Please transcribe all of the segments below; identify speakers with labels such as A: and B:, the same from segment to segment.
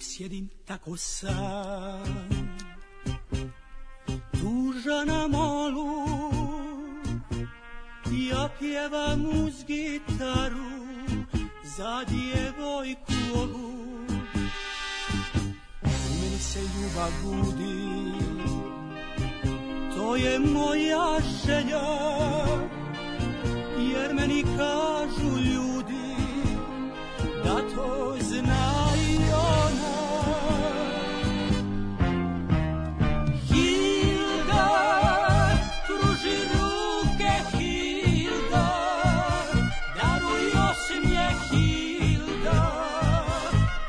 A: sjedim tako sam Tuža na molu Ja pjevam uz gitaru Za djevojku ovu U meni se ljubav budi To je moja želja Jer meni kažu ljudi Da to zna i ona Hilda, pruži ruke Hilda, daruj osmije Hilda,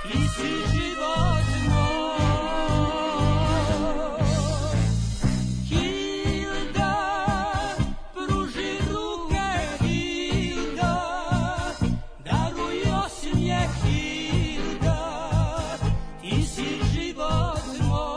A: ti si život moj. Hilda, pruži ruke Hilda, daruj osmije Hilda, ti si život moj.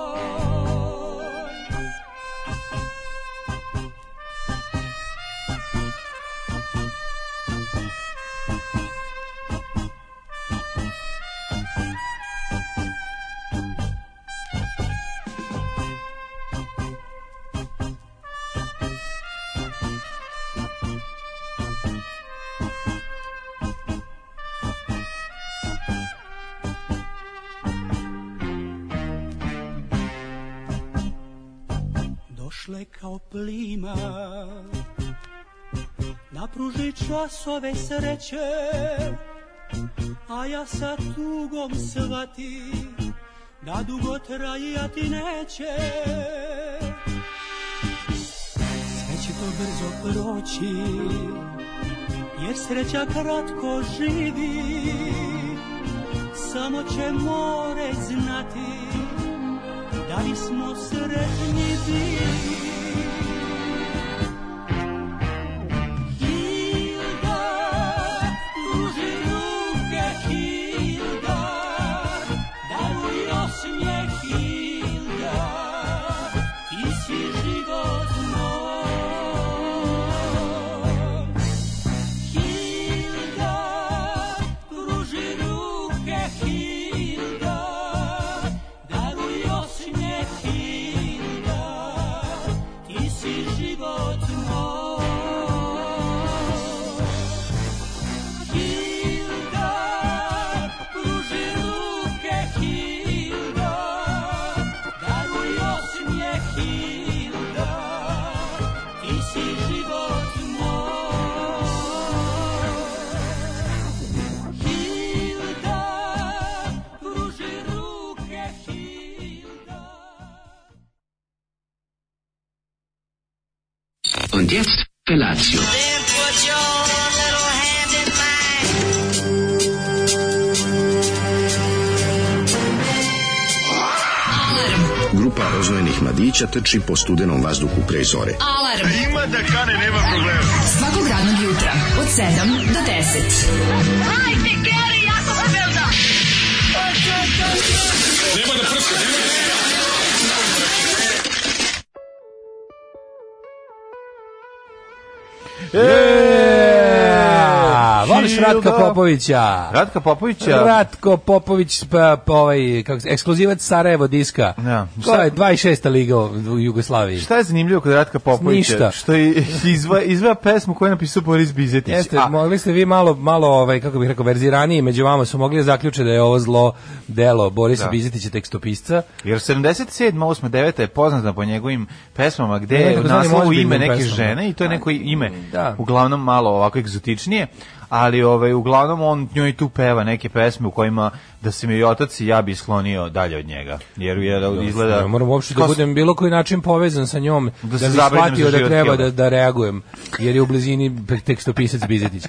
A: došle kao plima Napruži časove sreće A ja sa tugom svati Da dugo trajati neće Sve će to brzo proći Jer sreća kratko živi Samo će more znati da li smo sretni bili. Hilda, pruži ruke Hilda, daruj osmijeh Hilda, ti si život moj. Hilda, pruži ruke Hilda, daruj osmijeh Hilda, ti si život moj. Hilda, pruži ruke Hilda, daruj osmijeh Hilda, ti si život moj. Hilda, pruži ruke Hilda.
B: Und jetzt Felatio.
C: Then put your little hand in mine.
D: Grupa rozvojenih mladića trči po studenom vazduhu pre zore.
E: Alarm. Ima da kane, nema problema. Svakog radnog jutra, od 7 do 10. Hajde, Geri, jako se velda.
F: E,
G: Voliš Ratka Popovića?
F: Ratka Popovića?
G: Ratko Popović, pa, pa ovaj, kako, se- ekskluzivac Sarajevo diska.
F: Da.
G: To je 26. liga u Jugoslaviji.
F: Šta je zanimljivo kod Ratka Popovića?
G: Ništa.
F: Što je izva, izva pesmu koju je napisao Boris Bizetić.
G: Jeste,
F: A,
G: mogli ste vi malo, malo ovaj, kako bih rekao, verziraniji među vama su mogli da zaključe da je ovo zlo delo Borisa
F: Da.
G: Bizetića, tekstopisca.
F: jer 77, 8, 9 je poznata po njegovim pesmama gde je
G: Nekako
F: u
G: znanim
F: naslovu
G: ozbiljnim
F: ime neke
G: pesmama.
F: žene i to je neko ime,
G: Da.
F: uglavnom malo ovako egzotičnije, ali ovaj, uglavnom on njoj tu peva neke pesme u kojima da se mi i otac i ja bi sklonio dalje od njega. Jer je izgleda...
G: Ne moram uopšte da
F: Kao s-
G: budem bilo koji način povezan sa njom, da,
F: se
G: bi
F: zabrinem za
G: shvatio da
F: život
G: treba
F: Hilda.
G: da, da reagujem, jer je u blizini tekstopisac Bizetić.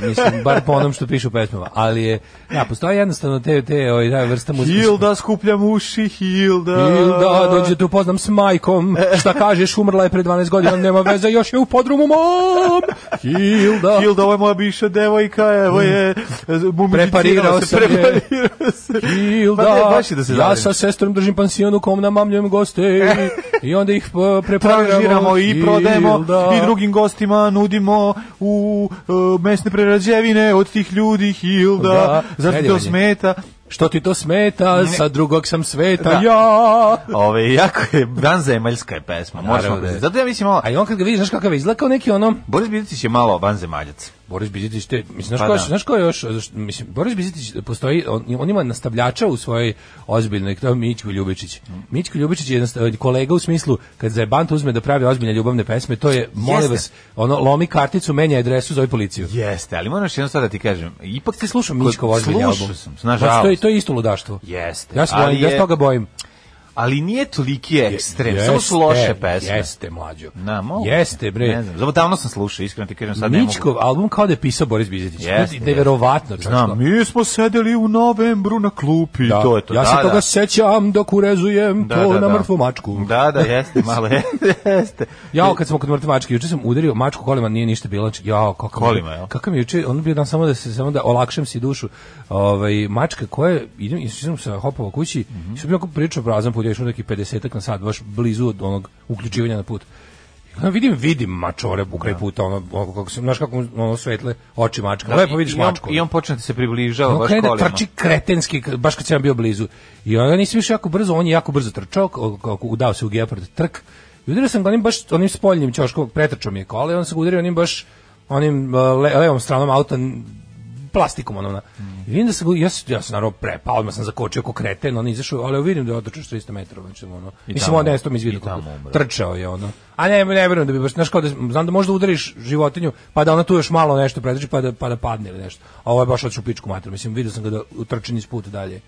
G: Mislim, bar po onom što piše u pesmama. Ali je, ja, postoji jednostavno te, te ovaj, da, vrsta muzike.
F: Hilda, skupljam uši, Hilda.
G: Hilda, dođe tu poznam s majkom, šta kažeš, umrla je pre 12 godina, nema veze, još je u podrumu mom, Hilda.
F: Hilda, ovo je moja bivša devojka, evo je e, mumificirala
G: Preparirao
F: se,
G: sam je.
F: preparirao se.
G: Hilda,
F: Pa ne, baš je da se
G: ja
F: zavidim.
G: sa sestrom držim pansion u kom namamljujem goste i, i onda ih e, prepariramo.
F: Tranžiramo i prodajemo
G: Hilda.
F: i drugim gostima nudimo u e, mesne prerađevine od tih ljudi Hilda,
G: Da,
F: zato to
G: predivanje.
F: smeta.
G: što ti to smeta, sa drugog sam sveta,
F: Da.
G: ja.
F: Ove, jako je, vanzemaljska je pesma. Možemo
G: Naravno
F: da
G: da
F: je.
G: je.
F: Zato ja mislim, malo,
G: A i on kad ga vidiš, znaš kakav je izgleda kao neki ono,
F: Boris Bidicić je malo vanzemaljac.
G: Boris Bizetić te mislim znaš
F: Pa
G: ko je-
F: da.
G: znaš ko je još znaš, mislim Boris Bizetić postoji on, on ima nastavljača u svojoj ozbiljnoj to je Mićko Ljubičić. Mićko Ljubičić je jednosta- kolega u smislu kad za jebanta uzme da pravi ozbiljne ljubavne pesme to je molim
F: Jeste.
G: vas ono lomi karticu menja adresu zove policiju.
F: Jeste, ali moram još jedno sad da ti kažem. Ipak ti
G: Slušam Mićkov ozbiljni album.
F: Slušao sam,
G: Pa,
F: nažalost.
G: to je to je isto ludaštvo.
F: Jeste,
G: Ja se
F: ali
G: bojim, ja
F: je-
G: se toga bojim.
F: Ali nije toliki ekstrem, samo su loše pesme.
G: Jeste, mlađo.
F: Na, mogu.
G: Jeste, bre.
F: Ne znam, zato davno sam slušao, iskreno ti kažem, sad ne mogu.
G: Mićkov album kao da je pisao Boris Bizetić. Znači,
F: Jeste,
G: Jeste, neverovatno. čak što-
F: Znam, mi smo sedeli u novembru na klupi,
G: Da.
F: to je to.
G: ja se
F: da,
G: toga
F: da.
G: sećam dok urezujem to na mrtvu mačku.
F: Da, da, jeste, malo je- jeste.
G: Jao, kad smo kod mrtve mačke, juče sam udario mačku kolima, nije ništa bilo. znači, Jao, kako
F: Kolima, jel?
G: Kako mi je juče, on bio dan samo da se samo da olakšam si dušu. Ovaj mačka koja idem i sam sa hopova kući,
F: Mhm.
G: mm sam bio kako pričao prazan put, ja išao neki 50 na sat, baš blizu od onog uključivanja na put. I onda vidim, vidim mačore ukraj puta, ono, ono kako se, znaš kako ono svetle oči mačka. Lepo vidiš
F: I on-
G: mačku. ono.
F: I on počne da se približava
G: On
F: baš
G: krene da
F: kolima.
G: Ono trči kretenski, k- baš kad sam ja bio blizu. I onda nisam više jako brzo, on je jako brzo trčao, ko- ko- ko- udao se u gepard trk. I udario sam ga onim baš onim spoljnim ćoškom, pretrčao mi je kola i onda sam ga udario onim baš onim uh, le- levom stranom auta n- plastikom ono. na. I vidim da se ja, s- ja sam naravno prepao, odmah sam zakočio ko kreten, on izašao, ali vidim da je otrčao 400 metara, znači ono. Mislim
F: tamo-
G: on nesto
F: i
G: mi izvidio kako
F: tamo umro.
G: trčao je ono. A ne, ne verujem da bi baš, znaš kao da, znam da možda udariš životinju, pa da ona tu još malo nešto pretrči, pa da, pa da padne ili nešto. A ovo je baš otišao u pičku mater, mislim, vidio sam ga da utrči niz put dalje.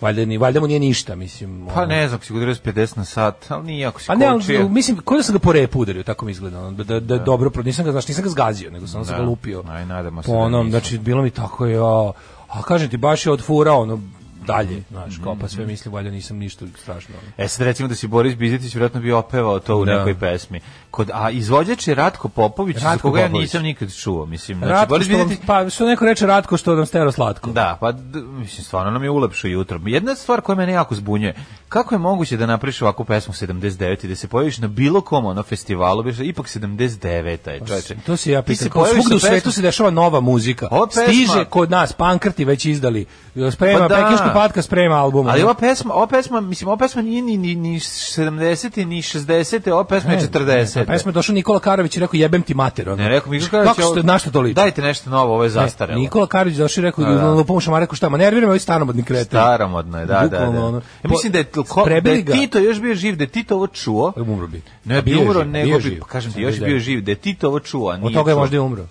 G: Valjda, ni, valjda mu nije ništa, mislim.
F: Pa
G: ono.
F: ne znam, ako si udario s 50 na sat, Pa ali nije ako si
G: A ne, ali,
F: kočio.
G: mislim, ko da sam ga po repu udario, tako mi izgleda, ono, da, da, da dobro, pro- nisam ga, znaš, nisam ga zgazio, nego sam, sam ga lupio.
F: Aj, nadamo se
G: po
F: da
G: onom,
F: nisam.
G: znači, bilo mi tako, ja, a kažem ti, baš je odfurao, ono, dalje, znaš, kao,
F: Mhm,
G: pa sve mislim, valjda nisam ništa strašno. ono.
F: E sad recimo da si Boris Bizetić vjerojatno bi opevao to u
G: Da.
F: nekoj pesmi. Kod, a izvođač je Ratko Popović, za
G: Ratko
F: koga ja
G: Popović.
F: nisam nikad čuo. Mislim, znači,
G: Ratko,
F: Boris
G: što vam,
F: Bizetić,
G: pa što neko reče Ratko što nam stero slatko.
F: Da, pa d- mislim, stvarno nam je ulepšo jutro. Jedna stvar koja mene jako zbunjuje, kako je moguće da napraviš ovakvu pesmu 79 i da se pojaviš na bilo kom ono festivalu, biš, ipak 79 je čoveče.
G: Pa To se ja
F: Ti
G: pitam. Kao
F: pojaviš
G: svugde u
F: sa pesmom-
G: svetu se dešava nova muzika.
F: Ova pesma-
G: Stiže kod nas, pankrti već izdali. e, Sprema,
F: Pa da.
G: pekinški patka sprema album. ono.
F: Ali ova pesma, ova pesma, mislim, ova pesma nije ni, ni, ni 70 ni 60 ova pesma je 40
G: Pa pesma je došao Nikola Karović i rekao jebem ti mater. Ono.
F: Ne, rekao mi,
G: Kako ste, na što to liči?
F: Dajte nešto novo, ovo je
G: Ne,
F: zastarelo.
G: Nikola Karović došao i rekao,
F: ono. Da, da.
G: da, lupom šama, rekao šta, ma nerviramo ovi stanomodni kreten.
F: Staromodno je, da, da, da.
G: Bukvalno, ono.
F: Ja mislim da je,
G: Po-
F: tko- da
G: prebili
F: je
G: ga.
F: Tito još bio živ, da je Tito ovo čuo.
G: Umro bi.
F: Ne
G: A
F: bi
G: bio je
F: umro,
G: živ,
F: nego
G: bio je
F: bi,
G: živ.
F: pa kažem ti,
G: Sad
F: još
G: bi
F: je
G: da.
F: bio živ, da je Tito ovo čuo, a nije
G: Od toga je
F: čuo.
G: možda Pa i umro.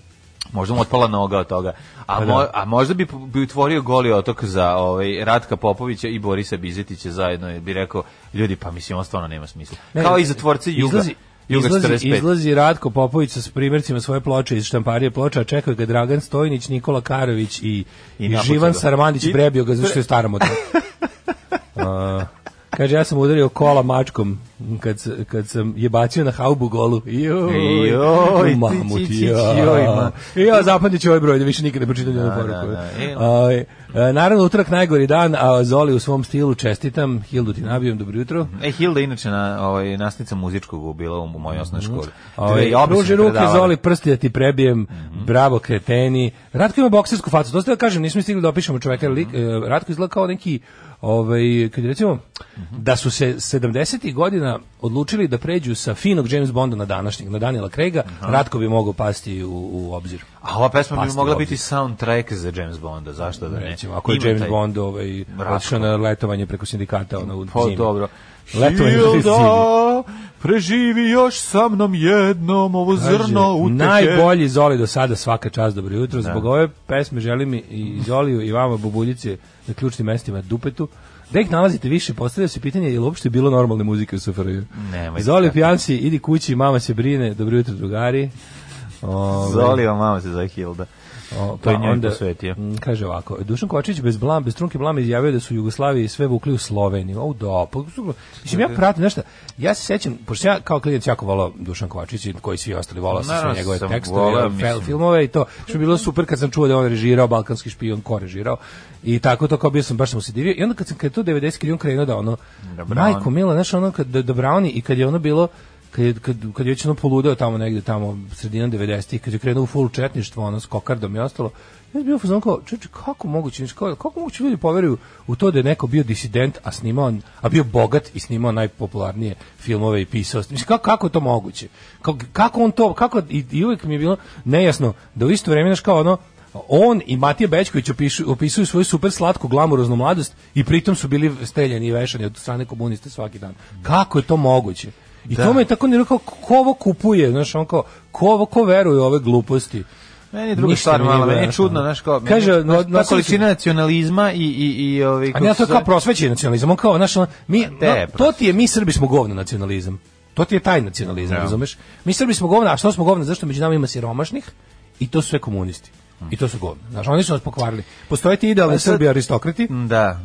F: Možda mu otpala noga od toga. A, mo, a možda bi, bi utvorio goli otok za ovaj, Ratka Popovića i Borisa Bizetića zajedno. jer Bi rekao, ljudi, pa mislim, on stvarno nema smisla.
G: Ne,
F: Kao
G: ne,
F: i zatvorci Juga.
G: Izlazi,
F: Juga
G: izlazi,
F: 45.
G: izlazi Ratko Popović sa primjercima svoje ploče iz štamparije ploča, a čekaju ga Dragan Stojnić, Nikola Karović i,
F: I
G: i,
F: napucao
G: Živan
F: ga.
G: Sarmandić
F: I-
G: prebio ga zato što je staromodno. A, kaže, ja sam udario kola mačkom kad, s- kad sam je bacio na haubu golu. Joj,
F: Joj,
G: u mamu
F: ti, ti,
G: ti,
F: ti, joj, ma.
G: ja. I ja zapamtit ću ovaj broj, da više nikad ne pročitam njenu poruku.
F: da, da. E,
G: A, e, naravno, utorak najgori dan, a Zoli u svom stilu čestitam. Hildu ti nabijam, dobro jutro.
F: E, Hilda je inače na, ovaj, nasnica muzičkog bila u mojoj osnovnoj školi.
G: Ovaj,
F: Dve- obe su
G: pruži
F: mi
G: ruke,
F: predavale.
G: zoli prsti da ti prebijem,
F: Mhm.
G: bravo kreteni. Ratko ima boksersku facu, to ste da kažem, nismo stigli da opišemo čoveka, jer
F: Mhm.
G: lik, e, Ratko izgleda kao neki, ovaj, kad je recimo,
F: Mhm.
G: da su se 70. godina odlučili da pređu sa finog James Bonda na današnjeg, na Daniela Craiga, Ratko bi mogao pasti u, u obzir.
F: A ova pesma bi
G: Pasti
F: mogla
G: ovdje.
F: biti soundtrack za James Bonda, zašto da ne?
G: Recimo, ako je
F: Ima
G: James
F: taj-
G: Bond ovaj,
F: Ratko.
G: otišao na letovanje preko sindikata ono, u
F: Pa
G: zimi.
F: dobro.
G: Letovanje u zimi.
F: Hilda, preživi još sa mnom jednom ovo
G: Kaže,
F: zrno utehe.
G: Najbolji Zoli do sada, svaka čast, dobro jutro. Zbog ove pesme želim i- i Zoliju i vama bubuljice na ključnim mestima dupetu. Da ih nalazite više, postavlja se pitanje je li uopšte bilo normalne muzike u SFRJ.
F: Nemojte
G: Zoli
F: tako.
G: pijanci, idi kući, mama se brine, dobro jutro drugari. Ove,
F: Zolio, mama se zove Hilda.
G: o,
F: to je njoj posvetio.
G: Pa mm, Kaže ovako, Dušan Kočić bez blam, bez trunke blama izjavio da su u Jugoslaviji sve vukli u Sloveniju. O, da, pa, su- mislim, ja pratim nešto. Ja se sećam, pošto sam ja kao klinac jako volao Dušan Kovačić i koji svi ostali volao sam
F: Naravno
G: sve njegove
F: sam
G: tekstove,
F: voleo,
G: fel-
F: mislim.
G: filmove i to. Što mi je bilo super kad sam čuo da je on režirao, balkanski špion ko režirao. I tako to kao bio sam baš sam se divio. I onda kad sam kad je to 90 kad je on krenuo da ono,
F: Da Brown.
G: majko mila, znaš ono kad da, da Browni i kad je ono bilo kad je, kad, kad je već ono poludeo tamo negde tamo sredinom 90-ih kad je krenuo u full četništvo ono s kokardom i ostalo ja sam bio u fazonu kao čoveče kako moguće znači, kao, kako moguće ljudi poveruju u to da je neko bio disident a snimao a bio bogat i snimao najpopularnije filmove i pisao mislim kako kako je to moguće kako, kako on to kako i, i uvek mi je bilo nejasno da u isto vreme znaš kao ono on i Matija Bećković opišu, opisuju svoju super slatku glamuroznu mladost i pritom su bili streljani i vešani od strane komuniste svaki dan. Kako je to moguće? I
F: Da.
G: to me je tako ne rekao, ko ovo kupuje, znaš, on kao, ko ovo, ko veruje u ove gluposti?
F: Meni je druga
G: Ništa
F: stvar
G: mi
F: malo,
G: nije
F: meni je
G: jasno.
F: čudno, znaš kao, meni-
G: Kaže,
F: znaš,
G: no-
F: ta
G: nosili su-
F: količina nacionalizma i, i, i ovi...
G: A ne, to je
F: kako se
G: kao
F: zove-
G: prosvećeni nacionalizam, on kao, znaš, on, mi,
F: te,
G: na- to ti je, mi Srbi smo govno nacionalizam. To ti je taj nacionalizam,
F: Da.
G: razumeš? Mi Srbi smo govna, a što smo govna? Zašto među nama ima siromašnih? I to su sve komunisti. I to su govna. Znaš, oni su nas pokvarili. Postoje ti idealni
F: Pa sad-
G: Srbi aristokrati,
F: Da.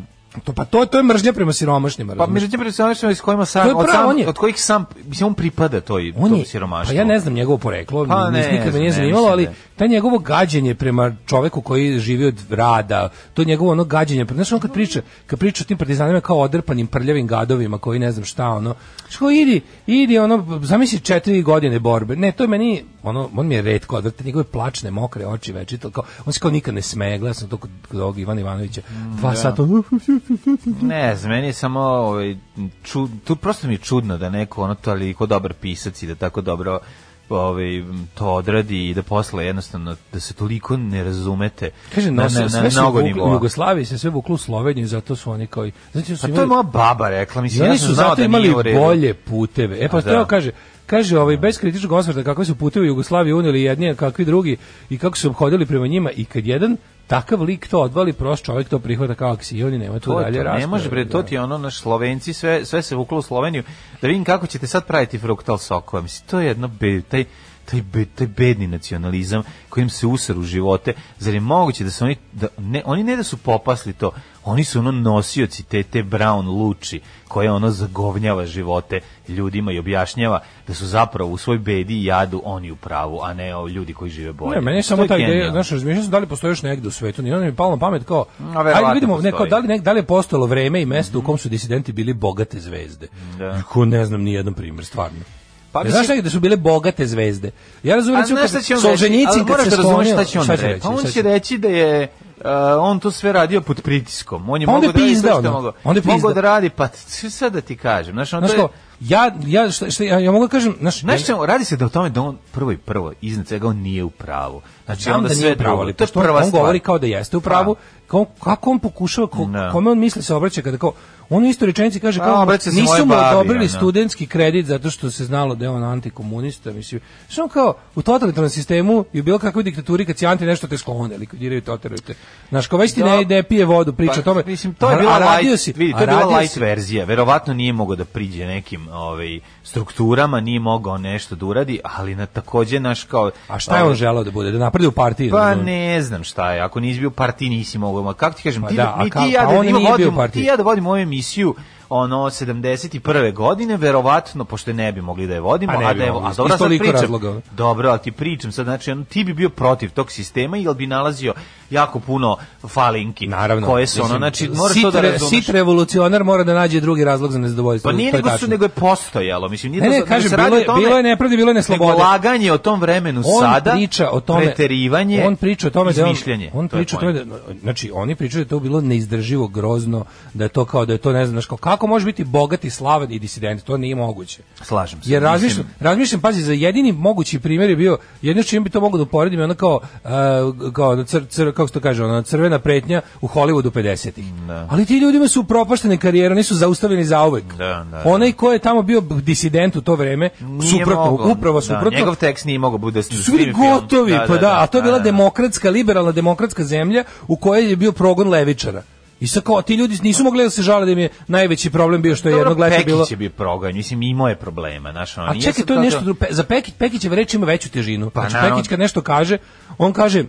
G: To pa to to je mržnja prema siromašnjima,
F: Pa
G: razumeš?
F: međutim, personažima iz kojima
G: To
F: sam,
G: je
F: od,
G: pravo, on
F: sam
G: je-
F: od kojih sam, mislim, on pripada toj,
G: on
F: tom
G: je,
F: siromaštvu.
G: pa ja ne znam njegovo poreklo,
F: Pa
G: pa
F: ne
G: nikad me
F: znam,
G: nije
F: ne,
G: zanimalo,
F: mislim
G: ali
F: da je.
G: taj njegovo gađenje prema čoveku koji živi od rada, to njegovo ono gađenje, prema- znaš on kad priča, kad priča o tim partizanima kao odrpanim prljavim gadovima koji ne znam šta ono, što idi, idi ono, zamisli četiri godine borbe, ne, to je meni, ono, on mi je redko odvrte, njegove plačne, mokre oči večito, kao, on se kao nikad ne smeje, gledao sam to kod, kod ovog Ivana Ivanovića,
F: Mm,
G: dva sata, ono, uhuh,
F: Ne znam, meni je samo, ovaj, čud, tu prosto mi je čudno da neko, ono, toliko dobar pisac i da tako dobro ovaj, to odradi i da posle jednostavno da se toliko ne razumete
G: Kaže,
F: na,
G: na,
F: na, na,
G: sve se
F: mnogo
G: vuklo- u
F: nivoa.
G: Jugoslaviji se sve vuklo u Sloveniju, zato su oni kao... i- Znači, su
F: Pa to je
G: imali-
F: moja baba rekla,
G: I
F: mislim, ja
G: oni
F: sam
G: su
F: znao
G: zato
F: da
G: imali
F: nije u redu.
G: bolje puteve. E
F: A
G: pa
F: da.
G: što on kaže, kaže ovaj bez kritičnog osvrta kakve su puteve u Jugoslaviji uneli jedni, a kakvi drugi i kako su obhodili prema njima i kad jedan takav lik to odvali, prost čovjek to prihvata kao aksioni, nema tu
F: To je
G: dalje
F: to, ne
G: rasprave,
F: može bre, to
G: da.
F: ti je ono naš Slovenci, sve, sve se vuklo u Sloveniju, da vidim kako ćete sad praviti fruktal sokova, mislim, to je jedno, be, taj, taj, be, taj bedni nacionalizam kojim se usar u živote, zar je moguće da su oni, da, ne, oni ne da su popasli to, oni su ono nosioci te, te brown luči, koje ono zagovnjava živote ljudima i objašnjava da su zapravo u svoj bedi i jadu oni u pravu, a ne o, ljudi koji žive bolje.
G: Ne, meni je
F: Mislim,
G: samo
F: to
G: ta ideja,
F: genijalno.
G: znaš, razmišljao sam da li postoji još negde u svetu, ni ono mi je palo na pamet kao,
F: verovatno
G: ajde vidimo, ne, kao,
F: postoji.
G: da, li, ne, da li je postojalo vreme i mesto u kom su disidenti bili bogate zvezde.
F: Da.
G: Ko ne znam ni jedan primer, stvarno.
F: Pa
G: Pa
F: mislim-
G: znaš negde da su bile bogate zvezde. Ja razumem
F: A
G: recimo,
F: Pa znaš
G: kad-
F: šta će on reći,
G: Solženjicin
F: ali
G: kad
F: moraš
G: se
F: da razumeš
G: sklonio-
F: šta će on
G: šta će
F: reći.
G: reći,
F: Pa on
G: šta
F: će
G: će-
F: reći da je uh, on to sve radio pod pritiskom. On je
G: Pa onda
F: mogao da
G: je
F: radi sve
G: pizda
F: što je
G: ono.
F: mogao.
G: Onda je
F: Mogao
G: pizda.
F: da radi, pa t- sad da ti kažem. Znaš, on
G: Znaš
F: to je-
G: kao, ja, ja, šta, šta, ja, ja mogu da kažem, znaš, e,
F: Znaš
G: ja-
F: čemu, radi se da o tome da on prvo i prvo, iznad svega on nije u pravu. Znači
G: znam
F: onda
G: da
F: sve
G: nije pravo, ali
F: to je
G: pošto on-
F: prva
G: on
F: stvar.
G: govori kao da jeste u pravu, kao, kako on pokušava, ko,
F: Da.
G: kome on misli se obraća kada kao, on u istoj rečenici kaže
F: A,
G: kao,
F: obraća se mojoj
G: nisu mu
F: babi,
G: odobrili
F: ono.
G: studentski kredit zato što se znalo da je on antikomunista, mislim, što on kao, u totalitarnom sistemu i u bilo kakvoj diktaturi kad si anti nešto te sklone, likvidiraju, toteraju te. Znaš, kao već ti ne,
F: Da.
G: ne pije vodu, priča
F: Pa,
G: o tome.
F: Mislim, to je
G: A-
F: bila
G: a radio
F: light,
G: si-
F: vidi, to
G: a
F: je bila
G: radio
F: light
G: si-
F: verzija. Verovatno nije mogao da priđe nekim ovaj, strukturama, nije mogao nešto da uradi, ali na takođe naš kao...
G: A šta je on
F: ovaj,
G: želao da bude? Da napredi u partiji?
F: Pa
G: razumem?
F: ne znam šta je, ako nisi bio u partiji nisi mogao, ma kako ti kažem,
G: Pa
F: ti,
G: da,
F: da,
G: a
F: mi,
G: kako-
F: ti i ja
G: a
F: da,
G: on
F: imam-
G: nije bio u
F: vodimo- ti
G: partiji.
F: i ja da vodim ovu emisiju ono 71. godine, verovatno, pošto je ne bi mogli da je vodimo,
G: Pa ne
F: a
G: bi
F: da je,
G: mogli,
F: a
G: iz
F: dobro sad
G: toliko
F: pričam,
G: razloga.
F: dobro, ali ti pričam sad, znači, ono, ti bi bio protiv tog sistema, jer bi nalazio jako puno falinki,
G: Naravno.
F: koje su, ono,
G: Mislim,
F: znači, moraš
G: sit
F: to da
G: re-
F: razumeš.
G: Sit revolucionar mora da nađe drugi razlog za nezadovoljstvo.
F: Pa nije
G: to je
F: nego su,
G: tačno.
F: nego je postojalo, mislim, nije
G: Ne,
F: da-
G: ne,
F: da se
G: kažem,
F: radi
G: bilo je-
F: o tome-
G: bilo je nepravde, bilo je neslobode.
F: Nego laganje o tom vremenu
G: on
F: sada,
G: priča o tome
F: preterivanje,
G: on priča o tome da je on,
F: izmišljanje.
G: on
F: To je
G: priča o tome
F: point.
G: da, znači oni pričaju da je to bilo neizdrživo grozno da je to kao da je to ne znam znaš, kao, kako može biti bogat i slavan i disident to nije moguće
F: Slažem se.
G: jer razmišljam,
F: mislim-
G: razmišljam, pazi, za jedini mogući primjer je bio, jedno s čim bi to mogu da uporedim, je ono kao, e, kao, ono cr, cr, kako se to kaže, ono, crvena pretnja u Hollywoodu 50-ih. Ali ti ljudima su upropaštene karijere, oni su zaustavljeni zauvek.
F: Da, da, da.
G: Onaj ko je tamo bio disident u to vreme,
F: Nije
G: suprotno,
F: mogao,
G: upravo suprotno,
F: Da, njegov tekst nije mogao bude
G: su bili gotovi, pa da, a to je bila demokratska, liberalna demokratska zemlja u kojoj je bio progon levičara. I sad kao, ti ljudi nisu mogli da se žale da im je najveći problem bio što je jednog leta bilo...
F: Pekić je bio proganj, mislim imao je problema, znaš, ono, on
G: A
F: nije
G: čekaj,
F: sad
G: to je
F: kao
G: nešto drugo. Pe- Za Pekić, Pekićeva reč ima veću težinu.
F: Pa,
G: Pa, znači,
F: naravno.
G: Pekić kad nešto kaže, on kaže,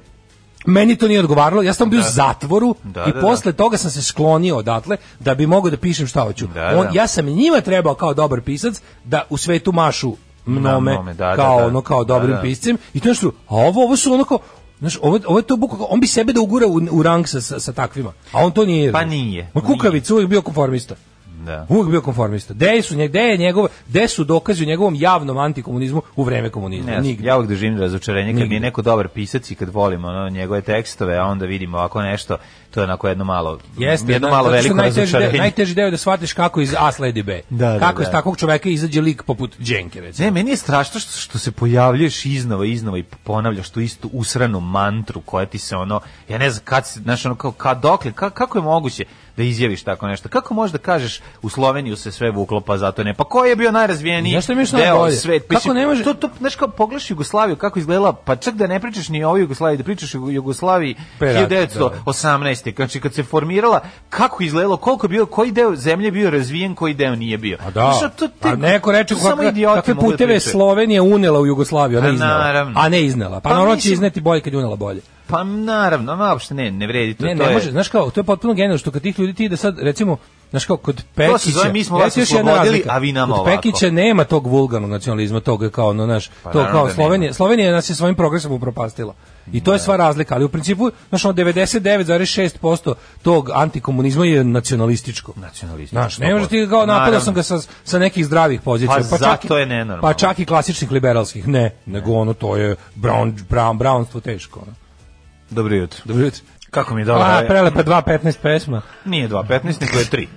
G: meni to nije odgovaralo, ja sam bio u zatvoru
F: Da,
G: i
F: da,
G: posle toga sam se sklonio odatle da bi mogao da pišem šta hoću.
F: Da,
G: on,
F: da.
G: Ja sam njima trebao kao dobar pisac da u svetu mašu mnome,
F: Na mnome, da, da,
G: kao
F: da.
G: ono kao
F: Da,
G: dobrim
F: da.
G: piscem i to je nešto, a ovo, ovo su ono kao Znaš, ovo, ovo je to buka, on bi sebe da ugura u, u rang sa, sa, sa takvima, a on to nije.
F: Pa
G: znaš.
F: nije,
G: Ma
F: nije.
G: kukavica uvijek bio konformista.
F: Da.
G: Uvijek bio konformista. Gde su, nje- gde je njegov, gde su dokazi o njegovom javnom antikomunizmu u vreme komunizma?
F: Ne, znam,
G: Nigde.
F: ja uvijek doživim razočarenje kad mi
G: Nigde.
F: je neko dobar pisac i kad volim ono, njegove tekstove, a onda vidimo ovako nešto, to je onako jedno malo,
G: Jeste,
F: jedno
G: da,
F: malo
G: zato što
F: veliko
G: najteži deo,
F: razočarenje.
G: najteži deo je da shvatiš kako iz A sledi B.
F: Da, da,
G: kako
F: da.
G: iz takvog čoveka izađe lik poput Đenke, recimo.
F: Ne, meni je strašno što, što se pojavljuješ iznova, iznova i ponavljaš tu istu usranu mantru koja ti se ono, ja ne znam kad, si- znaš, ono, kao, kad, dokle, ka, kako je moguće da izjaviš tako nešto? Kako možeš da kažeš u Sloveniju se sve vuklo, pa zato ne? Pa ko je bio najrazvijeniji
G: Znaš šta mi je što
F: deo
G: najbolje?
F: sveta?
G: Kako ne može-
F: To, to, znaš, kao pogledaš Jugoslaviju, kako izgledala, pa čak da ne pričaš ni o Jugoslaviji, da pričaš o Jugoslaviji
G: Pre rata,
F: 1918. Znači, kad se formirala, kako je izgledalo, koliko je bio, koji deo zemlje je bio razvijen, koji deo nije bio.
G: A Pa da,
F: Znaš, to pa te-
G: a neko reče
F: to samo
G: kakve,
F: idioti
G: kakve
F: mogu da
G: puteve
F: pričaju.
G: Slovenija unela u Jugoslaviju, a
F: Pa
G: ne iznela.
F: naravno.
G: A ne iznela.
F: Pa
G: Pa, naravno će
F: mislim-
G: izneti bolje kad je unela bolje.
F: Pa naravno, ma uopšte ne, ne vredi to.
G: Ne,
F: to
G: ne
F: je,
G: može, znaš kao, to je potpuno genijalno što kad tih ljudi ti da sad, recimo, znaš kao, kod Pekića...
F: zove, mi smo
G: Evo
F: vas
G: ti još jedna
F: oslobodili,
G: razlika.
F: a vi nama
G: kod
F: ovako. Pa
G: Pekića nema tog vulgarnog nacionalizma, tog kao, ono, znaš, to
F: naravno
G: kao,
F: da nema.
G: Slovenija, Slovenija nas je svojim progresom upropastila. I to je sva razlika, ali u principu, znaš, ono, 99,6% tog antikomunizma je nacionalističko.
F: Nacionalističko, pa
G: Znaš, ne može ti kao,
F: naravno.
G: napadao sam ga sa, sa nekih zdravih pozicija.
F: Pa
G: čak i-
F: zato je nenormalno.
G: Pa čak i klasičnih liberalskih, ne, nego ono, to je brown, brown, brownstvo teško. Ono.
F: Dobro jutro.
G: Dobro jutro.
F: Kako mi je dobro.
G: A,
F: ovaj-
G: prelepa 2.15 pesma.
F: Nije 2.15, nego je 3.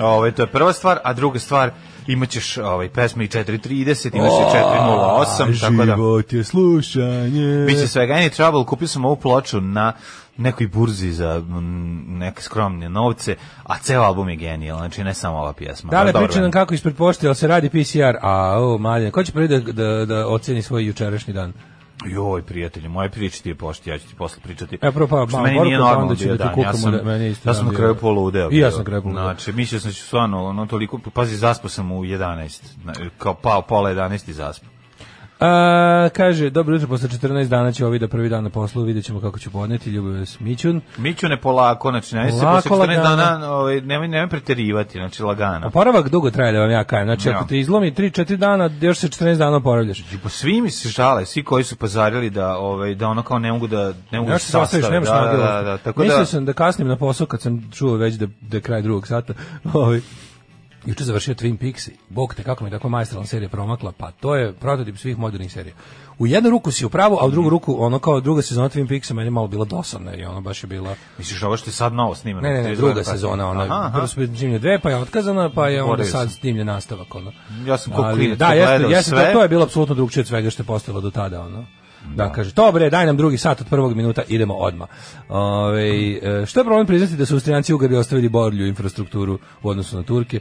F: Ovaj to je prva stvar, a druga stvar, imaćeš ovaj pesme i 4.30, imaš i 4.08, tako da
G: je slušanje.
F: biće svega any trouble. Kupio sam ovu ploču na nekoj burzi za mm, neke skromne novce, a ceo album je genijal, znači ne samo ova pjesma.
G: Da li
F: Dobro
G: priča nam
F: je.
G: kako ispred pošte, ali se radi PCR? A, o, malje, ko će prvi da, da, da oceni svoj jučerašnji dan?
F: Joj, prijatelju, moje priče ti je pošti, ja ću ti posle pričati.
G: E, prvo pa
F: Pošto
G: malo
F: meni
G: poruka,
F: nije
G: pa onda
F: normalno
G: ću
F: bio
G: da ti
F: dan. Ja
G: kukamo
F: sam,
G: da meni isto
F: ja sam
G: dan
F: na
G: bio.
F: kraju poludeo.
G: I ja
F: bio.
G: sam na kraju poludeo.
F: Znači, mislio sam da ću stvarno, ono, toliko, pazi, zaspao sam u 11, na- kao pao pola 11 i zaspao.
G: A, kaže, dobro jutro, posle 14 dana će ovi da prvi dan na poslu, vidjet ćemo kako ću podneti, ljubav vas Mićun.
F: Miću ne polako, znači, ne se
G: Polako,
F: posle 14
G: lagano. Pa-
F: dana, ovaj, nemoj, nemoj preterivati, znači, lagano.
G: Oporavak dugo traje da vam ja kajem, znači
F: Ja.
G: ako te izlomi 3-4 dana, još se 14 dana oporavljaš.
F: I Znači, po svi mi se žale, svi koji su pazarili da ovaj da ono kao ne mogu da ne mogu
G: Ne
F: da
G: možeš se sastaviš,
F: sastave.
G: nemaš
F: da,
G: nagilo.
F: da, da, da, tako
G: Mislio
F: da
G: sam da kasnim na posao kad sam čuo već da, da je kraj drugog sata. Ovaj, Juče završio Twin Peaks. i, Bog te kako mi je tako majstralna serija promakla, pa to je prototip svih modernih serija. U jednu ruku si u pravu, a u
F: Mhm.
G: drugu ruku, ono kao druga sezona Twin Peaksa meni je malo bila dosadna i ono baš je bila...
F: misliš ovo što je sad novo snimano.
G: Ne, ne, ne,
F: Tri
G: druga
F: godine kasnije.
G: sezona, ona,
F: Aha, aha.
G: prvo su snimljene dve, pa je otkazana, pa je onda
F: Zaboravio
G: sad
F: sam.
G: snimljen nastavak, ono.
F: Ja sam kao
G: Ali,
F: klinac
G: da,
F: to
G: jeste,
F: gledao
G: jeste,
F: sve.
G: to, to je bilo apsolutno drugčije od svega što je postalo do tada, ono. Da, kaže, to bre, daj nam drugi sat od prvog minuta, idemo odma. Ove, e, što je problem priznati da su Austrijanci i Ugari ostavili borlju infrastrukturu u odnosu na Turke?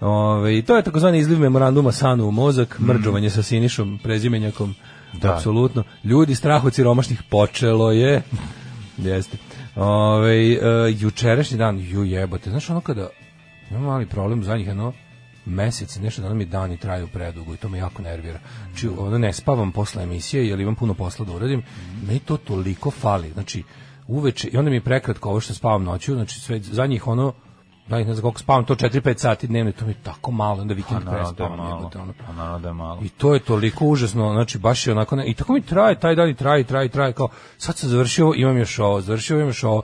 G: Ove, i to je takozvani izliv memoranduma Sanu u mozak, mrđovanje sa Sinišom, prezimenjakom,
F: Da.
G: apsolutno. Ljudi, strah od siromašnih počelo je. Jeste. Ove, e, jučerašnji dan, ju jebote, znaš ono kada imam mali problem u zadnjih jedno mesec i nešto da mi dani traju predugo i to me jako nervira. Znači, ono ne spavam posle emisije jer imam puno posla da uradim, meni to toliko fali. Znači, uveče, i onda mi je prekratko ovo što spavam noću, znači sve zadnjih ono da ne znam koliko spavam, to 4-5 sati dnevno, i to mi je tako malo, onda vikend
F: Pa Naravno da je
G: prespavam.
F: malo.
G: jebote, ono.
F: Pa Naravno da je malo.
G: I to je toliko užasno, znači baš je onako, ne, i tako mi traje, taj dan i traje, i traje, i traje, kao sad sam završio, ovo, imam još ovo, završio, ovo, imam još ovo.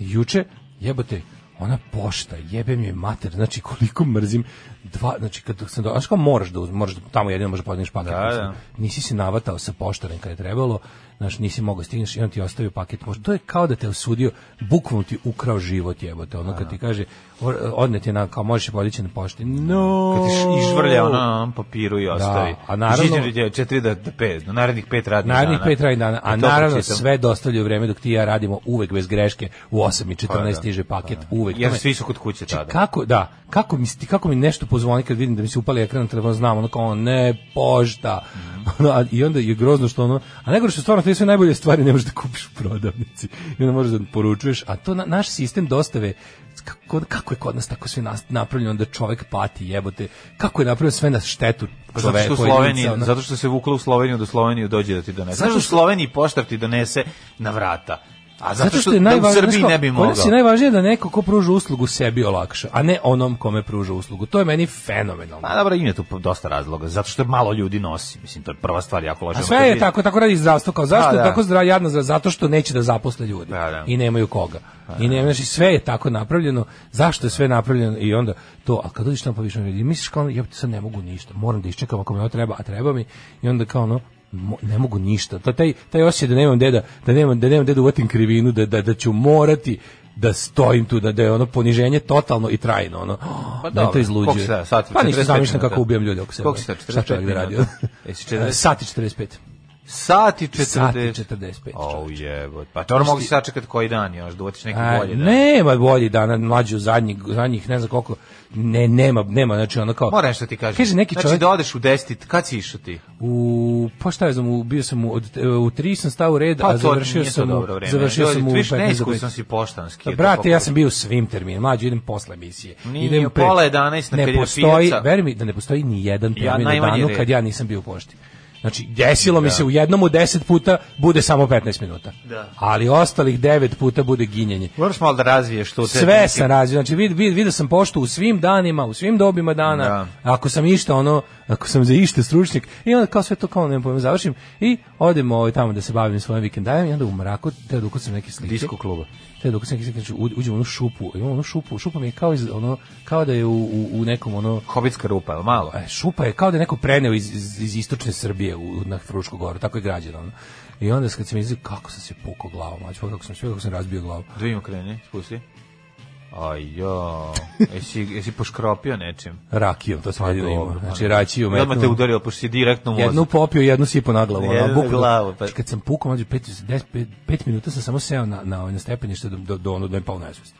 G: I Juče, jebote, ona pošta, jebe mi je mater, znači koliko mrzim, dva, znači kad sam do, znaš kao moraš da uzmeš, moraš da, tamo jedino možeš da podneš paket,
F: Da,
G: mislim.
F: da.
G: nisi se navatao sa poštarem kad je trebalo, znači nisi mogao stigneš i on ti je ostavio paket, možda to je kao da te je osudio, bukvalno ti je ukrao život, jebote, ono kad ti kaže, or- odnet je na, kao možeš je podići na pošti, no,
F: Kad ti š- izvrlja ono, ona na papiru i ostavi.
G: a naravno-
F: Izađe 4 do 5, narednih 5 radnih
G: Narednih
F: dana.
G: pet radnih
F: Da
G: dana, a
F: to
G: naravno
F: pročitam.
G: sve dostavljaju u vreme dok ti i ja radimo uvek bez greške, u 8 i
F: Pa
G: 14
F: da,
G: stiže paket,
F: pa da.
G: uvek.
F: Jer
G: To me-
F: svi su kod kuće
G: Znači,
F: tada.
G: Kako, da, kako mi, sti- kako mi nešto pozvoni kad vidim da mi se upali ekran, treba znam, ono kao, ono, ne, pošta.
F: Mm.
G: Ono, a- I onda je grozno što ono, a najgore što stvarno te sve najbolje stvari ne možeš da kupiš u prodavnici. I onda možeš da poručuješ, a to na- naš sistem dostave, kako, kako je kod nas tako sve nas, napravljeno da čovek pati jebote, kako je napravljeno sve na štetu
F: Pa
G: čoveka.
F: Zato što, u Sloveniji, zato što se vuklo u Sloveniju, do Sloveniju dođe da ti donese.
G: ono- Zato
F: Znaš, u
G: što-
F: Sloveniji poštar ti donese na vrata. A
G: Zato što
F: da
G: je
F: u
G: najvažnije,
F: Srbiji
G: znaš
F: ne bi
G: kao, kod nas
F: mogao.
G: je najvažnije da neko ko pruža uslugu sebi olakša, a ne onom kome pruža uslugu. To je meni fenomenalno.
F: Ma dobro, ima tu po- dosta razloga, zato što malo ljudi nosi, mislim, to je prva stvar, jako loša.
G: A sve je tako, tako radi zdravstvo kao zašto
F: Pa Da,
G: je
F: da.
G: tako zdra, jadno zdra- zato što neće da zaposle ljudi
F: Da, da. Pa
G: i nemaju koga. I ne, znači sve je tako napravljeno. Zašto je sve napravljeno i onda to, a kad dođeš tamo pa više ljudi, misliš kao ono, ja sad ne mogu ništa, moram da iščekam ako me ovo treba, a treba mi i onda kao ono mo- ne mogu ništa. To taj taj osjećaj da nemam deda, da nemam da nemam deda uvatim krivinu, da da da ću morati da stojim tu da, da je ono poniženje totalno i trajno ono. Pa
F: dobro,
G: to izluđuje.
F: koliko se- sat i
G: pa ništa
F: 45
G: zamišljam
F: minuta.
G: kako ubijam ljude oko sebe.
F: Koliko se-
G: Šta čovjek E, da
F: 45
G: radi?
F: minuta? Jesi 40?
G: Sati 45.
F: Sati 40.
G: Sati 45,
F: O,
G: čoveče.
F: jebot. Pa to mogu sačekati koji dan još, da otiš neki
G: A,
F: bolji dan.
G: nema bolji dana, mlađi u zadnjih, zadnjih ne znam koliko, ne, nema, nema, znači ono kao...
F: Moram nešto ti kažem.
G: Kaže neki
F: znači,
G: čovjek-
F: da odeš u 10, kad si išao ti?
G: U, pa šta je znam, u, bio sam u, od, u tri sam stao u red,
F: Pa
G: a
F: to
G: završio
F: nije to
G: sam, u,
F: dobro vreme.
G: završio
F: Dođi,
G: sam u
F: ti viš,
G: 15 do
F: neiskusan si poštanski,
G: Pa,
F: je to
G: Brate, ja
F: pokušaj.
G: sam bio u svim terminima, mlađi idem posle emisije.
F: Nije,
G: idem pre-
F: pola 11 na
G: Ne
F: kad je
G: postoji,
F: pijaca.
G: veruj mi da ne postoji ni jedan
F: Ja
G: termin na
F: najmanje
G: danu
F: red.
G: kad ja nisam bio u pošti. Znači, desilo mi se u jednom u 10 puta bude samo 15 minuta.
F: Da.
G: Ali ostalih 9 puta bude ginjenje.
F: Moraš malo da razviješ to. te
G: Sve
F: neke-
G: sam radio, znači vid, vid, vidio sam poštu u svim danima, u svim dobima dana,
F: Da.
G: ako sam išta ono, ako sam za išta stručnjak, i onda kao sve to kao ne pojem, završim i odem ovaj, tamo da se bavim svojim vikendajem i onda u mraku, te dok sam neke slike.
F: Disko kluba.
G: Te dok sam neke slike, znači u- uđem u onu šupu, imam onu šupu, šupa mi je kao, iz, ono, kao da je u, u, u nekom ono,
F: Hobitska rupa, jel malo.
G: e, šupa je kao da je neko preneo iz, iz, iz istočne Srbije u, na Frušku goru, tako je građeno. Ono. I onda kad sam izgledao, kako sam se pukao glavom, znači kako sam, kako sam razbio glavu.
F: Dvimo kreni, spusti. Aj jo, jesi, jesi poškropio nečim?
G: rakijom, to sam jedino
F: dobro,
G: imao.
F: pa
G: Znači
F: da.
G: rakiju
F: Odmah te
G: metnu.
F: udario, pošto si direktno u
G: Jednu
F: mozak.
G: popio, jednu sipo na glavu. ono,
F: Jednu na
G: bukvalno.
F: glavu, pa-
G: Kad sam pukao, mađu, pet, des- pet, pet minuta sam samo seo na, na, ovaj, na stepenište do, do, do, ono, do pao nesvest.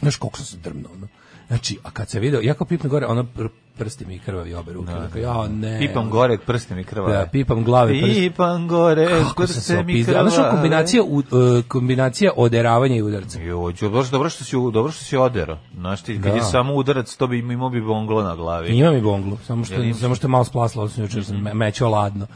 G: Znaš koliko sam se drmnuo, ono. Znači, a kad sam video, ja kao pipne gore, ono pr, prsti mi krvavi obe ruke. Da, ja, ne.
F: Pipam gore, prste mi krvave.
G: Da, pipam glave, prste.
F: Pipam gore,
G: Kako sam
F: prste
G: se
F: mi
G: opizdao.
F: krvave.
G: Znaš, ono, kombinacija, u, e, kombinacija oderavanja i udarca.
F: Jo, ću, dobro, dobro što si, u- dobro što si odero. Znaš ti, kad
G: Da.
F: je samo udarac, to bi im- imao bi bonglo na glavi.
G: Ima mi bonglu, samo što,
F: Jel imaš?
G: samo što je malo splasla, odnosno jučer
F: Mhm.
G: sam me- mećao ladno.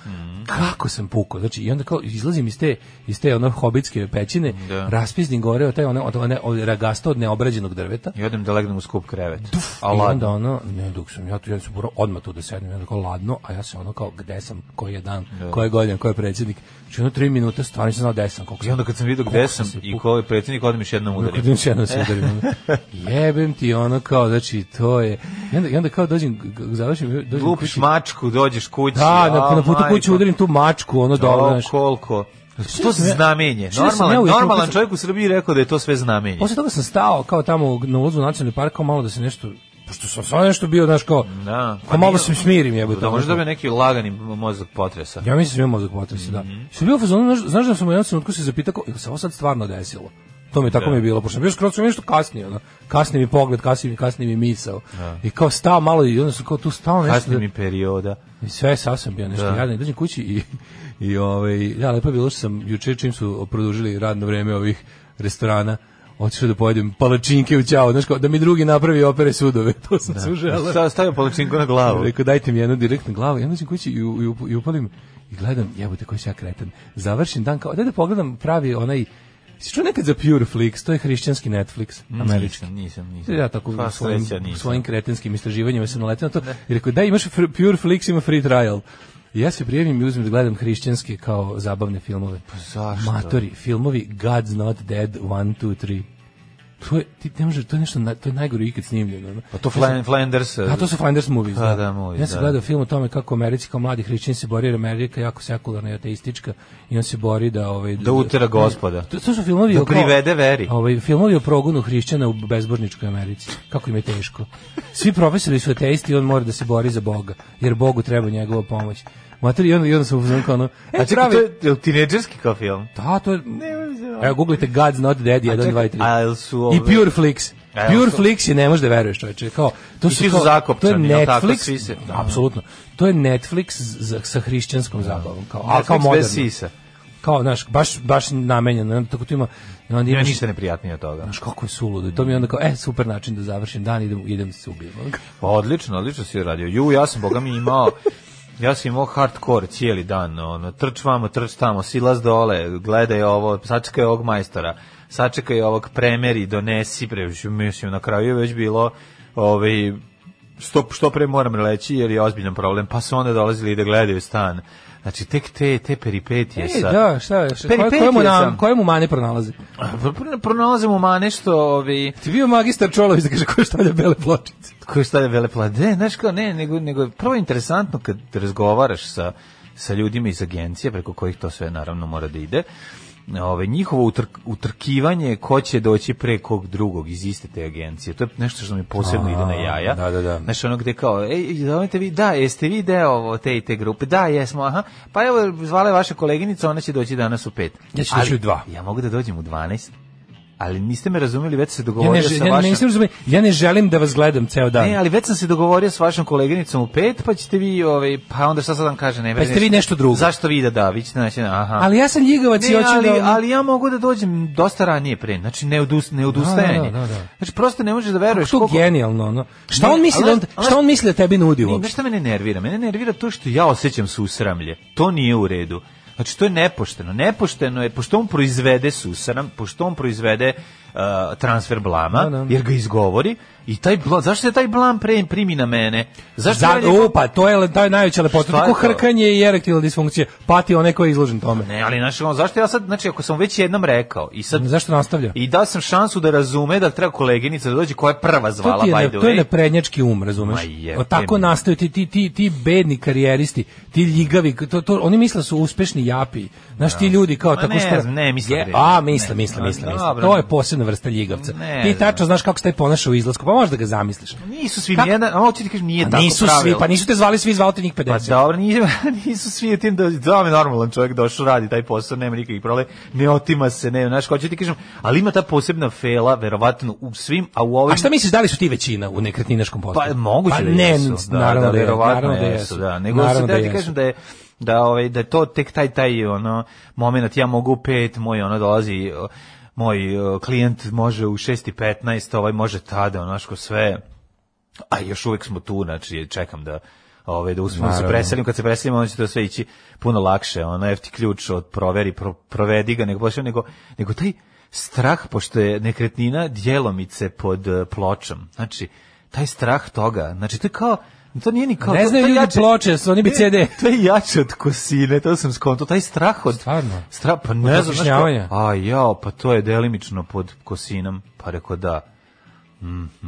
G: Kako sam pukao, znači, i onda kao izlazim iz te, iz te ono hobitske pećine,
F: Da.
G: raspiznim gore od taj one, od, one, od ragasto od neobrađenog drveta,
F: I odem da legnem u skup krevet. A
G: I
F: ladno.
G: onda ono, ne, dok sam ja tu, ja sam morao odmah tu da sednem, ja kao ladno, a ja sam ono kao, gde sam, koji je dan, koje godine, koji je predsjednik. Znači ono tri minuta, stvarno nisam znao gde sam, koliko
F: I onda kad sam vidio gde
G: koliko
F: sam
G: se
F: i
G: pukao.
F: ko je predsjednik, odem još jednom udarim.
G: Udarim se jednom se udarim. Jebem ti ono kao, znači, to je... I onda, i onda kao dođem, g- g- završim... Dođem
F: Lupiš
G: kući.
F: mačku, dođeš kući.
G: Da,
F: a,
G: na, na putu kući
F: majko.
G: udarim tu mačku, ono dobro,
F: O,
G: znaš.
F: koliko.
G: Što
F: To je
G: sam ja-
F: znamenje.
G: što sam ja
F: Normalan,
G: ujutru
F: normalan
G: kad sam-
F: čovjek u Srbiji rekao da je to sve znamenje.
G: Posle toga sam stao kao tamo na ulazu u nacionalni park, kao malo da se nešto, pošto sam stvarno nešto bio, znaš, kao,
F: Da. Pa
G: kao malo
F: nije-
G: se smirim, jebote.
F: Da može
G: ono.
F: da bi neki lagani mozak potresa.
G: Ja mislim da imam mozak potresi, da.
F: Mhm.
G: Što je bio u fazonu, znaš, znaš da sam u jednom trenutku se zapitao, kao, jel se ovo sad stvarno desilo? To mi je tako
F: Da.
G: mi je bilo, pošto sam bio skroz sam nešto kasnije, ono. Kasni mi pogled, kasni mi, kasni mi misao. I kao stao malo i onda sam kao tu stao nešto.
F: Kasni
G: da-
F: mi perioda.
G: I sve sasvim bio nešto
F: Da.
G: jadan. I Dođem kući i, i ovaj, da, lepo je bilo što sam juče čim su produžili radno vreme ovih restorana, otišao da pojedem palačinke u ćao, znaš kao, da mi drugi napravi opere sudove, to sam se uželao.
F: Sta- Stavio palačinku na glavu.
G: Rekao, dajte mi jednu direktnu glavu, ja dođem kući i, u- i, up- i upalim i gledam, jebote koji se ja kretan. Završim dan kao, daj da pogledam pravi onaj, si čuo nekad za Pure Flix, to je hrišćanski Netflix,
F: Mm.
G: američki.
F: Nisam, nisam, nisam.
G: Ja tako
F: Pa,
G: svojim,
F: sreća nisam.
G: svojim kretenskim istraživanjima se naletio na to i rekao, da imaš fr- Pure Flix, ima free trial. I ja se prijavim i uzmem da gledam hrišćanske kao zabavne filmove. Pa
F: zašto?
G: Matori, filmovi God's Not Dead 1, 2, 3. To je, ti ne možeš, to je nešto, na- to je najgore ikad snimljeno. ono.
F: Pa to Flan- Flanders.
G: A to su Flanders movies.
F: Pa da, movies,
G: ja sam
F: da.
G: gledao film o tome kako u Americi kao mladi hrišćani se bori jer Amerika je jako sekularna i ateistička i on se bori da ovaj
F: Da utera gospoda.
G: To, to su filmovi
F: Da
G: o kao-
F: privede veri.
G: Ovaj filmovi o progonu hrišćana u bezbožničkoj Americi. Kako im je teško. Svi profesori su ateisti i on mora da se bori za Boga jer Bogu treba njegova pomoć. Mater, i onda, i onda sam uzmano kao ono... E,
F: A čekaj, to je jel tinejdžerski kao film?
G: Da, to je... Evo, googlite God's Not Dead 1, 2 i 3.
F: a jel su
G: I
F: ove-
G: Pure Flix.
F: A jel
G: Pure
F: su-
G: Flix je, ne možeš da veruješ čovječe. Kao, to
F: I
G: su
F: svi su
G: kao-
F: zakopčani,
G: to je
F: jel tako?
G: Netflix,
F: Svi se- da.
G: apsolutno. To je Netflix za, sa hrišćanskom zabavom. Kao, ali
F: Netflix
G: kao
F: bez
G: moderno.
F: sisa.
G: Kao, znaš, baš, baš namenjeno. onda Tako tu ima... i Onda
F: Ima
G: imaš,
F: ništa neprijatnije od toga.
G: Znaš, kako je suludo. I to mi je onda kao, e, super način da završim dan, idem, idem da se ubijem.
F: Pa odlično, odlično si radio. Ju, ja sam, boga mi, imao Ja sam imao hardcore cijeli dan, ono, trč vamo, trč tamo, silaz dole, gledaj ovo, sačekaj ovog majstora, sačekaj ovog premeri, donesi, pre, mislim, na kraju je već bilo, ovaj, što, što pre moram reći, jer je ozbiljan problem, pa su onda dolazili da gledaju stan. Znači, tek te, te peripetije
G: E,
F: sa...
G: da, šta je? šta- koje-
F: Peripetije
G: Koje mu, na,
F: sam.
G: koje mu mane pronalaze?
F: Pronalazimo ovaj, ma nešto, ovi...
G: Ti bio magistar Čolović da kaže ko stavlja bele pločice.
F: koji stavlja vele plade, znaš kao, ne, nego, nego je prvo interesantno kad razgovaraš sa, sa ljudima iz agencije, preko kojih to sve naravno mora da ide, Ove, njihovo utrk, utrkivanje ko će doći pre kog drugog iz iste te agencije, to je nešto što mi posebno
G: A,
F: ide na jaja.
G: da, da, da.
F: Znaš, ono gde kao, ej, zovete vi, da, jeste vi deo ovo, te i te grupe, da, jesmo, aha, pa evo, zvala je vaša koleginica, ona će doći danas u pet.
G: Ja ću
F: Ali,
G: doći u dva.
F: Ja mogu da dođem u 12, ali niste me razumeli, već se
G: Ja ne,
F: dogovorio
G: želim,
F: sa
G: ja, ne,
F: vašom...
G: niste razumeli, ja ne želim da vas gledam ceo dan.
F: Ne, E, ali već sam se dogovorio s vašom koleginicom u pet, pa ćete vi, ovaj, pa onda šta sad vam kaže, ne
G: Pa ćete vi nešto drugo.
F: Zašto vi da da, vi ćete naći, aha.
G: ali ja sam ljigavac i
F: Ne,
G: hoću
F: ali,
G: da... ono
F: ali ja mogu da dođem dosta ranije pre, znači ne, odus, ne odustajanje.
G: da, da, da.
F: Znači prosto ne možeš da veruješ
G: to genijalno, ono. Šta
F: Ne,
G: on misli
F: ali-
G: da on,
F: ali-
G: šta on misli da tebi nudi
F: Ne,
G: uopšte?
F: znaš šta mene nervira? Mene nervira to što ja osjećam susramlje. To nije u redu. Znači, to je nepošteno. Nepošteno je, pošto on proizvede susram, pošto on proizvede uh, transfer blama,
G: Da, da.
F: jer ga izgovori, i taj blam, zašto se taj blam pre, primi na mene? Zašto
G: Za,
F: ja njegov-
G: opa, to je, le- to je najveća lepota.
F: Šta je
G: Tako
F: to?
G: hrkanje i erektilna disfunkcija. Pati onaj koji je izložen tome.
F: Ne, ali znaš, ono, zašto ja sad, znači, ako sam već jednom rekao i sad...
G: Zašto nastavlja?
F: I dao sam šansu da razume da treba koleginica da dođe koja je prva
G: to,
F: zvala,
G: ti je,
F: by
G: ne,
F: the
G: to je
F: way.
G: neprednjački um, razumeš?
F: Ma jebe
G: O, tako
F: mi.
G: nastaju ti, ti, ti, ti bedni karijeristi, ti ljigavi, to, to, oni misle da su uspešni japi. Znaš, ti ljudi kao
F: Ma
G: tako
F: ne
G: što...
F: znam, ne, mislim da je.
G: A, misle, misle,
F: Ne,
G: misle,
F: a,
G: misle.
F: dobro.
G: To je posebna vrsta ljigavca.
F: Ne
G: ti
F: znam.
G: tačno znaš kako se taj ponaša u izlasku, pa možeš da ga zamisliš.
F: Nisu svi
G: Kako?
F: nijedan, a ovo ću ti kažem, nije
G: Pa
F: tako
G: nisu svi,
F: pravilo.
G: pa nisu te zvali svi, zvao te njih 50.
F: Pa dobro, nisu, nisu svi u tim da, da vam je normalan čovjek došao radi taj posao, nema nikakvih problema, ne otima se, ne, znaš, hoću ti kažem, ali ima ta posebna fela, verovatno u svim, a u ovim...
G: A šta misliš, da li su ti većina u nekretninaškom poslu?
F: Pa moguće
G: Pa
F: da
G: ne,
F: jesu. Da,
G: naravno
F: da,
G: da je,
F: verovatno
G: naravno da
F: jesu,
G: jesu.
F: Da, nego
G: Naravno
F: se da,
G: da
F: ti
G: jesu.
F: kažem da je da ovaj da je to tek taj taj ono momenat ja mogu u pet, moj ono dolazi o, moj o, klijent može u 6:15, ovaj može tada, onaško sve. A još uvek smo tu, znači čekam da ovaj da uspemo da se
G: Naravno.
F: preselim, kad se preselimo onda će to sve ići puno lakše. Ono jefti ključ od proveri, pro, provedi ga, nego baš nego nego taj strah pošto je nekretnina djelomice pod eh, pločom. Znači taj strah toga, znači to je kao to nije ni kao
G: Ne
F: to-
G: znaju
F: to je
G: ljudi
F: jače-
G: ploče, su oni bi CD.
F: to je jače od kosine, to sam skonto, taj strah od...
G: Stvarno?
F: Strah, pa ne znam, znaš kao,
G: kišnjavanja?
F: a jao, pa to je delimično pod kosinom, pa reko da.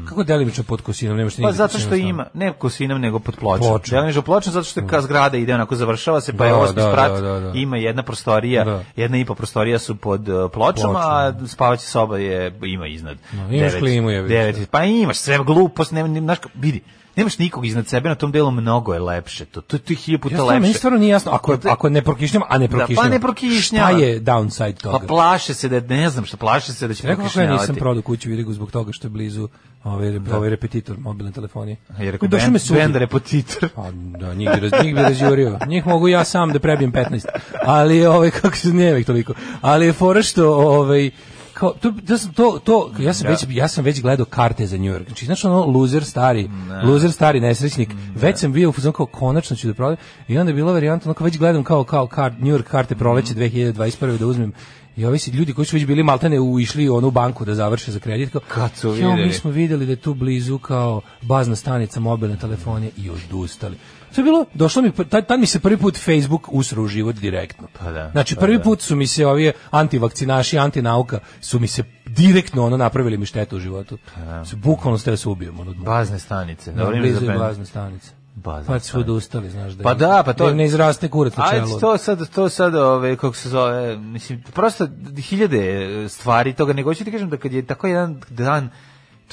G: Kako delimično pod kosinom, nemaš ti
F: Pa
G: nigde
F: zato
G: kosinu
F: što
G: stalno.
F: ima, ne kosinom, nego pod pločom.
G: Pločom.
F: Delimično pločom, zato što kad zgrada ide, onako završava se, pa je
G: Da,
F: osmi
G: da,
F: sprat,
G: da, da, da.
F: ima jedna prostorija,
G: Da.
F: jedna i po prostorija su pod uh, pločom, a spavaća soba je, ima iznad.
G: No, imaš
F: Devet-
G: klimu, jebi ga.
F: devet- pa imaš sve glupost, nema, nema, znaš, vidi, nemaš nikog iznad sebe, na tom delu mnogo je lepše to. To, to je hiljopu puta
G: Ja stvarno, meni
F: lepše.
G: stvarno nije jasno, ako, je,
F: To je-
G: ako ne prokišnjava, a ne
F: pa ne
G: prokišnjava.
F: prokišnjava.
G: Šta je downside toga?
F: Pa plaše se da ne znam šta, plaše se da će
G: Rekao kako ja
F: prokišnjavati.
G: nisam prodao kuću u Irigu zbog toga što je blizu ovaj, ovaj repetitor mobilne telefonije.
F: Je rekao
G: Došao
F: bend,
G: me sudi.
F: bend repetitor.
G: Pa da, njih bi, raz, njih bi razjurio. Njih mogu ja sam da prebijem 15. Ali, ovaj, kako se nije uvek toliko. Ali je fora što, ovaj, kao, to, to, sam- to, to, ja, sam već, ja sam već gledao karte za New York. Znači, znaš ono, loser stari, loser stari nesrećnik. Već sam bio u fuzonu kao, konačno ću da prodam. I onda je bila varijanta, onako, već gledam kao, kao kart, New York karte proleće
F: Mm.
G: 2021. da uzmem. I ovi si ljudi koji su već bili maltene u- išli u onu banku da završe za kredit. Kao,
F: Kad su
G: "Jo, mi
F: videli?"
G: smo videli da je tu blizu kao bazna stanica mobilne telefonije i odustali. To je bilo, došlo mi, pr- tad, tad mi se prvi put Facebook usro u život direktno.
F: Pa da,
G: znači,
F: pa
G: prvi
F: da.
G: put su mi se ovi antivakcinaši, antinauka, su mi se direktno ono napravili mi štetu u životu.
F: Pa
G: Su Bukvalno ste da se ubijem. Ono, od muke.
F: Bazne stanice. Dobro ime
G: blizu
F: za
G: je
F: bend.
G: bazna stanica.
F: Bazna
G: Pa su
F: stanica.
G: odustali, znaš da
F: Pa
G: im-
F: da, pa to-
G: da im ne izraste kurac na
F: Ajde,
G: čelu.
F: to sad, to sad, ove, kako se zove, mislim, prosto hiljade e, stvari toga, nego hoću ti kažem da kad je tako jedan dan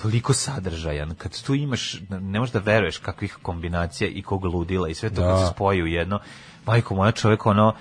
F: toliko sadržajan, kad tu imaš, ne možeš da veruješ kakvih kombinacija i kog ludila i sve to
G: Da.
F: kad se spoji u jedno, majko moja čovjek ono,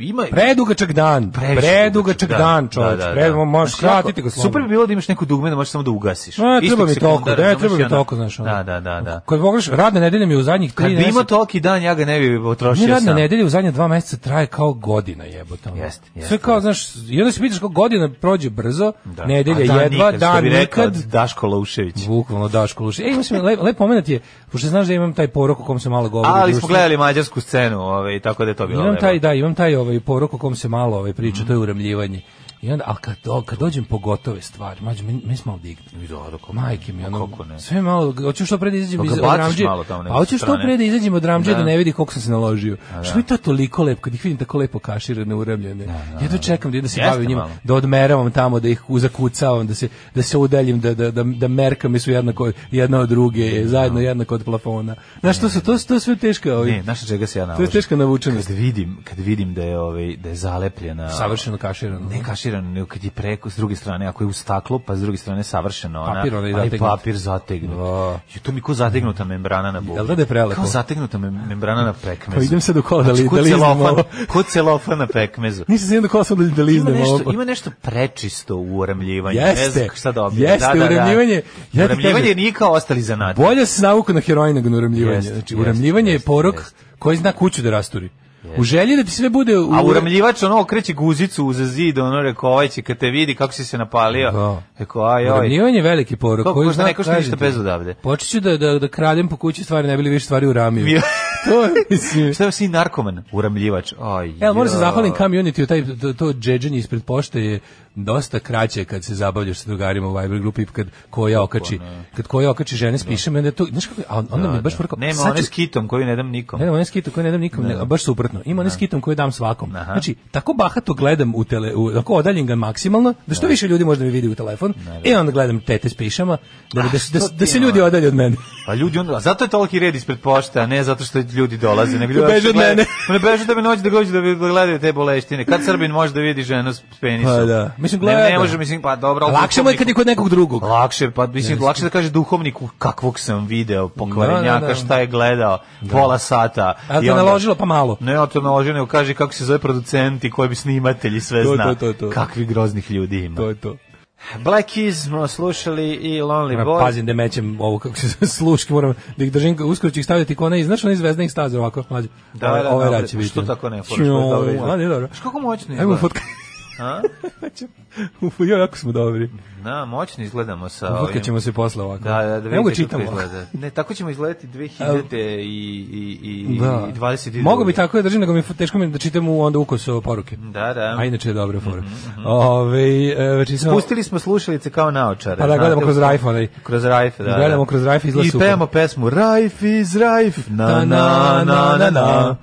F: Ima
G: Predugačak dan, predugačak dan, čoveč. Pre, možeš skratiti ga slobodno.
F: Znači, Super bi bilo da imaš neku dugme da možeš samo da ugasiš.
G: Ne, treba
F: Istog
G: mi
F: sekunda,
G: toliko, ne,
F: razumeš,
G: treba
F: i
G: mi
F: onda-
G: toliko, znaš. ono.
F: Da, da, da, da.
G: Kad pogledaš, radna nedelja mi je u zadnjih
F: Kad
G: 3
F: bi imao
G: mjeseca.
F: toliki dan, ja ga ne bi potrošio
G: Ne
F: sam.
G: radna nedelja u zadnja dva mjeseca traje kao godina jebote. ono.
F: Jeste, jeste.
G: Sve kao, znaš, i onda se pitaš kao godina prođe brzo,
F: Da.
G: nedelja
F: A dan
G: jedva,
F: nikad, što
G: dan
F: bi rekao
G: nikad.
F: Daško Loušević.
G: Bukvalno Daško Lušić. Ej, mislim, lep, lep moment je, pošto znaš da imam taj porok o kom se malo govori. u
F: Ali smo
G: društvu.
F: gledali mađarsku scenu, ovaj, tako da je Mhm. to bilo.
G: Imam
F: lepo.
G: taj, da, imam taj ovaj porok o kom se malo ovaj priča, to je uramljivanje. I onda, ali kad, do, kad dođem po gotove stvari, mađo, mi, mi smo ovdje
F: I da, da, kako-
G: Majke mi, ono,
F: kako ne?
G: sve malo, hoću što pre da izađem
F: Pa
G: iz
F: ga
G: od
F: baciš
G: ramđe,
F: malo tamo
G: a
F: negdje sa
G: hoću što
F: strane.
G: pre da izađem od ramđe da.
F: Da.
G: ne vidi koliko sam se naložio. Što je to toliko lepo, kad ih vidim tako lepo kaširane, uramljene, jedno čekam da, da se
F: Jeste
G: bavim njima,
F: malo.
G: da odmeravam tamo, da ih zakucavam, da se, da se udaljim, da, da, da, da merkame su jedna, jedna od druge, zajedno jedna kod plafona. Znaš, to su, to, su- to sve teška, ovaj,
F: Ne, znaš na čega se ja
G: to
F: naložim?
G: je teška navučenost.
F: Kad vidim, kad vidim da je, ovaj, da je zalepljena...
G: Savršeno kaširano.
F: Ne kaširano, nego kad je preko, s druge strane, ako je u staklu, pa s druge strane savršeno ona,
G: Papir onaj
F: ali
G: zategnut.
F: papir zategnut.
G: Da.
F: I to mi ko zategnuta membrana na bubi.
G: Jel da da je prelepo?
F: Kao zategnuta mem- membrana na pekmezu.
G: Pa idem sad u kola da li-
F: ko
G: da liznem
F: celofan-
G: ovo.
F: Ko celofan na pekmezu.
G: Nisam se jedno kola sam da, da
F: Ima
G: liznem
F: nešto,
G: ovo.
F: ima nešto prečisto u uramljivanju. ne
G: Jeste,
F: znam šta dobije.
G: jeste, uramljivanje. Ja ti
F: Da. Uramljivanje
G: kažem-
F: nije kao ostali zanat.
G: Bolje se navuku na heroin nego na uramljivanje.
F: Jeste,
G: znači,
F: jeste,
G: uramljivanje
F: jeste,
G: je porok
F: jeste.
G: koji zna kuću da rasturi. U želji da ti sve bude... U...
F: A uramljivač ono okreće guzicu uz zid, ono rekao, ovaj će kad te vidi kako si se napalio.
G: Da.
F: Rekao, aj, aj.
G: Uramljivanje je veliki porok.
F: To
G: koji
F: možda
G: zna
F: ne košta ništa
G: tražiti.
F: bez odavde.
G: Počet ću da, da, da kradem po kući stvari, ne bili više stvari uramio.
F: Mi-
G: to je, mislim...
F: Šta je si narkoman, uramljivač? Aj,
G: Evo, moram se
F: jao.
G: zahvalim community, taj, to, to džedženje ispred pošte je dosta kraće kad se zabavljaš sa drugarima u Viber grupi, kad koja okači, kad koja okači žene spišem, onda to, znaš kako, a on- onda mi je baš vrko,
F: Nema
G: sad
F: one
G: ću-
F: s kitom koju ne dam nikom.
G: Ne, ne, onaj s kitom koji ne dam nikom, ne, baš suprotno. Ima onaj s kitom koji dam svakom.
F: Aha.
G: Znači, tako bahato gledam u tele, u, tako odaljim ga maksimalno, da što više ljudi možda mi vidi u telefon, i onda gledam tete s pišama, da, da, da, da se
F: ti,
G: ljudi
F: ono?
G: odalje od mene.
F: Pa ljudi onda, a zato je toliki red ispred pošte, a ne zato što ljudi dolaze, nego
G: Da
F: ljudi
G: beže od
F: gledaju-
G: mene.
F: Ne beže da me noć da dođu da vi- da gledaju te boleštine. Kad Srbin može da vidi ženu s penisom?
G: Pa da. Mislim,
F: Ne- Ne,
G: gleda.
F: može, mislim, pa dobro. ali
G: Lakše mu je kad je kod nekog drugog.
F: Lakše, pa mislim, lakše da kaže duhovniku kakvog sam video, pokvarenjaka,
G: Da, da, da.
F: šta je gledao, pola sata.
G: A
F: i
G: da
F: onda-
G: naložilo pa malo.
F: Ne, on to naložio, nego kaže kako se zove producenti, koji bi snimatelji, sve
G: To,
F: zna.
G: to, to, to.
F: Kakvi groznih ljudi ima.
G: To je to.
F: Black Keys smo slušali i Lonely Boy.
G: Pazim da mećem ovo kako se zove, sluške, moram da ih držim, uskoro ću ih stavljati kod ne, znaš onaj zvezda ih staza ovako, mlađe.
F: Da, da,
G: Ovaj
F: dobro.
G: rad će biti.
F: Što tako ne, fora, što je dobro
G: Ću,
F: izgleda.
G: a ne, dobro.
F: Znaš kako moćno
G: Ajmo
F: izgleda?
G: fotka.
F: A?
G: Uf, jo, jako smo dobri.
F: Da, moćno izgledamo sa
G: Fotkat
F: ovim.
G: ćemo se posle ovako.
F: Da, da, da
G: Evo
F: vidite
G: ga
F: kako
G: čitamo.
F: izgleda. Ne, tako ćemo izgledati 2000 i, i, i, i 22.
G: Mogu bi tako da držim, nego mi je fu- teško mi je da čitam u onda ukos ove poruke.
F: Da, da. Mhm,
G: A inače je dobra fora. Ovaj, e, znači smo-
F: Pustili smo slušalice kao naočare.
G: Pa da,
F: znate,
G: gledamo kroz Rajf onaj.
F: Kroz Rajf, da.
G: Gledamo
F: da.
G: kroz Rajf, izgleda
F: I
G: super.
F: pevamo pesmu Rajf iz Rajf. Na, na, na, na, na.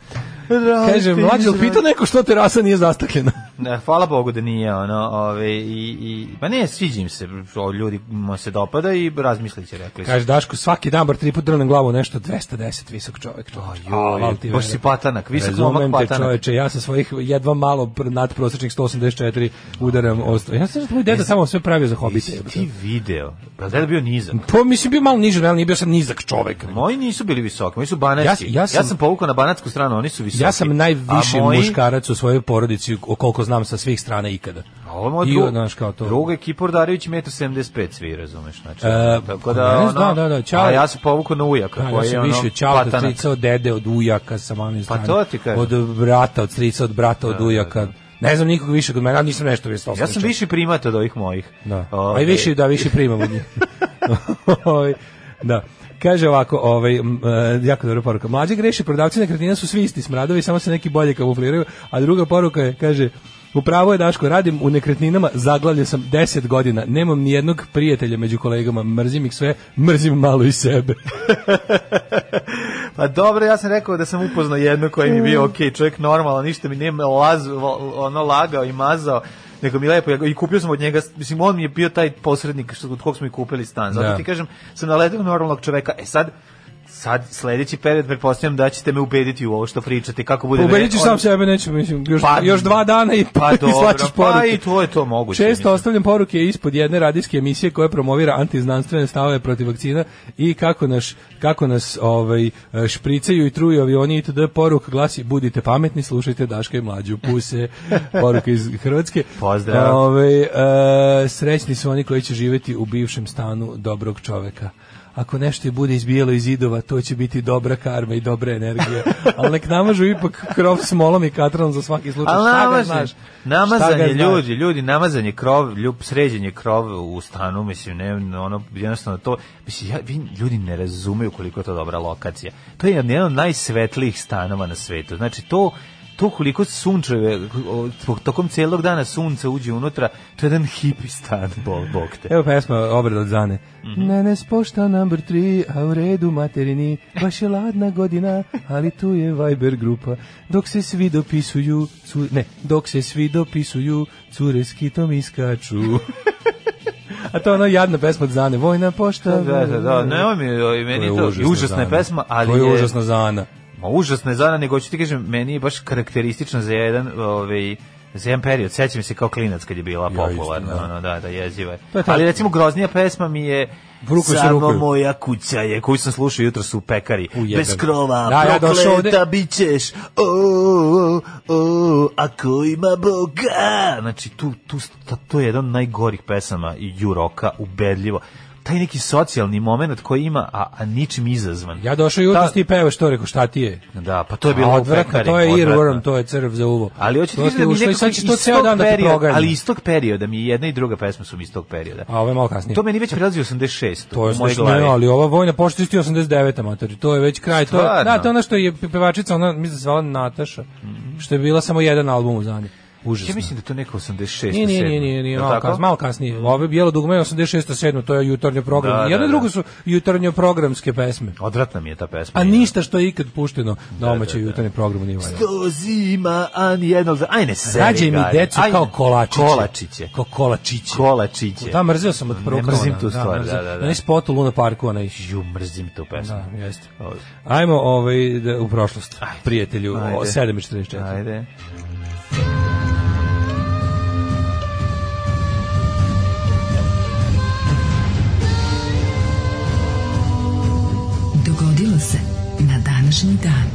F: Rajf
G: Kaže,
F: iz
G: mlađe, jel
F: Rajf.
G: pitao neko što terasa nije zastakljena?
F: Ne, hvala Bogu da nije ono, ove, i, i, pa ne, sviđim se, o, ljudi mu se dopada i razmislit će, rekli su.
G: Kaže, Daško, svaki dan bar tri put drnem glavu nešto 210 visok čovjek. čovjek.
F: joj, baš si patanak, visok momak
G: Razumem te
F: patanak.
G: čoveče, ja sa svojih jedva malo pr- nadprosečnih 184 udaram ostro. Ja sam da tvoj deda samo sve pravio za hobite.
F: Jesi
G: jebote.
F: ti video? Pa da je bio nizak.
G: Pa mislim bio malo niži, ali nije bio sam nizak čovek.
F: Moji nisu bili visoki, moji su banatski.
G: Ja-
F: Ja,
G: ja sam-
F: sam, povukao na banatsku stranu, oni su visoki.
G: Ja sam najviši
F: A moji-
G: muškarac u svojoj porodici, o- koliko znam sa svih strana ikada.
F: A Pa Ovo je moj
G: I,
F: drug,
G: znaš, kao to.
F: druga je Kipor Darević, 1,75 svi, razumeš. Znači,
G: E,
F: tako
G: ne
F: da, ono,
G: znam, da, da, čao.
F: a ja sam povukao na ujaka,
G: Da, ja
F: koji je
G: sam
F: ono,
G: više od čalta,
F: patanak.
G: strica, od dede, od ujaka, sa mame
F: Pa
G: strane.
F: to ti kažem.
G: Od brata, od strica, od brata, od ujaka. Ne znam nikog više kod mene, ali nisam nešto više
F: Ja sam više primat od ovih mojih.
G: Da.
F: Ove,
G: A i više, da, više primam od njih. Ovaj, da. Kaže ovako, ovaj, m, e, jako dobra poruka. Mlađi greši, prodavci nekretnina su svi isti smradovi, samo se neki bolje kamufliraju. A druga poruka je, kaže, upravo je Daško, radim u nekretninama, zaglavljen sam 10 godina, nemam ni jednog prijatelja među kolegama, mrzim ih sve, mrzim malo i sebe.
F: Pa dobro, ja sam rekao da sam upoznao jednu koja mi je bio okej, čovjek normalan, ništa mi nije laz, ono lagao i mazao, nego mi je lepo, ja ga- i kupio sam od njega, mislim, on mi je bio taj posrednik što, od kog smo i kupili stan, zato
G: Da.
F: ti kažem, sam naletao na normalnog čovjeka, e sad, sad sledeći period pretpostavljam da ćete me ubediti u ovo što pričate kako bude
G: Pobedit ću
F: vre-
G: sam
F: on-
G: sebe, neću, mislim, još,
F: Pa-
G: još dva dana i,
F: pa
G: i
F: dobro,
G: slačiš
F: pa
G: poruke.
F: i to je to moguće,
G: Često
F: mislim.
G: ostavljam poruke ispod jedne radijske emisije koja promovira antiznanstvene stavove protiv vakcina i kako nas, kako nas ovaj, špricaju i truju avioni itd. Poruka glasi, budite pametni, slušajte Daška i mlađu puse. Poruka iz Hrvatske.
F: Pozdrav.
G: Ovaj, e, srećni su oni koji će živeti u bivšem stanu dobrog čoveka. Ako nešto i bude izbijelo iz zidova, to će biti dobra karma i dobra energija. Ali nek namažu ipak krov smolom i katranom za svaki slučaj.
F: Ali
G: Šta ga
F: namazan,
G: znaš? Šta
F: namazan
G: ga
F: je
G: znaš?
F: ljudi, ljudi, namazan je krov, ljub, sređen je krov u stanu, mislim, ne, ono, jednostavno to, mislim, ja, vi ljudi ne razumeju koliko je to dobra lokacija. To je jedan od najsvetlijih stanova na svetu, znači to, to koliko sunčeve, o, tokom celog dana sunce uđe unutra, to je jedan hipi stan, bol, bog te.
G: Evo pesma obred od Zane.
F: Mhm.
G: Ne, ne spošta number 3, a u redu materini, baš je ladna godina, ali tu je Viber grupa. Dok se svi dopisuju, cu, ne, dok se svi dopisuju, cure s kitom iskaču. a to je ono jadna pesma od Zane. Vojna pošta.
F: Da, da, da, nemoj mi, o, i
G: To
F: meni
G: je
F: je to,
G: užasna
F: i užasna je
G: Zana.
F: pesma, ali
G: To je
F: je-
G: užasna Zana.
F: Ma užasno je zana, nego ću ti kažem, meni je baš karakteristično za jedan, ovaj, za jedan period. Sećam se kao klinac kad je bila
G: isto,
F: popularna,
G: da.
F: ono, da, da, jeziva je.
G: To je to.
F: Ali recimo groznija pesma mi je
G: Rukuju se
F: Samo
G: rukuju.
F: moja kuća je, koju sam slušao jutros u pekari.
G: jebem.
F: Bez krova,
G: Da, ja došao
F: prokleta
G: ovde-
F: bit ćeš, o, o, o, ako ima Boga. Znači, tu, tu, ta- to je jedan od najgorih pesama i juroka, ubedljivo. Taj neki socijalni moment koji ima, a, a ničim izazvan.
G: Ja došao jutros
F: Ta-
G: ti pevaš to, rekao šta ti je?
F: Da, pa to je bilo
G: A
F: u
G: odvratno,
F: pekari,
G: to je
F: odvratno.
G: earworm, to je crv za uvo.
F: Ali hoćete
G: To
F: vidjeti
G: ste
F: da mi
G: ušli i
F: nekako
G: sad će to
F: iz
G: ceo
F: tog
G: dan da te
F: perioda-
G: proganja.
F: Ali iz tog perioda mi je jedna i druga pesma su mi iz tog perioda.
G: A ovo je malo kasnije.
F: To meni već prelazi 86.
G: To je
F: u mojoj
G: smešno,
F: glavi.
G: ne, ali ova vojna pošta isti 89 amatori. To je već kraj. To je,
F: Stvarno?
G: da, to je ona što je pe- pevačica, ona mislim da se zvala Nataša,
F: Mhm.
G: što je bila samo jedan album u Zani. Užasno.
F: Ja mislim da je to neko 86.
G: Nije, nije, nije,
F: 7..
G: nije, nije,
F: Je li
G: malo,
F: tako? Mhm.
G: kas, malo kasnije. Ove bijelo dugme je 86. 7. to je jutarnjo program.
F: Da,
G: Da,
F: da,
G: Jedno i
F: da.
G: drugo su jutarnjo programske pesme.
F: Odvratna mi je ta pesma.
G: A ništa što je ikad pušteno na omaćoj jutarnjem programu nije valjalo.
F: To zima, a nijednog... za- Ajde, seri.
G: Rađaj mi decu kao kolačiće.
F: Kolačiće.
G: Kao kolačiće.
F: Kolačiće.
G: Da, mrzio sam od
F: Ne
G: prvog.
F: mrzim
G: ona,
F: tu stvar,
G: mrzio.
F: da, da, da.
G: Onaj spot u Luna Parku, onaj
F: Ju, mrzim tu pesmu.
G: Da, jeste.
F: Ovo.
G: Ajmo ovaj da, u prošlost.
F: Ajde.
G: Prijatelju,
F: Ajde.
G: o 7:44.
F: Ajde.
H: Dogodilo se na današnji dan.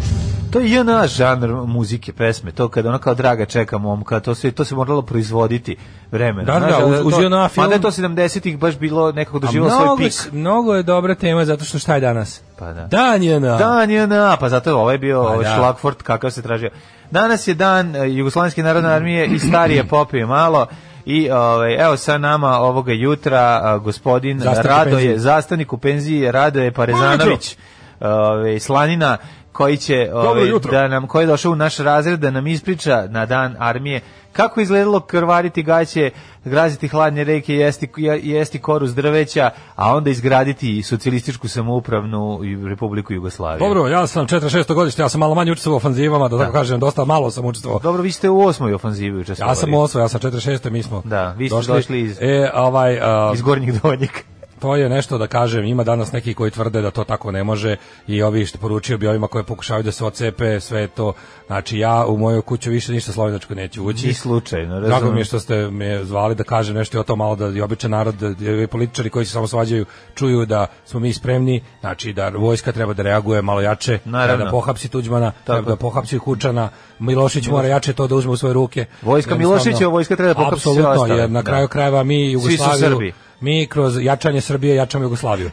F: To je jedan žanr muzike, pesme, to kada ona kao draga čeka momka, to se, to se moralo proizvoditi vremena.
G: Da, da,
F: Znaš,
G: uz- uz
F: to-
G: JNA film.
F: Mada je to 70-ih baš bilo nekako
G: A
F: doživalo svoj
G: mnogo,
F: pik.
G: s- mnogo je dobra tema zato što šta je danas?
F: Pa da.
G: Dan je na.
F: Dan je na, pa zato je ovaj bio ovaj
G: da.
F: Šlagfort, kakav se tražio. Danas je dan e, Jugoslovenske narodne armije i starije popije malo. I ovaj, evo sa nama ovoga jutra a, gospodin
G: Zastavnik u
F: Radoje,
G: penziji.
F: zastavnik u penziji Radoje Parezanović, ovaj, Slanina, koji će ovaj,
G: jutro.
F: da nam koji je došao u naš razred da nam ispriča na dan armije kako je izgledalo krvariti gaće, graziti hladne reke, jesti jesti koru s drveća, a onda izgraditi i socijalističku samoupravnu i Republiku Jugoslavije.
I: Dobro, ja sam 46. godište, ja sam malo manje učestvovao u ofanzivama, da tako kažem, dosta malo sam učestvovao.
F: Dobro, vi ste u osmoj ofanzivi učestvovali.
I: Ja sam osvoj, ja sam 46. mi smo
F: Da, vi ste došli iz-
I: E, ovaj, a,
F: iz Gornjih Donjeg.
I: to je nešto da kažem, ima danas neki koji tvrde da to tako ne može i ovi što poručio bi ovima koje pokušavaju da se ocepe, sve je to. Znači ja u moju kuću više ništa slovenačko neću ući.
F: Ni slučajno, razumem.
I: Drago mi je što ste me zvali da kažem nešto i o to malo da i običan narod da i političari koji se samo svađaju čuju da smo mi spremni, znači da vojska treba da reaguje malo jače,
F: Naravno.
I: treba da pohapsi Tuđmana, treba da pohapsi Kučana, Milošić mora jače to da uzme u svoje ruke.
F: Vojska
I: Jednostavno,
F: Miloševića, vojska treba da pohapsi sve
I: apsolutno,
F: ostale.
I: jer na
F: Da.
I: kraju krajeva mi
F: su Srbi.
I: Jugoslaviju Mi kroz jačanje Srbije jačamo Jugoslaviju.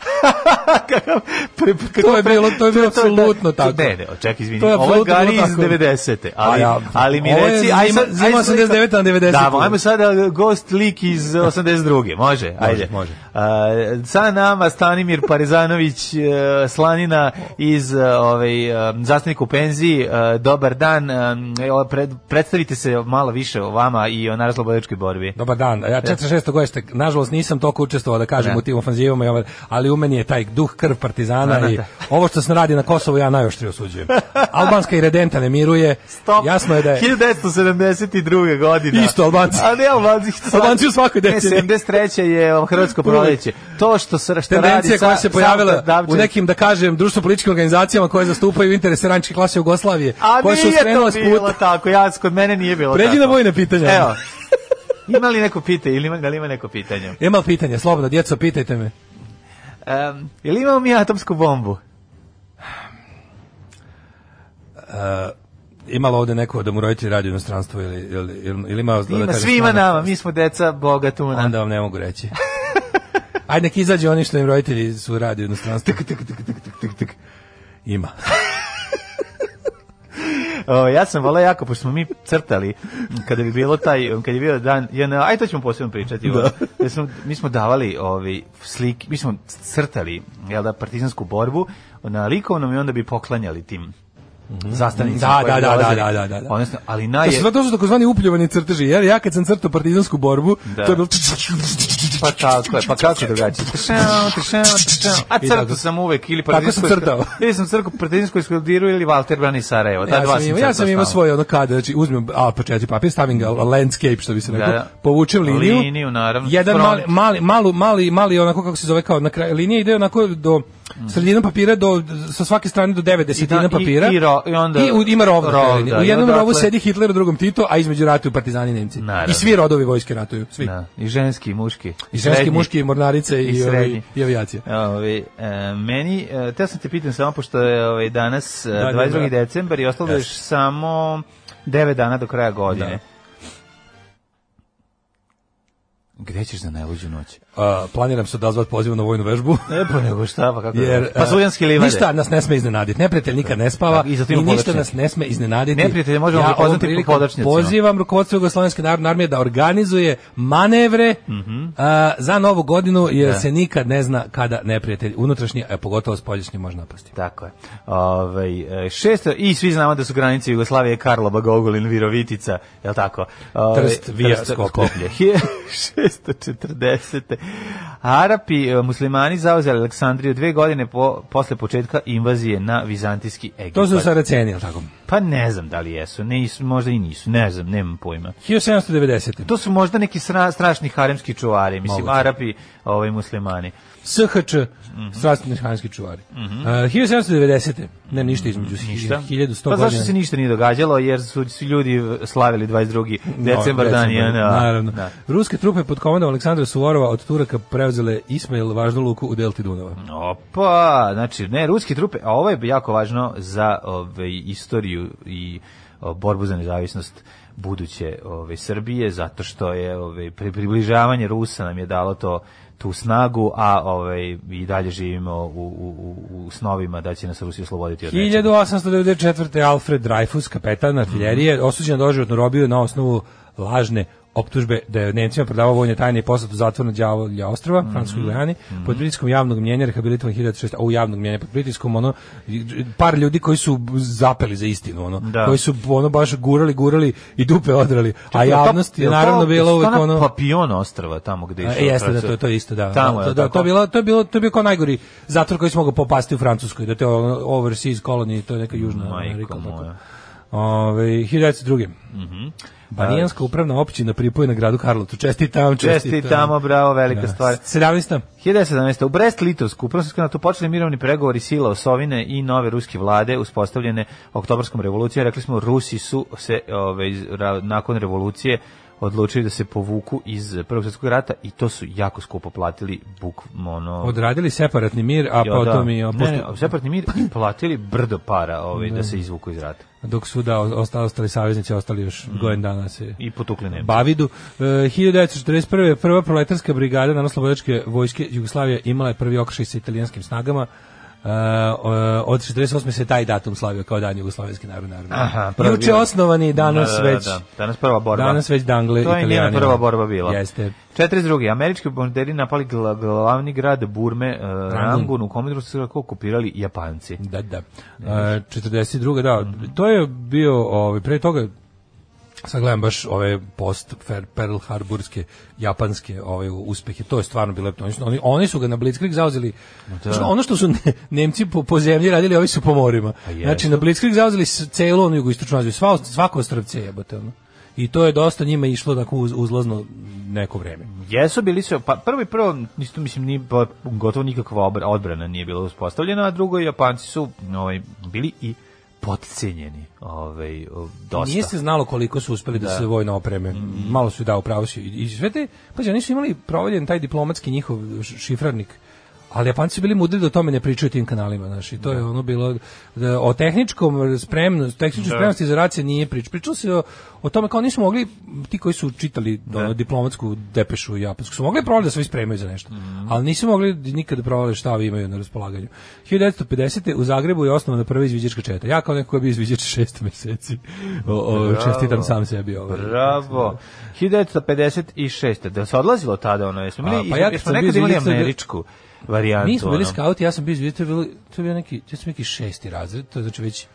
F: Kako
I: je bilo- to je bilo
F: da-
I: apsolutno tako.
F: Ne, ne, čekaj, izvini.
I: To je
F: Ovo je
I: apsolutno
F: Gari
I: bilo
F: iz
I: tako.
F: 90.
I: A
F: Ali,
I: ja,
F: ali mi
I: ovo je
F: reci...
I: zima-
F: aj sad-
I: zima
F: aj sad-
I: 89 na 90.
F: Da, ajmo sada gost lik iz 82. Može, ajde.
I: može.
F: A, sa nama Stanimir Parezanović e, Slanina iz e, ovaj, e, zastavnik u penziji. E, Dobar dan. E, evo, pred- predstavite se malo više o vama i o narodno-bolečkoj borbi.
I: Dobar dan. Ja 46. godište, nažalost nisam toliko učestvovao da kažem
F: Da.
I: u tim ofanzivama, i ovo- ali u meni je taj
G: duh krv partizana
F: Da, da,
G: i
F: da.
G: ovo što se radi na Kosovu ja najoštrije osuđujem. Albanska i redenta ne miruje.
F: Stop.
G: Jasno je da je
F: 1972. godina.
G: Isto Albanci.
F: A ne Albanci.
G: Albanci u svakoj
F: Ne,
G: deceniji.
F: 73. je Hrvatsko proleće. To što se što
G: tendencija
F: radi
G: koja
F: sa-
G: se pojavila
F: Savta Dabčević.
G: u nekim, da kažem, društvo-političkim organizacijama koje zastupaju interese rančke klase Jugoslavije,
F: A
G: koje su
F: nije to
G: skrenule s
F: bilo
G: puta.
F: tako, ja, kod mene nije bilo
G: Pređi
F: tako.
G: na vojne pitanja.
F: Evo. Ima li neko pitanje ili ima, da li ima neko pitanje?
G: Ima li pitanje, slobodno, djeco, pitajte me.
F: Um, ili imamo mi atomsku bombu?
G: Imalo ovde neko da mu roditelji radi u inostranstvu ili, ili, ili, ili ima... da
F: Ima,
G: kažem,
F: svima
G: stvarno-
F: nama, mi smo deca boga tuna.
G: Onda vam ne mogu reći. Ajde, nek izađe oni što im roditelji su radi u inostranstvu. Ima.
F: O, ja sam volao jako, pošto smo mi crtali, kada bi bilo taj, kad je bio dan, JNA, aj to ćemo posebno pričati. Da. Jer smo, mi smo davali ovi, slik, mi smo crtali jel da, partizansku borbu na likovnom i onda bi poklanjali tim zastavnicama.
G: Mhm.
F: koje
G: Da, da,
F: bi
G: da,
F: dolazili.
G: da, da, da, da.
F: Odnosno, ali
G: To
F: naj...
G: su, to su takozvani upljuvani crteži, jer ja kad sam crtao partizansku borbu,
F: Da.
G: to je bilo...
F: Pa tako je, pa kako drugačije? Tršao, tršao, tršao. A
G: I tako.
F: crtao sam uvek ili
G: Tako sam
F: partizansku-
G: crtao.
F: Ili sam crtao partizansku eskaladiru ili Valter brani Sarajevo. Ta
G: ja
F: dva
G: sam, imao, ja
F: crtao
G: sam imao
F: stalno.
G: svoje ono kada, znači uzmem a pa četiri papir, stavim ga landscape što bi se reklo,
F: Da, da.
G: povučem liniju.
F: Liniju, naravno,
G: Jedan
F: front.
G: mali, mali, malu, mali, mali onako kako se zove kao na kraju linije ide onako do sredinom papira do sa svake strane do 9 desetina
F: Mm. i-
G: papira.
F: i ro- i onda- dakle-
G: u- ima rov. na kraju
F: rov,
G: linije.
F: da,
G: u
F: i
G: jednom
F: odatle-
G: rovu sedi Hitler, u drugom Tito, a između ratuju partizani i Nemci.
F: Naravno.
G: I svi rodovi vojske ratuju, svi.
F: Da, i ženski, i muški.
G: I ženski,
F: Srednji.
G: muški, mornarice i,
F: I
G: ovi-
F: srednji.
G: i avijacija.
F: Ove, e, meni, e, teo sam te pitam samo pošto je ove, danas e,
G: Da, da,
F: 22.
G: da.
F: decembar i ostalo još samo 9 dana do kraja godine. Gde ćeš za najluđu noć?
G: A, planiram se odazvat pozivu na vojnu vežbu.
F: E pa nego šta, pa kako?
G: Jer, e,
F: Jer, pa Suljanski livade.
G: Ništa nas ne sme iznenaditi. Neprijatelj nikad ne spava
F: Tako,
G: i,
F: i zato
G: i
F: imamo
G: ništa
F: podočnjake.
G: nas ne sme iznenaditi.
F: Neprijatelje možemo
G: ovom
F: prepoznati po
G: prilikom
F: podočnjacima.
G: Pozivam rukovodstvo Jugoslovenske narodne armije da organizuje manevre
F: Mhm.
G: a, za novu godinu, jer se nikad ne zna kada neprijatelj unutrašnji, a pogotovo spoljašnji može napasti.
F: Tako je. Ove, e, šesto, I svi znamo da su granice Jugoslavije Karlova, Gogolin, Virovitica, je li tako? Ovaj, Ove,
G: Trst, Vija, Skoplje.
F: 640. Arapi, e, muslimani zauzeli Aleksandriju dve godine po, posle početka invazije na vizantijski Egipat.
G: To su Saraceni, jel tako?
F: Pa ne znam da li jesu, ne, is- možda i nisu, ne znam, nemam pojma.
G: 1790.
F: To su možda neki sra, strašni haremski čuvari, mislim,
G: Moguće.
F: Arapi, ovaj, muslimani.
G: SHČ,
F: Mhm.
G: Strastveni hanski čuvari. A, 1790. Ne, ništa između.
F: Mhm. Ništa.
G: 1100
F: pa zašto
G: godina.
F: se ništa nije događalo? Jer su, su ljudi slavili 22. decembar dan je.
G: Naravno.
F: Da.
G: Ruske trupe pod komandom Aleksandra Suvorova od Turaka preuzele Ismail važnu luku u delti Dunava.
F: Opa, znači, ne, ruske trupe, a ovo je jako važno za ove, istoriju i o, borbu za nezavisnost buduće ove, Srbije, zato što je ove, pri- približavanje Rusa nam je dalo to tu snagu, a ove, i dalje živimo u, u, u, u snovima da će nas Rusi osloboditi od nečega.
G: 1894. Alfred Dreyfus, kapetan
F: Mhm.
G: artiljerije, osuđen na doživotnu robiju na osnovu lažne optužbe da je Nemcima prodavao vojne tajne i poslat u zatvor na Đavolja ostrava,
F: Mhm.
G: mm Francuskoj Gujani, pod pritiskom javnog mnjenja, rehabilitovan 1906, a u javnog mnjenja pod pritiskom, ono, par ljudi koji su zapeli za istinu, ono,
F: Da.
G: koji su, ono, baš gurali, gurali i dupe odrali, a
F: Je li to-
G: javnost je
F: li to-
G: naravno bila
F: jesu to
G: uvek,
F: ona
G: ono...
F: Papion ostrava tamo gde je
G: E,
F: išao.
G: jeste da
F: Francuska?
G: to to je isto da.
F: Tamo je,
G: to, da,
F: tako?
G: to je bilo to je bilo to je bio kao najgori zatvor koji smo ga popasti u Francuskoj, da to je ono overseas colony, to je neka južna
F: Majko
G: Amerika ili tako.
F: moja.
G: Ovaj 1902. Mhm. Barijanska upravna općina pripojena gradu Karlovcu. Čestitam,
F: Čestitamo, bravo, velika stvar.
G: 17.
F: 1917. U Brest-Litovsku, u prvom svjetskom ratu počeli mirovni pregovori sila Osovine i nove ruske vlade uspostavljene oktobarskom revolucijom. Rekli smo, Rusi su se ove, iz- ra- nakon revolucije odlučili da se povuku iz Prvog svjetskog rata i to su jako skupo platili buk, ono,
G: Odradili separatni mir, a
F: Jo,
G: potom i
F: ne, ne,
G: opustu-
F: separatni mir i platili brdo para ove, da se izvuku iz rata.
G: dok su da ostali, ostali saveznici ostali još gojen dana se
F: Mhm. I potukli Nemci.
G: Bavidu. E, 1941. prva proletarska brigada narodno-slobodačke vojske Jugoslavije imala je prvi okršaj sa italijanskim snagama. E, o- od 48. se taj datum slavio kao dan Jugoslovenske narodne armije.
F: Aha, prvi.
G: Juče osnovani, danas
F: Da, da, da,
G: već
F: da. Danas prva borba.
G: Danas već dangle
F: To je njena
G: Italijanima.
F: prva borba bila.
G: Jeste.
F: 42. Američki bombarderi napali gla- glavni grad Burme, eh, Rangun, u kome su kako okupirali Japanci.
G: Da, da. E, 42. da. To je bio, ovaj, pre toga Sad gledam baš ove post Fer- Pearl Harborske japanske ove uspehe. To je stvarno bilo lepo. Oni su- Oni, oni su ga na Blitzkrieg zauzeli. Znači, ono što su ne- Nemci po, po zemlji radili, ovi su po morima. Znači na Blitzkrieg zauzeli s- celu onu jugoistočnu Aziju, sva svako ostrvce jebote ono. I to je dosta njima išlo tako uz, uzlazno neko vreme.
F: Jesu bili su, pa prvo i prvo, isto mislim, nije, bila gotovo nikakva obra- odbrana nije bila uspostavljena, a drugo, Japanci su ovaj, bili i potcenjeni ovaj, o, dosta.
G: Nije se znalo koliko su uspeli da, se vojno opreme. Malo su da upravo su. I, i sve te, pazi, oni su imali provaljen taj diplomatski njihov š- šifrarnik. Ali Japanci su bili mudri da o tome ne pričaju tim kanalima, znaš, i to je ono bilo da, o tehničkom spremnosti, tehničkoj spremnosti za racije nije prič. Pričalo se o, o tome kao nisu mogli ti koji su čitali ono, diplomatsku depešu japansku, su mogli provali da se vi spremaju za nešto,
F: Mhm.
G: ali nisu mogli nikada provali šta ovi imaju na raspolaganju. 1950. u Zagrebu je osnovana prva izviđačka četa. Ja kao neko koji je bio izviđač šest meseci, o, o, čestitam sam sebi ovaj. ovo.
F: Bravo. 1956. Da se odlazilo tada ono, jesmo
G: A,
F: imali,
G: pa
F: pa
G: ja
F: ja
G: kad
F: jesmo
G: sam bio
F: nekad imali
G: zvijedac, to je bio-
F: američku varijantu.
G: Mi smo bili
F: ono.
G: skauti, ja sam bio izviđač, to je bilo, to je bio neki, ja sam neki šesti razred, to je znači već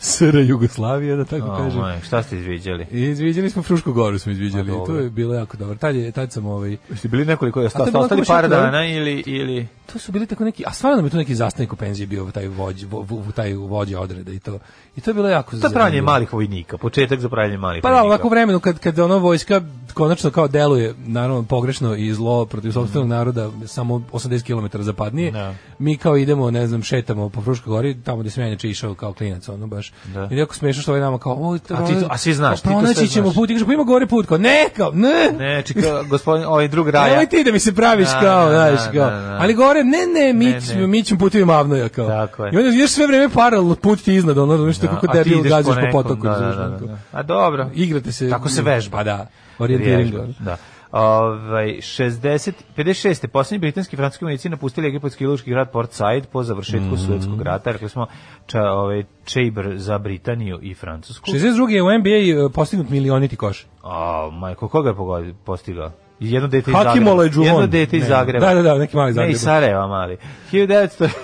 G: SR Jugoslavija, da tako
F: O,
G: kažem.
F: moj, šta ste izviđali?
G: I izviđali smo Frušku goru smo izviđali,
F: A, Pa dobro.
G: to je bilo jako dobro. Tad je tad sam ovaj
F: Ste bili nekoliko, jeste
G: A to je bilo
F: ostali
G: kao
F: par
G: šutra, ne?
F: dana ili... ili...
G: to su bili tako neki, a stvarno mi je tu neki zastavnik u penziji bio taj vođ, vo, vo, taj vođa odreda i to. I to je bilo jako
F: To je pravljanje
G: zanimljivo.
F: malih vojnika, početak za pravljanje malih
G: Pa da,
F: vojnika.
G: ovako u vremenu kad, kad ono vojska konačno kao deluje, naravno pogrešno i zlo protiv sopstvenog naroda samo 80 km zapadnije,
F: Da.
G: mi kao idemo, ne znam, šetamo po Fruškoj gori, tamo gde sam ja inače išao kao klinac, ono baš.
F: Da.
G: I jako smešno što ovaj nama kao, o,
F: A ti to- a svi znaš, ti to sve
G: pronaći ćemo
F: znaš.
G: put, i kažeš, pa ima gore put, kao, ne, kao, ne,
F: Ne, čekaj, gospodin, ovaj drug Raja.
G: Nemoj ti da mi se praviš
F: Da,
G: kao,
F: da,
G: znaš,
F: da,
G: kao.
F: da, da.
G: Ali gore, ne, ne, mi,
F: Ne,
G: ćemo-
F: ne.
G: mi ćemo putevima avnoja kao.
F: Tako je.
G: I onda ideš sve vreme paralelno put ti iznad, ono, znaš,
F: Da,
G: kako
F: a ti
G: debil
F: ideš
G: gaziš po
F: nekom,
G: potoku.
F: Da, da,
G: znaš,
F: da,
G: ono, kao.
F: da. A dobro.
G: Igrate se.
F: Tako se vežba.
G: Pa da,
F: Vježba,
G: orijentiringa.
F: Da. Ovaj 60 56. Poslednji britanski i francuski vojnici napustili egipatski lučki grad Port Said po završetku Suetskog rata, rekli smo ča, ovaj Chamber za Britaniju i Francusku.
G: 62. je u NBA e, postignut milioniti koš.
F: A, majko, koga je pogodi- postigao? Jedno dete iz
G: Hakimola
F: Zagreba.
G: je Džuvon.
F: Jedno dete iz
G: Ne.
F: Zagreba.
G: Da, da, da, neki mali iz
F: Ne, iz
G: Zagreba.
F: Sarajeva mali.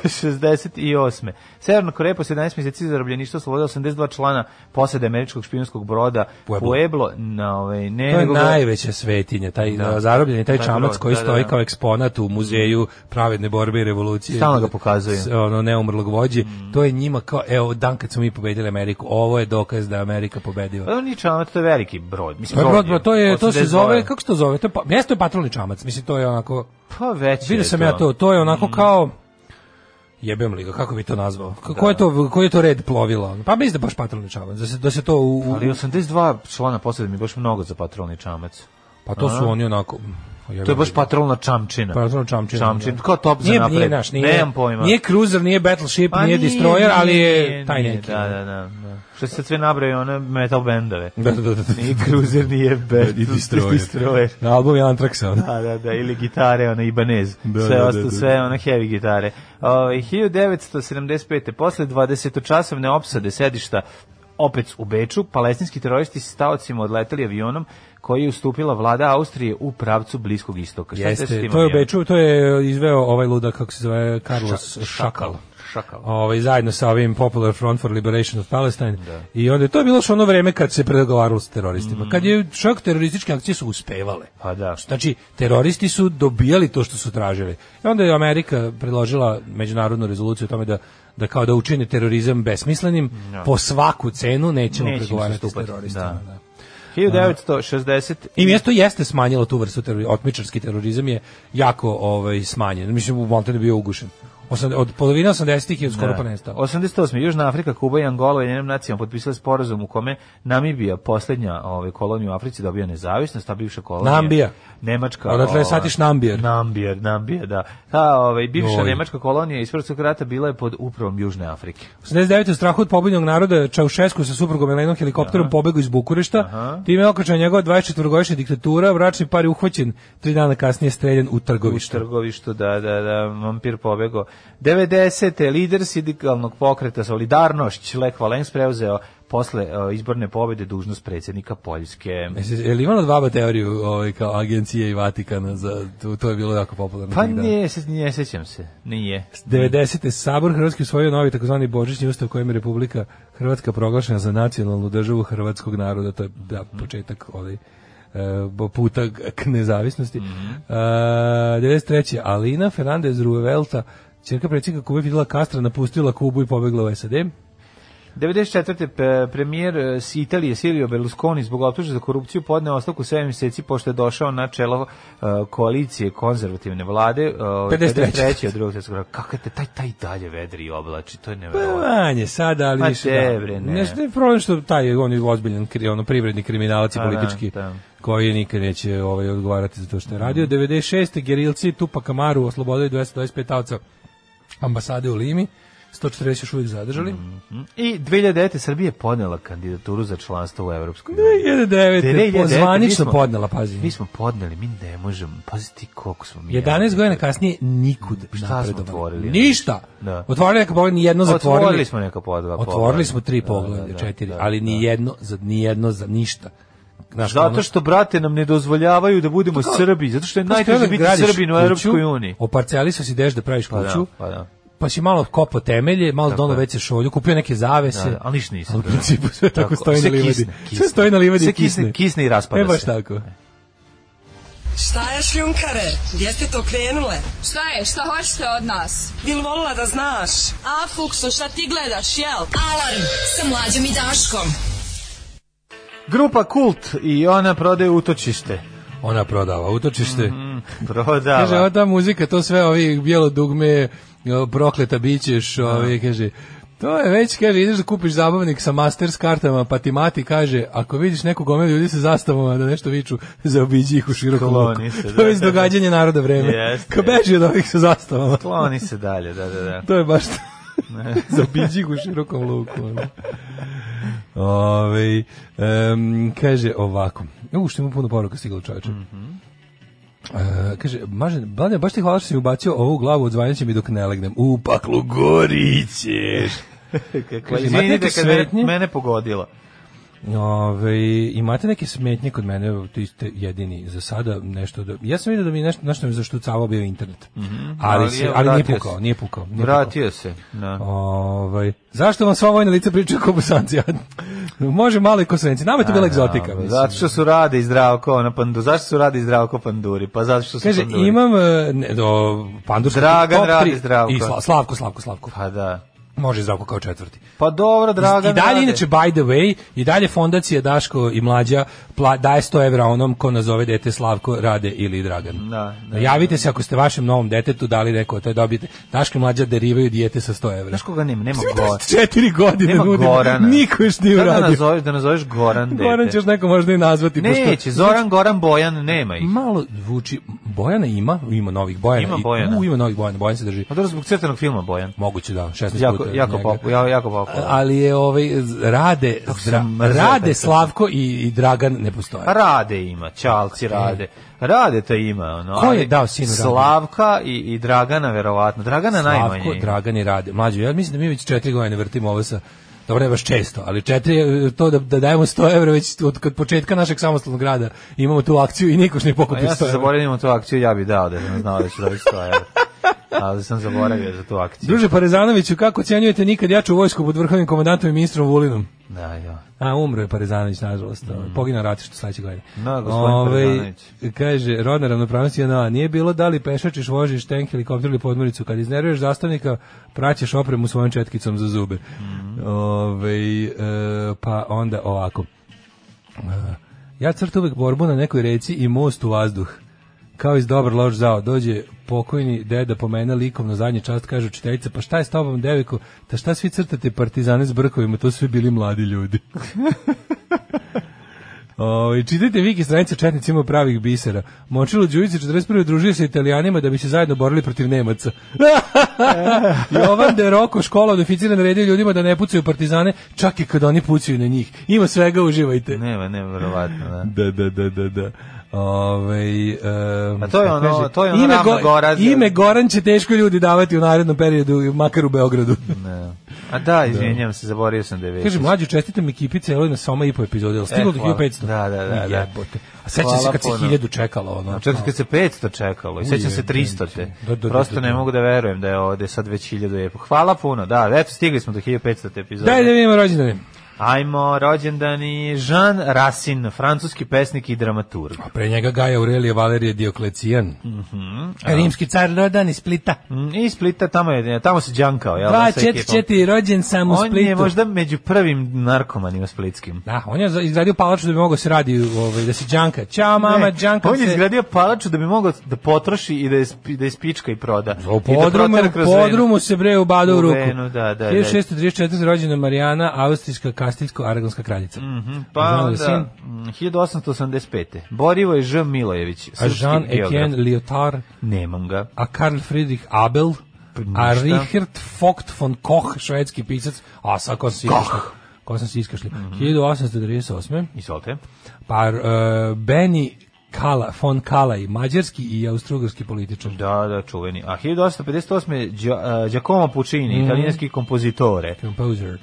F: 1968. Severna Koreja posle 11 meseci zarobljeništva slobode 82 člana posade američkog špijunskog broda
G: Pueblo.
F: Pueblo, na ovaj ne
G: To je
F: nego ga-
G: najveća svetinja, taj
F: Da.
G: da. zarobljeni, taj
F: Taj
G: čamac
F: brod,
G: koji
F: da, da,
G: stoji
F: da.
G: kao eksponat u muzeju pravedne borbe i revolucije.
F: Stalno ga pokazuju. Mm.
G: S- Ono, neumrlog vođi. To je njima kao, evo, dan kad smo mi pobedili Ameriku, ovo je dokaz da je Amerika
F: Pa
G: pobediva.
F: on nije čamac, to je veliki brod. Mislim,
G: To je
F: brod
G: brod, brod, Pa to, je, to se
F: 82.
G: zove, kako se to zove? To je, pa- jeste to je patrolni čamac, mislim, to je onako...
F: Pa već
G: Vidio sam ja to, to je onako
F: Mm.
G: kao jebem li ga, kako bi to nazvao? K- Ko je to, koji je to red plovila? Pa mislim da baš patrolni čamac, da se, da se to u, u-
F: Ali 82 člana posade mi je baš mnogo za patrolni čamac.
G: pa to su oni onako... jebem
F: To je baš
G: li ga.
F: patrolna čamčina.
G: patrolni čamčin.
F: Čamčin, kao top za
G: nije,
F: napred.
G: Nije, naš, nije,
F: Nemam pojma.
G: Nije cruiser, nije battleship,
F: Pa
G: nije, destroyer, ali je
F: nije,
G: taj
F: nije,
G: neki.
F: Da, da, da. da. Što se sad sve nabraju one metal bendove.
G: da, da, da, da.
F: Ni cruiser, nije band,
G: I destroyer.
F: destroyer.
G: Na album je Antraxa. ono.
F: Da, da, da, ili gitare, ona Ibanez,
G: Da,
F: sve
G: da, da,
F: ostalo,
G: da, da.
F: sve one heavy gitare. Ovaj 1975. posle 20-časovne opsade sedišta opet u Beču, palestinski teroristi s taocima odleteli avionom koji je ustupila vlada Austrije u pravcu Bliskog istoka. Šta se s
G: Jeste,
F: tim
G: to je u
F: avionom?
G: Beču, to je izveo ovaj ludak, kako se zove, Carlos
F: Ša-
G: Šakal.
F: Šakal.
G: ovaj, zajedno sa ovim Popular Front for Liberation of Palestine. I onda je to je bilo još ono vreme kad se pregovaralo s teroristima. Kad je čak terorističke akcije su uspevale.
F: Mm. Pa da.
G: Znači, teroristi su dobijali to što su tražili. I onda je Amerika predložila međunarodnu rezoluciju o tome da da kao da učine terorizam besmislenim, po svaku cenu nećemo,
F: Nećemo se
G: pregovarati s
F: stupati,
G: teroristima.
F: da.
G: da.
F: 1960
G: I mjesto jeste smanjilo tu vrstu terorizma, otmičarski terorizam je jako ovaj smanjen. Mislim u Montana je bio ugušen. Osam- Od polovine 80-ih je skoro pa nestao.
F: 88. Južna Afrika, Kuba i Angola u njenim nacijama potpisali sporazum u kome Namibija, posljednja ove, kolonija u Africi, dobija nezavisnost, ta bivša kolonija.
G: Nambija.
F: Nemačka.
G: Odatle je
F: ova,
G: satiš Nambijer.
F: Nambijer, Nambijer, da. Ta ovaj, bivša
G: Joj.
F: nemačka kolonija iz Prvog rata bila je pod upravom Južne Afrike.
G: 89. u strahu od pobednog naroda Čaušesku sa suprugom Elenom helikopterom pobegao iz Bukurešta. Time je okačena njegova 24-godišnja diktatura, vračni par je uhvaćen, tri dana kasnije streljen u
F: U
G: trgovištu.
F: trgovištu, da, da, da, vampir pobego. 90. lider sindikalnog pokreta Solidarnošć, Lech Valens, preuzeo posle e, izborne pobede dužnost predsjednika Poljske.
G: Jesi- Je li imala dvaba ono teoriju ovaj, kao agencije i Vatikana? Za, to, to je bilo jako popularno.
F: Pa
G: tih dana.
F: ne, se- ne sećam se, nije.
G: 90. Sabor Hrvatski usvojio novi takozvani božićni ustav kojim je Republika Hrvatska proglašena za nacionalnu državu hrvatskog naroda. To je da, početak ovaj, e, bo- puta k nezavisnosti. E, 93. Alina Fernandez Ruevelta, čerka predsjednika Kube Fidela Castra, napustila Kubu i pobegla u SAD.
F: 94. pe- premijer e, s Italije Silvio Berlusconi zbog optužbe za korupciju podneo ostavku 7 mjeseci pošto je došao na čelo e, koalicije konzervativne vlade e,
G: 53..
F: 53. od drugog svjetskog rata. Kako te taj taj dalje vedri i oblači, to je
G: Pa
F: neverovatno.
G: manje sada, ali
F: Ma
G: više
F: te,
G: da.
F: bre, ne.
G: Nešto je problem što taj on je ozbiljan kri- ono privredni kriminalac i
F: Pa da,
G: politički
F: da. Mhm.
G: koji nikad neće ovaj odgovarati za to što je radio. 96. gerilci Tupa Kamaru oslobodili 225 tavca ambasade u Limi. 140 još uvijek zadržali.
F: Mhm. I 2009. Srbija je podnela kandidaturu za članstvo u Evropskoj uniji.
G: 2009.
F: 2009.
G: pozvanično
F: mi smo-
G: podnala, pazi.
F: Mi smo podneli, mi ne možemo. Pazi ti koliko smo mi.
G: 11 godina kasnije nikud
F: Šta smo
G: napredovali.
F: otvorili?
G: Ništa.
F: Da.
G: Otvorili neka poglavlja, ni jedno
F: Otvorili
G: zatvorili.
F: smo neka po dva poglavlja.
G: Otvorili smo tri
F: Da,
G: poglavlja,
F: da, da,
G: četiri,
F: da,
G: ali ni
F: da.
G: jedno za ni jedno za ništa. Znaš, ono-
F: Zato što, brate, nam ne dozvoljavaju da
G: Pa
F: budemo Srbi, zato što je
G: Znaš,
F: najteže
G: kada
F: biti
G: gradiš
F: Srbin u
G: kuću,
F: Europskoj uniji.
G: Oparcelisao si deš da praviš
F: Pa da,
G: kuću.
F: pa da.
G: pa si malo kopo temelje, malo dono
F: je.
G: veće šolju, kupio neke zavese.
F: Da, da, ali ništa nisam.
G: Ali u principu sve tako,
F: Tako,
G: stoji na
F: sve
G: livadi.
F: kisne,
G: sve
F: kisne.
G: stoji na livadi
F: Sve
G: i kisne.
F: kisne- kisne i raspada
G: E baš
F: se.
G: tako.
A: Šta je šljunkare? Gdje ste to krenule?
J: Šta je, šta hoćete od nas?
A: Bil volila da znaš?
J: A, Fukso, šta ti gledaš, jel?
H: Alarm sa mlađom i Daškom.
F: Grupa Kult i ona prodaje utočište.
G: Ona prodava utočište.
F: Mhm.
G: Kaže, ova
F: Prodava.
G: ta muzika, to sve ovi bijelo dugme, o, prokleta bićeš, ovi, kaže, To je već, kaže, ideš da kupiš zabavnik sa masters kartama, pa ti mati kaže, ako vidiš nekog ome ljudi sa zastavama da nešto viču, zaobiđi ih u široku
F: Skloni
G: luku.
F: se,
G: To je
F: da.
G: već događanje naroda vreme.
F: Jeste,
G: Kao beži od ovih sa zastavama.
F: Kloni se dalje, da, da, da.
G: To je baš to. za biđig u širokom luku. ono. Ovaj, em, kaže ovako. U, što ima puno poruka stiglo čoveče. E, kaže, maže, Bladne, baš ti hvala što si mi ubacio ovu glavu, odzvanjaće mi dok ne legnem. U paklu gorićeš.
F: Kako,
G: Kaže, imate
F: izvinite
G: neke
F: kad mene,
G: smetnje?
F: mene pogodilo.
G: Ove, imate neke smetnje kod mene, evo, ti ste jedini za sada nešto. Da, ja sam vidio da mi nešto, nešto mi zaštucavao bio internet. Mhm. Ali,
F: Ali,
G: se-
F: evo,
G: ali, nije
F: vratio
G: pukao,
F: se.
G: nije pukao. Nije pukao.
F: Vratio se. Da.
G: Ovaj, zašto vam sva vojna lica pričaju kao bosanci? A, Može malo i kosovenci. Nama je to bila egzotika. mislim.
F: Zato što su rade i zdravko na pandu. Zašto su rade i zdravko panduri? Pa zato što su
G: Kaže,
F: panduri.
G: imam e, ne, do, pandurski
F: Dragan
G: top
F: Rade
G: tri.
F: Zdravko.
G: I Sla- Slavko, Slavko, Slavko.
F: Pa da.
G: Može i Zdravko kao četvrti.
F: Pa dobro, Dragan
G: I dalje,
F: Rade.
G: inače, by the way, i dalje fondacija Daško i Mlađa pla, daje 100 evra onom ko nazove dete Slavko, Rade ili Dragan.
F: Da, da.
G: Javite se ako ste vašem novom detetu dali neko, to je dobijete. Daško i Mlađa derivaju dijete sa 100 evra.
F: Znaš koga nema? Nema Gora.
G: Četiri godine
F: Nema
G: nudimo,
F: Gorana.
G: Niko još nije
F: Šta da
G: uradio.
F: nazoveš, da nazoveš Goran dete.
G: Goran ćeš neko možda i nazvati.
F: Neće,
G: pošto-
F: Zoran, Goran, Bojan, nema ih.
G: Malo zvuči, Bojana ima, ima novih Bojana.
F: Ima
G: i-
F: Bojana.
G: U, ima novih Bojana, Bojan se drži.
F: A Pa dobro, zbog crtenog filma Bojan.
G: Moguće da, 16
F: Jako,
G: puta.
F: jako
G: njega.
F: popu, ja, jako popu.
G: Ali je ovaj, z- rade,
F: sam
G: Zdra-
F: mrzeo taj
G: rade
F: film.
G: Slavko i, i Dragan ne postoje.
F: A Pa Rade ima, Čalci rade. Rade to ima, ono.
G: E. Ko je
F: ali
G: dao sinu Draganu?
F: Slavka i, i Dragana, verovatno. Dragana najmanje.
G: Slavko,
F: ima.
G: Dragan i Rade. Mlađo, ja mislim da mi već četiri godine vrtimo ovo sa Dobro, ne baš često, ali četiri, e, to da, da dajemo 100 evra već od kad početka našeg samostalnog rada imamo tu akciju i nikoš ne
F: A
G: pokupi 100
F: Pa ja sam
G: evra.
F: zaboravio da imam tu akciju, ja bi dao da sam znao da ću dobiti 100 evra. Ali sam zaboravio za tu akciju.
G: Druže Parezanoviću, kako ocjenjujete nikad jaču vojsku pod vrhovnim komandantom i ministrom Vulinom?
F: Da, ja.
G: A, umro je Parezanović, nažalost. Mm. Poginuo rati što sledeće godine. Ovaj,
F: Da, gospodin Parezanović.
G: Kaže, rodna ravnopravnost je na Nije bilo da li pešačiš, vožiš tank, helikopter ili podmornicu. Kad iznervuješ zastavnika, praćeš opremu svojom četkicom za zube.
F: Mm.
G: Ovaj, e, pa onda ovako. E, ja crtu uvek borbu na nekoj reci i most u vazduh. Kao iz dobar loš zao, dođe pokojni deda po mene likom na zadnji čast, kaže učiteljica, pa šta je s tobom, deviku, ta šta svi crtate partizane s brkovima, to su svi bili mladi ljudi. O, i čitajte Viki stranice Četnici imaju pravih bisera. Močilo Đujice 41. družio se Italijanima da bi se zajedno borili protiv Nemaca. Jovan de Roko, škola od oficira naredio ljudima da ne pucaju partizane, čak i kad oni pucaju na njih. Ima svega, uživajte.
F: Nema, nema, verovatno, da.
G: Da, da, da, da, da. Ovaj em,
F: A to je ono-
G: kako kaže,
F: to je ono ravna gora.
G: Ime Goran će teško ljudi davati u narednom periodu, makar u Beogradu.
F: Ne. A da, izvinjam se, zaboravio sam da je već.
G: Kaže mlađu čestitam ekipi celoj na soma i po epizodi, ali stiglo
F: E,
G: do
F: hvala.
G: 1500.
F: Da, da, da, da.
G: Jebote. A sećam se
F: Hvala
G: kad se
F: puno.
G: 1000 čekalo ono.
F: A čak i Znači, kad se 500 čekalo i sećam se 300 te.
G: Da, da, da, da,
F: Prosto
G: da.
F: ne mogu da verujem da je ovde sad već 1000 je. Hvala puno, da, eto stigli smo do 1500 te epizode.
G: Daj da vidimo rođendane.
F: Ajmo, rođendani Jean Racine, francuski pesnik i dramaturg.
G: A Pre njega Gaja Aurelija Valerije Dioklecijan.
F: Mhm,
G: Rimski car rodan iz Splita.
F: Mm, I Splita, tamo, je, tamo se džankao, jel?
G: Dva,
F: sa
G: četiri,
F: ekipom.
G: četiri, rođen sam u
F: On je
G: Splitu.
F: možda među prvim narkomanima splitskim.
G: Da, on je za- izgradio palaču da bi mogao se radi, ovaj, da se džanka. Ćao mama,
F: Ne,
G: džanka
F: E, on je
G: se...
F: izgradio palaču da bi mogao da potroši i da je, sp- da je spička i proda.
G: U
F: I da
G: podrumu,
F: protera
G: u
F: kroz venu.
G: podrumu se bre ubadao u
F: U
G: ruku.
F: venu, da, da, da.
G: 1634. rođena Marijana, austrijska, kastiljsko-aragonska kraljica.
F: Mhm,
G: A
F: Pa
G: znamo da je sin?
F: onda, mm, 1885. Borivo je Ž. Milojević,
G: A
F: srpski
G: Jean-Étienne
F: geograf.
G: Lyotard,
F: Nemam ga.
G: a Karl Friedrich Abel, a
F: Pa ništa.
G: Richard Vogt von Koch, švedski pisac, a sad ko sam si iskašli? Ko sam si iskašli?
F: Mhm.
G: 1838.
F: Izvolite.
G: Pa e, Benny Kala, von Kalaj, mađarski i austrougarski političar.
F: Da, da, čuveni. A 1858. je Đa- a, Giacomo Puccini,
G: Mhm.
F: italijanski kompozitore.
G: Composer.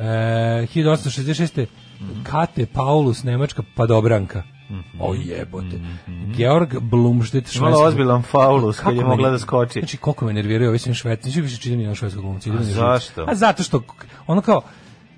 G: E, 1866.
F: Mhm.
G: Kate Paulus, Nemačka padobranka. O jebote. Georg Blumstedt, švedski.
F: Mhm. Imala ozbiljan faulus kad je
G: Kako
F: mogla
G: meni-
F: da skoči.
G: Znači, koliko me nerviraju ovi sam švedski. Nisu više čitam jedan švedskog glumca. idem na živce.
F: zašto?
G: A zato što, k- ono kao,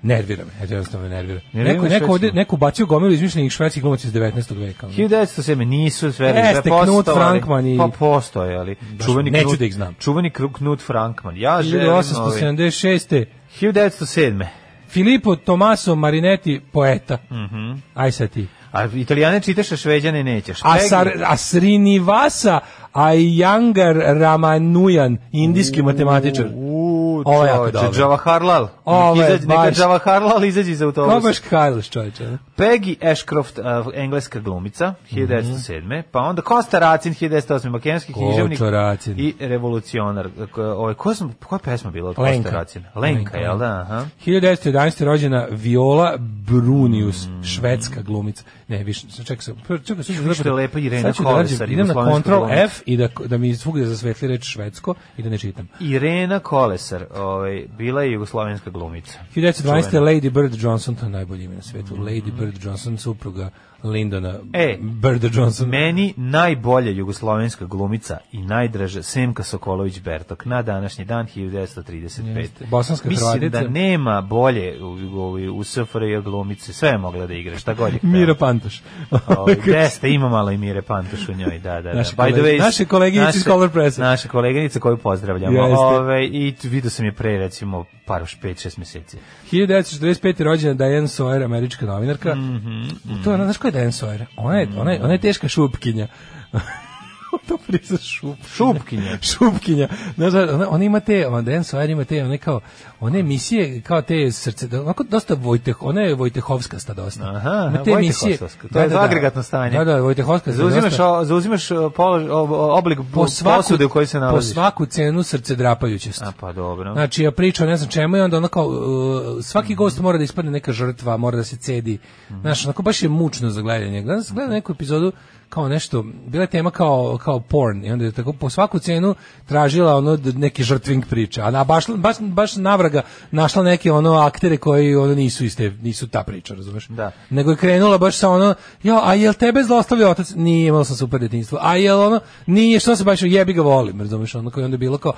G: nervira me, eto jednostavno me nervira.
F: Nervira
G: Neko,
F: me
G: neko, ovde,
F: švedski.
G: neko bacio gomilu izmišljenih švedskih glumaca iz 19. veka. ono.
F: 1907. nisu sve sve
G: Jeste, Knut
F: postojali.
G: Frankman i-
F: Pa postoje, ali čuveni
G: neću
F: Knut,
G: da ih znam.
F: Čuveni Kru- Knut Frankman. Ja želim... ovaj,
G: 1876.
F: 1907.
G: Filippo Tommaso Marinetti, poeta.
F: Mhm.
G: Aj sad ti.
F: A italijane čitaš, a šveđane nećeš.
G: A,
F: Peggy-
G: sar, a Srinivasa Ayangar Ramanujan, indijski matematičar.
F: U,
G: Ovo je jako
F: čoveče,
G: dobro.
F: Džavaharlal.
G: Ovo je
F: Neka izađe- neka
G: baš-
F: Džavaharlal izađe iz autobusa.
G: Kobaš Carlos, čovječe. a?
F: Peggy Ashcroft, uh, engleska glumica, 1907. Pa onda Kosta Racin, 1908. Makedonski
G: Kočo
F: književnik
G: Racin.
F: i revolucionar. Ko- Ovaj ko sam koja pesma bila od
G: Lenka.
F: Kosta Racina? Lenka, jel da? Aha.
G: 1911. rođena Viola Brunius, švedska glumica. Ne, više, sad čekaj sam. prvo- Čekaj, sad ću
F: Vidiš što je lepa Irena
G: Sad ću da nađem-
F: Kolesar,
G: idem na
F: jugoslovenska
G: Ctrl
F: glumica.
G: F i da, da mi svugde zasvetli reč švedsko i da ne čitam.
F: Irena Kolesar, ovaj, bila je jugoslovenska glumica.
G: 1912. Lady Bird Johnson, to je najbolje ime na svetu. Lady Bird Johnson, supruga Lindona
F: E,
G: Birda Johnson.
F: Meni najbolja jugoslovenska glumica i najdraža Semka Sokolović-Bertok na današnji dan 1935.
G: Jeste. Bosanska
F: Mislim
G: Hrvatica.
F: da nema bolje u, u, u SFRJ glumice. Sve je mogla da igra, šta god je htela.
G: Mira Pantoš.
F: Ovaj, Jeste, ima malo i Mire Pantoš u njoj, da, da, da.
G: Naše
F: By the
G: kolege-
F: way,
G: naše koleginice iz
F: naše-
G: Color Pressa.
F: Naša koleginica koju pozdravljamo.
G: Jeste.
F: Ove, I t- vidio sam je pre, recimo, par, 5-6 meseci.
G: 1945. rođena Diane Sawyer, američka novinarka.
F: Mhm,
G: To je ona, znaš ko je Diane Sawyer? Ona je, ona je, ona je teška šupkinja. to prisa šup.
F: Šupkinja.
G: Šupkinja. Znaš, ona, ona ima te, ona Diane Sawyer ima te, one kao, one emisije, kao te srce, da- onako dosta Vojteh, ona je Vojtehovska sta dosta.
F: Aha,
G: Ima
F: Vojtehovska, to je za agregatno stanje.
G: Da, da, Vojtehovska sta
F: Zauzimaš,
G: dosta.
F: o, zauzimaš o, polož, o, o, oblik po posude u kojoj se
G: po
F: nalaziš.
G: svaku cenu srce drapajućest.
F: A pa dobro.
G: Znači, ja pričam ne znam čemu i onda ono kao, uh, svaki gost mora da ispadne neka žrtva, mora da se cedi. Znaš, onako baš je mučno za gledanje. Danas gledam neku epizodu kao nešto, bila je tema kao, kao porn i onda je tako po svaku cenu tražila ono d- neki žrtving priča, a na, baš, baš, baš navraga našla neke ono aktere koji ono nisu iste, nisu ta priča, razumeš?
F: Da.
G: Nego je krenula baš sa ono, jo, a jel tebe zlostavlja otac? Nije, imao sam super detinjstvo. A jel ono, nije, što se baš, jebi ga volim, razumeš, ono koji onda je bilo kao,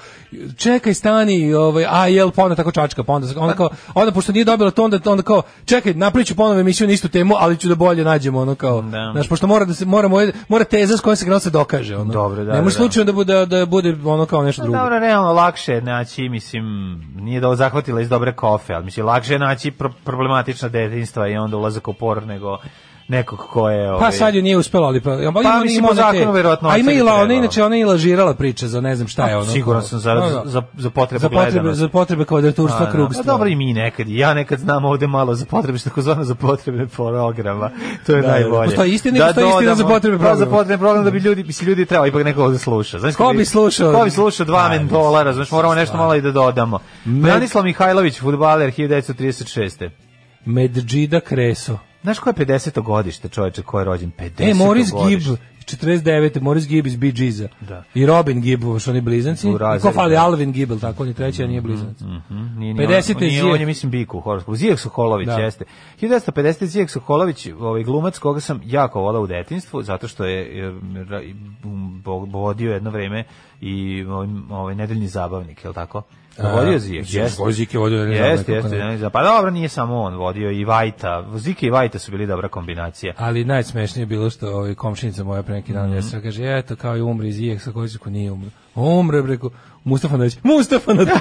G: čekaj, stani, ovaj, a jel, pa onda tako čačka, pa onda, onda kao, onda pošto nije dobila to, onda, onda kao, čekaj, napravit ću ponovo emisiju na istu temu, ali ću da bolje nađemo, ono kao,
F: Da.
G: znaš, pošto mora da se, mora, moje- mora teza s kojom se krenuo se dokaže, ono.
F: Dobro, da,
G: Nemoj
F: da, da.
G: slučajno da bude, da bude ono kao nešto drugo.
F: Pa Dobro, realno lakše je naći, mislim, nije da ovo zahvatila iz dobre kofe, ali mislim, lakše je naći pro problematična detinstva i onda ulazak u por nego nekog ko je...
G: Pa
F: ovaj,
G: sad joj nije uspelo, ali pa, pa
F: mislim, po zakonu verovatno
G: A ima
F: oceni
G: i la, ona
F: trebalo.
G: inače ona je i lažirala priče za ne znam šta je ono.
F: Pa, Siguran sam za,
G: Da, da.
F: za, za potrebe
G: za potrebe
F: gledanosti.
G: za potrebe
F: A,
G: kvadraturstva
F: da.
G: krugstva.
F: A Pa, dobro i mi nekad. i Ja nekad znam ovde malo za potrebe što takozvano za potrebe programa. To je
G: Da, da, da.
F: najbolje.
G: Postoji istina i postoji istina
F: dodamo-
G: za potrebe
F: Pa, Za
G: programa.
F: potrebe programa da bi ljudi bi se ljudi trebalo ipak nekog da sluša. Znaš
G: Ko
F: kad
G: bi slušao?
F: Ko bi slušao dva
G: Ajde,
F: mendola, razumeš, moramo nešto malo i da dodamo. Branislav Mihajlović, fudbaler 1936.
G: Medžida Kreso.
F: Znaš ko je 50. godište čoveče ko je rođen? 50.
G: E, Morris Gibb,
F: godište.
G: 49. Morris Gibb iz Bee Geesa.
F: Da.
G: I Robin Gibb, što oni blizanci.
F: U
G: I
F: razredu,
G: ko fali
F: da.
G: Alvin Gibb, jel tako, on je treći, a nije blizanac.
F: Mhm, Nije,
G: 50.
F: nije, on, nije,
G: Zijek.
F: on je, mislim, Biku u horoskopu. Zijek Sokolović,
G: Da.
F: jeste. 1950. Zijek Sokolović, ovaj glumac koga sam jako volao u detinstvu, zato što je e, ra- um, bo- vodio jedno vreme i ovaj, ovaj nedeljni zabavnik, je li tako? Vodio Zijek,
K: Zijek,
F: jeste.
K: Sokolović, Zijek je vodio Nedeljni
F: Jeste,
K: zabavnik,
F: jeste.
K: kako ne.
F: Nedeljni zabavnik. Pa dobro, nije samo on vodio, i Vajta. Zike i Vajta su bili dobra kombinacija.
G: Ali najsmešnije je bilo što ovaj komšinica moja pre neki dan
F: Mhm.
G: mm -hmm. kaže eto kao i umri iz Ijeksa koji ko nije umro. Umre preko Mustafa Nadić. Mustafa Nadić.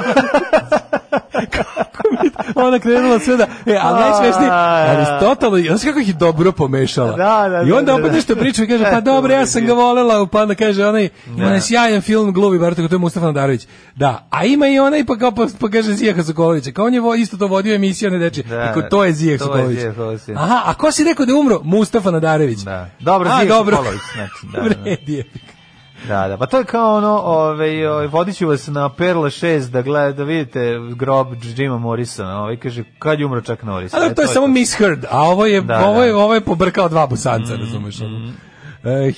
G: kako mi je- ona krenula sve da e a najsmešnije ali totalno i znači kako ih je dobro pomešala.
F: Da, da,
G: I
F: da,
G: onda
F: da,
G: opet
F: da.
G: nešto priča i kaže pa
F: Eto,
G: dobro ja sam
F: vidi.
G: ga volela pa onda kaže onaj ima
F: Da.
G: onaj sjajan film Glubi bar to je Mustafa Nadarević. Da, a ima i onaj pa kao pa, pa kaže Zijeka Sokolovića. Kao on je vo- isto to vodio emisiju ne deči.
F: Da,
G: Rekao, to je Zijek
F: to je
G: Sokolović.
F: Zijek Sokolović.
G: Aha, a ko si rekao da je umro? Mustafa Nadarević.
F: Da. Dobro,
G: A,
F: Zijek
G: dobro.
F: Sokolović, znači, da, da, da.
G: Vredi je.
F: Da, da, pa to je kao ono, ovaj, ovaj, vodit ću vas na Perla 6 da gledate, da vidite grob Jima Morrisona, ovaj, kaže, kad je umro Chuck Norris?
G: A dobro,
F: E,
G: to je samo misheard, a ovo je,
F: Da,
G: ovo je,
F: da. Mm,
G: ovo je pobrkao dva busanca, razumeš? ono. E,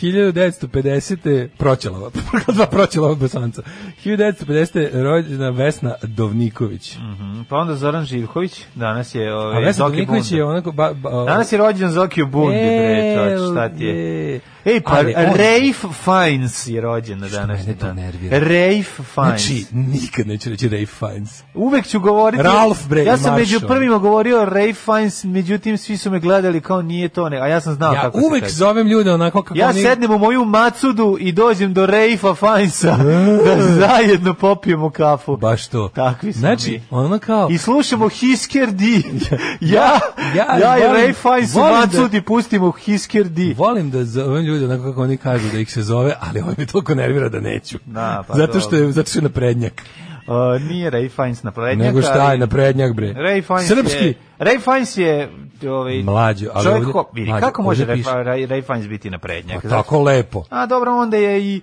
G: 1950. Proćelova, pobrkao dva proćelova busanca. 1950. rođena Vesna Dovniković.
F: Mhm, Pa onda Zoran Živković, danas je
G: A
F: ovaj,
G: Vesna
F: Zoki
G: Dovniković
F: Bunda.
G: je onako... Ba, ba,
F: Danas je rođen Zoki u Bundi, bre, čovječ, šta ti je? Ej, pa
G: Ali on-
F: Rafe Fiennes je rođen na današnji
G: mene to
F: dan.
G: nervira.
F: Rafe Fiennes.
G: Znači, nikad neću reći Ray Fiennes.
F: Uvek ću govoriti.
G: Ralph, bre,
F: Ja sam
G: Marshall.
F: među prvima govorio Ray Fiennes, međutim svi su me gledali kao nije to ne, a ja sam znao
G: Ja
F: kako se
G: uvek
F: kaže.
G: zovem ljude onako kako
F: Ja
G: oni...
F: sednem u moju macudu i dođem do Rejfa Fajnsa
G: E.
F: da zajedno popijemo kafu.
G: Baš to.
F: Takvi smo
G: znači,
F: mi.
G: ono kao...
F: I slušamo Hisker D. ja,
G: ja
F: ja, ja i
G: volim-
F: Ray Fiennes u
G: volim da-
F: macudi pustimo Hisker D.
G: Volim da zovem ljude onako kako oni kažu da ih se zove, ali ovo me toliko nervira da neću.
F: Da, pa
G: zato, što
F: dobro.
G: je, zato što je naprednjak.
F: Uh, nije Ray Fiennes na prednjaka.
G: Nego šta je
F: ali-
G: naprednjak, bre?
F: Ray Fiennes
G: Srpski.
F: je... Ray Fiennes je... Ovaj,
G: Mlađo, ali
F: čovjek
G: ovdje-
F: ko, vidi,
G: mlađo,
F: kako može
G: ovdje
F: Ray,
G: piše.
F: Ray, Ray Fiennes biti na prednjak?
G: Pa tako lepo.
F: A dobro, onda je i...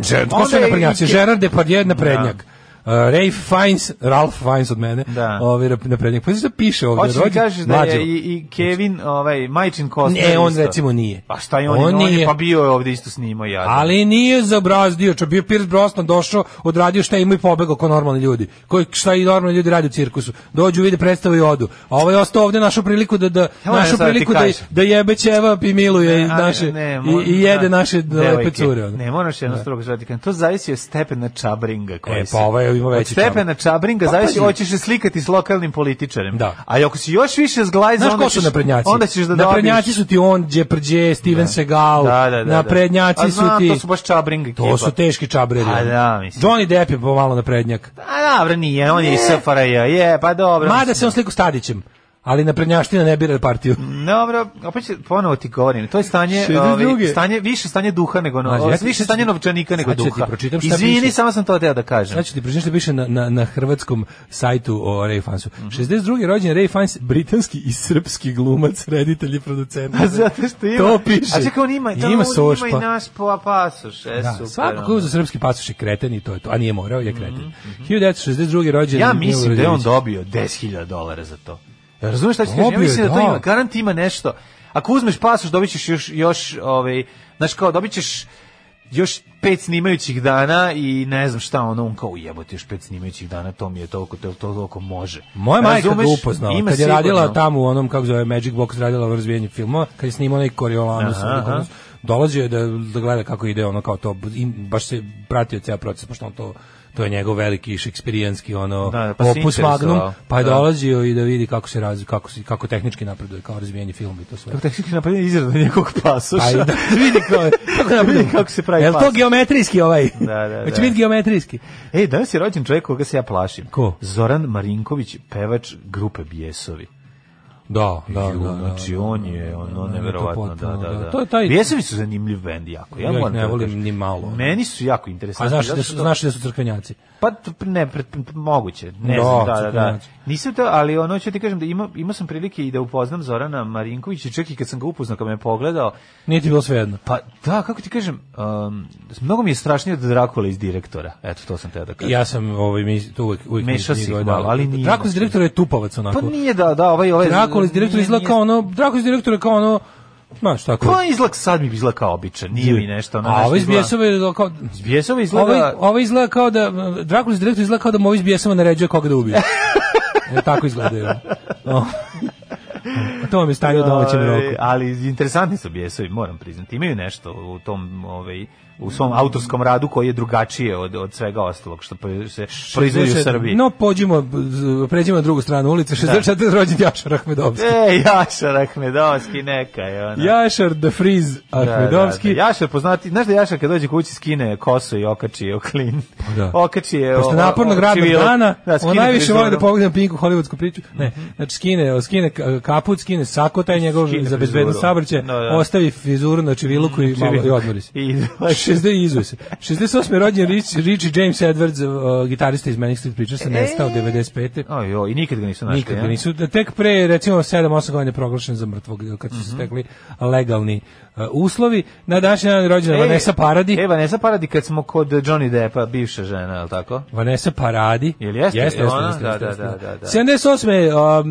G: Žer,
F: Znači,
G: ko
F: Onda
G: sve
F: je
G: naprednjaci?
F: i-
G: Gerard Depardieu naprednjak. Uh, Ray Fiennes, Ralph Fiennes od mene,
F: Da.
G: ovi naprednjak. Pa što piše ovdje?
F: Hoćeš mi
G: rođen-
F: kažeš da
G: mlađo.
F: je i, i Kevin, ovaj, Majčin Kostner
G: Ne, on
F: isto.
G: recimo nije.
F: Pa šta je on, on,
G: nije.
F: je pa bio je ovde isto snimao ja.
G: Ali nije zabrazdio, čo bio Pierce Brosnan došao, odradio šta ima i pobegao ko normalni ljudi. Koji šta i normalni ljudi rade u cirkusu. Dođu, vide predstavu i odu. A ovaj je ostao ovde našu priliku da da
F: Evo ja
G: našu
F: sad ti
G: priliku da
F: kažem.
G: da jebe ćevap i miluje i
F: a,
G: naše
F: mo-
G: i, i jede
F: da,
G: naše lepe
F: devojke.
G: cure. ono.
F: Ne, moraš jedno strogo zvati. kad- To zavisi od stepena čabringa koji
G: E,
F: si.
G: pa ovaj ima
F: Od
G: veći
F: stepena čabringa
G: Pa,
F: zavisi
G: pazi.
F: hoćeš se slikati s lokalnim političarem.
G: Da.
F: A ako si još više zglajza,
G: Znaš
F: onda
G: ko su
F: ćeš,
G: naprednjaci?
F: onda ćeš da
G: naprednjaci
F: dobiješ.
G: su ti on, Đeprđe, Steven Segal,
F: Da, da, da, da.
G: naprednjaci
F: A znam,
G: su ti...
F: to su baš čabring
G: To
F: ekipa.
G: su teški čabredi.
F: A
G: ono.
F: da, mislim.
G: Johnny Depp je pomalo naprednjak.
F: A dobro, nije, on je iz SFRJ, je, pa dobro.
G: Mada se on sliku s Tadićem, ali naprednjaština ne bira partiju.
F: Dobro, opet ću ponovo ti govorim. To je stanje,
G: 62.
F: ovaj, stanje više stanje duha nego no,
G: Mađo, ja ti-
F: više stanje novčanika nego
G: Sad ću ti
F: duha.
G: pročitam šta
F: Izvini,
G: piše.
F: samo sam to teo da kažem.
G: Sad ću ti pričati što Znači, piše na, na, na hrvatskom sajtu o Ray Fansu.
F: Mhm.
G: 62. rođen Ray Fans, britanski i srpski glumac, reditelj i producent.
F: A Pa zato što ima.
G: To piše.
F: A čekaj, on ima, tamo
G: ima
F: ima,
G: sošpa.
F: ima i naš po pasoš. E,
G: Da,
F: super.
G: svako ko
F: ono. Mhm,
G: je za srpski pasoš je kreten i to je to. A nije morao, je kreten. 1962. rođen
F: Ja
G: Milo
F: mislim da je on
G: Đorđević.
F: dobio 10.000 dolara za to. Ja razumeš šta ću kažem?
G: Dobio
F: Ja
G: je,
F: mislim da to
G: da.
F: ima. Garant ima nešto. Ako uzmeš pasoš, dobit ćeš još, još ovaj, znaš kao, dobit ćeš još pet snimajućih dana i ne znam šta ono, on kao jebote još pet snimajućih dana, to mi je toliko, to, to toliko može.
G: Moja majka ga
F: Razumeš?
G: upoznala,
F: Ima
G: kad je radila
F: sigurno.
G: tamo u onom, kako zove, Magic Box, radila u razvijenju filmova, kad je snimao onaj Coriolanus,
F: Aha,
G: onaj
F: aha.
G: Coriolanus, dolazio je da, da gleda kako ide ono kao to, i baš se pratio ceo proces, pošto on to to je njegov veliki šekspirijanski ono
F: Da, pa se
G: opus magnum,
F: interesovao.
G: pa je
F: Da.
G: dolazio i da vidi kako se razvi, kako se kako tehnički napreduje kao razvijanje filma i to sve.
F: Kako tehnički napravljena izrada njegovog pasoša.
G: Pa i da vidi kao kako
F: vidi
G: napreduje.
F: kako se pravi
G: Jel to
F: pasoš.
G: geometrijski ovaj?
F: Da, da,
G: Hoće
F: da.
G: biti geometrijski.
F: Ej, danas je rođen čovjek koga se ja plašim.
G: Ko?
F: Zoran Marinković, pevač grupe Bijesovi.
G: Da, da, da,
F: Ju,
G: da,
F: znači
G: da.
F: on je ono
G: da,
F: neverovatno da
G: to potpuno,
F: da
G: da.
F: da.
G: To je taj-
F: Bijesovi su zanimljiv bend jako. Ja,
G: Ja ih
F: moram
G: ne
F: to da
G: volim
F: kažem.
G: ni malo.
F: Meni su jako interesantni.
G: A znaš da
F: zato
G: su
F: što-
G: znaš da su crkvenjaci.
F: pa t- ne pre- p- p- moguće. Ne
G: Da,
F: znam, da, da, da.
G: crkvenjaci.
F: Nisam to, ali ono ću ti kažem da ima imao sam prilike i da upoznam Zorana Marinkovića, i čak i kad sam ga upoznao, kad me je pogledao,
G: Nije ti bilo svejedno.
F: pa da, kako ti kažem, um, mnogo mi je strašnije od Drakula iz direktora. Eto, to sam teo da kažem.
G: Ja sam ovaj mi to uvek uvek
F: Meša
G: mi-
F: si ih
G: mi-
F: malo, ali nije
G: Drakula iz
F: baš.
G: direktora je tupavac onako.
F: Pa nije da, da, ovaj, ovaj
G: Drakula
I: Drakulis direktor
F: nije-
I: izgleda kao ono, Drakulis direktor je kao ono, ma šta kao.
F: Pa izlak sad mi izlak kao običan, nije mi nešto. Ono,
G: A
F: nešto
G: ovo iz
F: izgleda-
G: Bjesova je kao...
F: Iz Bjesova izgleda...
G: Ovo, ovo izgleda kao da... Drakulis direktor izgleda kao da mu ovo iz Bjesova naređuje koga da ubije. e, tako izgleda. O. To vam je stanje u domaćem
F: Ovaj,
G: roku.
F: Ali interesantni su bjesovi, moram priznati. Imaju nešto u tom ovaj u svom autorskom radu koji je drugačije od od svega ostalog što pre- se proizvodi u Srbiji.
G: No, pođimo, z- pređimo na drugu stranu ulice, 64. rođen Jašar Ahmedovski.
F: E, Jašar Ahmedovski, neka je ona.
G: Jašar the Freeze
F: Da, da,
G: Ahmedovski.
F: da. Jašar poznati, znaš da Jašar kad dođe kući skine kosu i okači je o klin.
G: Pa da.
F: Okači je
G: Posle
F: o-
G: napornog
F: o- o
G: radnog
F: čivilak.
G: dana,
F: Da,
G: on
F: skine ono.
G: najviše voli da
F: frizerom.
G: pogleda pinku hollywoodsku priču. Ne, znači skine, skine ka- kaput, skine sako taj njegov
F: Skine
G: za bezbedno
F: frizuru.
G: sabrće,
F: Da, da.
G: ostavi frizuru na čiviluku i malo i odmori se.
F: I
G: 60 i izuje se. 68. rođen Rich, Richie James Edwards, uh, gitarista iz Manic Street Preachers, nestao 95.
F: Aj, jo, i nikad ga nisu našli.
G: Nikad
F: ja?
G: ga nisu. Tek pre, recimo, 7-8 godina je proglašen za mrtvog, kad
F: Mhm.
G: su se stekli legalni uh, uslovi. Na današnji dan je rođena
F: E,
G: Vanessa Paradis.
F: E, Vanessa Paradis kad smo kod Johnny Deppa, bivša žena, je li tako?
G: Vanessa Paradi.
F: Jel jeste?
G: Jeste,
F: Jel
G: jeste,
F: ona?
G: jeste,
F: Da,
G: jeste,
F: da,
G: jeste,
F: da, da, da.
G: 78.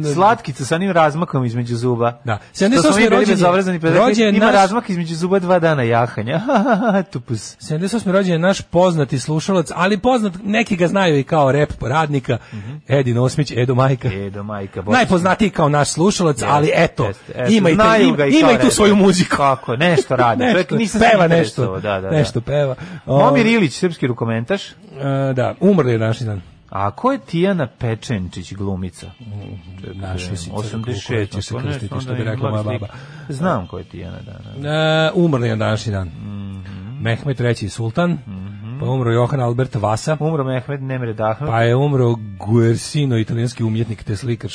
G: Um,
F: Slatkica sa onim razmakom između zuba.
G: Da.
F: Što smo mi
G: 78
F: bili
G: rođen je-
F: bezobrazani, pa rekli,
G: rođen je
F: ima
G: naš-
F: razmak između zuba dva dana jahanja. Tupus.
G: 78. rođen je naš poznati slušalac, ali poznat, neki ga znaju i kao rep radnika,
F: Mhm.
G: Edin Osmić, Edo Majka.
F: Edo, majka. Božić.
G: Najpoznatiji kao naš slušalac, ali eto,
F: E, Jeste, eto,
G: ima, i te,
F: znaju
G: ima,
F: ga i kao
G: ima i tu
F: redatelj.
G: svoju muziku.
F: Kako, nešto radi. Čovjek,
G: Nešto,
F: nisam se
G: peva
F: interesovao,
G: nešto,
F: Da, da, da.
G: nešto Ovaj- peva. O,
F: Momir Ilić, srpski rukomentaš.
G: e, da, umrli je naši dan.
F: A ko je Tijana Pečenčić glumica?
G: Našao Mm, si crkvu u
F: 86.
G: kojoj će se
F: pa nešto,
G: krstiti, što
F: onda
G: bi
F: ima
G: rekla moja
F: slika.
G: baba.
F: Znam ko je Tijana, da, da.
G: E, umrli je na današnji dan.
F: Mhm.
G: Mehmed III. Sultan, pa umro Johan Albert Vasa,
F: Umro Mehmed Nemre Dahmed.
G: pa je umro Guersino, italijanski umjetnik te slikar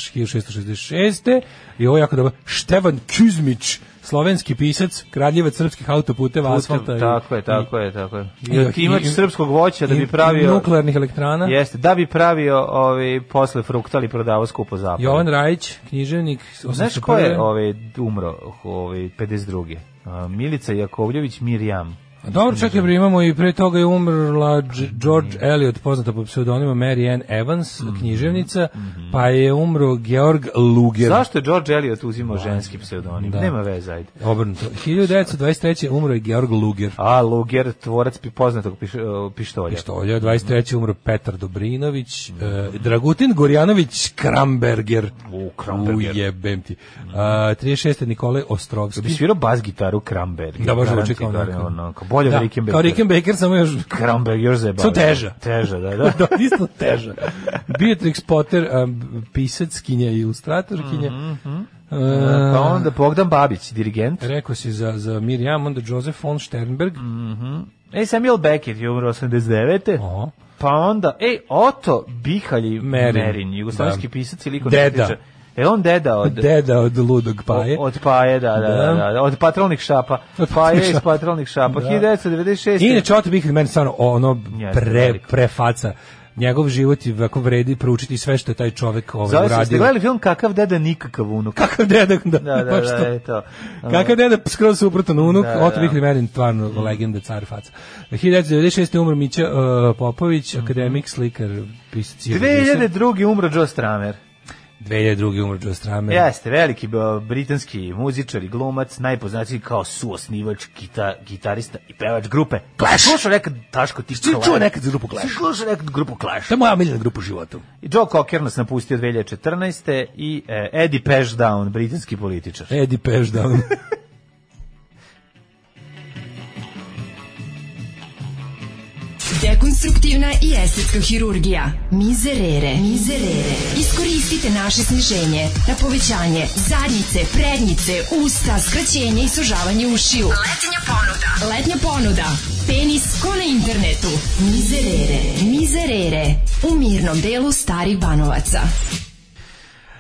G: 1666. I ovo je jako dobro, Števan Kuzmić, slovenski pisac, kradljivac srpskih autoputeva, asfalta. Pa, i-
F: Tako je, tako je, tako je. I otimač
G: i-
F: srpskog voća da
G: i-
F: bi
G: i
F: pravio...
G: Nuklearnih elektrana.
F: Jeste, da bi pravio ovaj, posle fruktali prodavao skupo zapad.
G: Jovan Rajić, književnik.
F: Znaš ko je
G: 81..
F: ovaj, umro, ovaj, 52. A, Milica Jakovljević Mirjam.
G: A Dobro, čekaj, bre, imamo i pre toga je umrla Dž- George Eliot, poznata po pseudonima Mary Ann Evans,
F: Mhm,
G: književnica, pa je umro Georg Luger.
F: Zašto je George Eliot uzimao ženski pseudonim?
G: Da.
F: Nema veze, ajde.
G: Obrnuto. 1923. umro je Georg Luger.
F: A, Luger, tvorac pi- poznatog piš, pištolja.
G: Pištolja, 23. umro Petar Dobrinović, eh, Dragutin Gorjanović Kramberger.
F: U, Kramberger.
G: Ujebem ti. A, 36. Nikolaj Ostrovski.
F: Bi svirao bas gitaru Kramberg.
G: Da, baš zvuči kao onako.
F: onako. Bolje
G: Da,
F: od Rickenbacker.
G: Kao Rickenbacker, samo još
F: Kramberg, još zajebavio.
G: Samo teža.
F: Teža, da, da.
G: da, isto teža. Beatrix Potter, um, pisac kinja i ilustratorkinja.
F: Mhm.
G: E,
F: Pa onda Bogdan Babić, dirigent.
G: Rekao si za, za Mirjam, onda Joseph von Sternberg.
F: Mhm. E, Samuel Beckett je umro 89.
G: Oho.
F: Pa onda, e, Oto Bihalji Merin,
G: Merin.
F: jugoslavski
G: Da.
F: pisac i likovni
G: Deda.
F: kritičar. E, on deda od...
G: Deda od ludog paje.
F: o- Od paje, da, da, da, da, od patrolnih šapa. Paje
G: Od patrolnih
F: iz
G: šapa.
F: patrolnih šapa.
G: Da.
F: 1996.
G: Inače, Otto Bihar meni stvarno ono
F: Jeste,
G: pre,
F: veliko.
G: prefaca. Njegov život je ovako vredi proučiti sve što je taj čovek ovaj,
F: Zove se, ste
G: uradio.
F: gledali film Kakav deda nikakav unuk.
G: Kakav deda, da,
F: Da, da,
G: baš
F: da,
G: to.
F: eto.
G: Kakav deda, skroz suprotan unuk,
F: Da,
G: da, Otto
F: da.
G: Bihar meni stvarno legenda, car faca. 1996. umro Mića uh, Popović,
F: Mhm.
G: akademik, slikar, pisac. civilizam.
F: 2002. umro Joe Stramer.
G: 2002. umro Joe Stramer.
F: Jeste, veliki b- britanski muzičar i glumac, najpoznatiji kao suosnivač, kita, gitarista i pevač grupe Clash. Slušao nekad Taško ti Clash.
G: čuo nekad za grupu Clash?
F: Slušao nekad grupu Clash.
G: To je moja miljena grupa u životu.
F: I Joe Cocker nas napustio 2014. i e, Eddie Pashdown, britanski političar.
G: Eddie Pashdown.
H: Dekonstruktivna i estetska hirurgija. Mizerere. Mizerere. Iskoristite naše sniženje na povećanje zadnjice, prednjice, usta, skraćenje i sužavanje ušiju. Letnja ponuda. Letnja ponuda. Penis ko na internetu. Mizerere. Mizerere. U mirnom delu starih banovaca.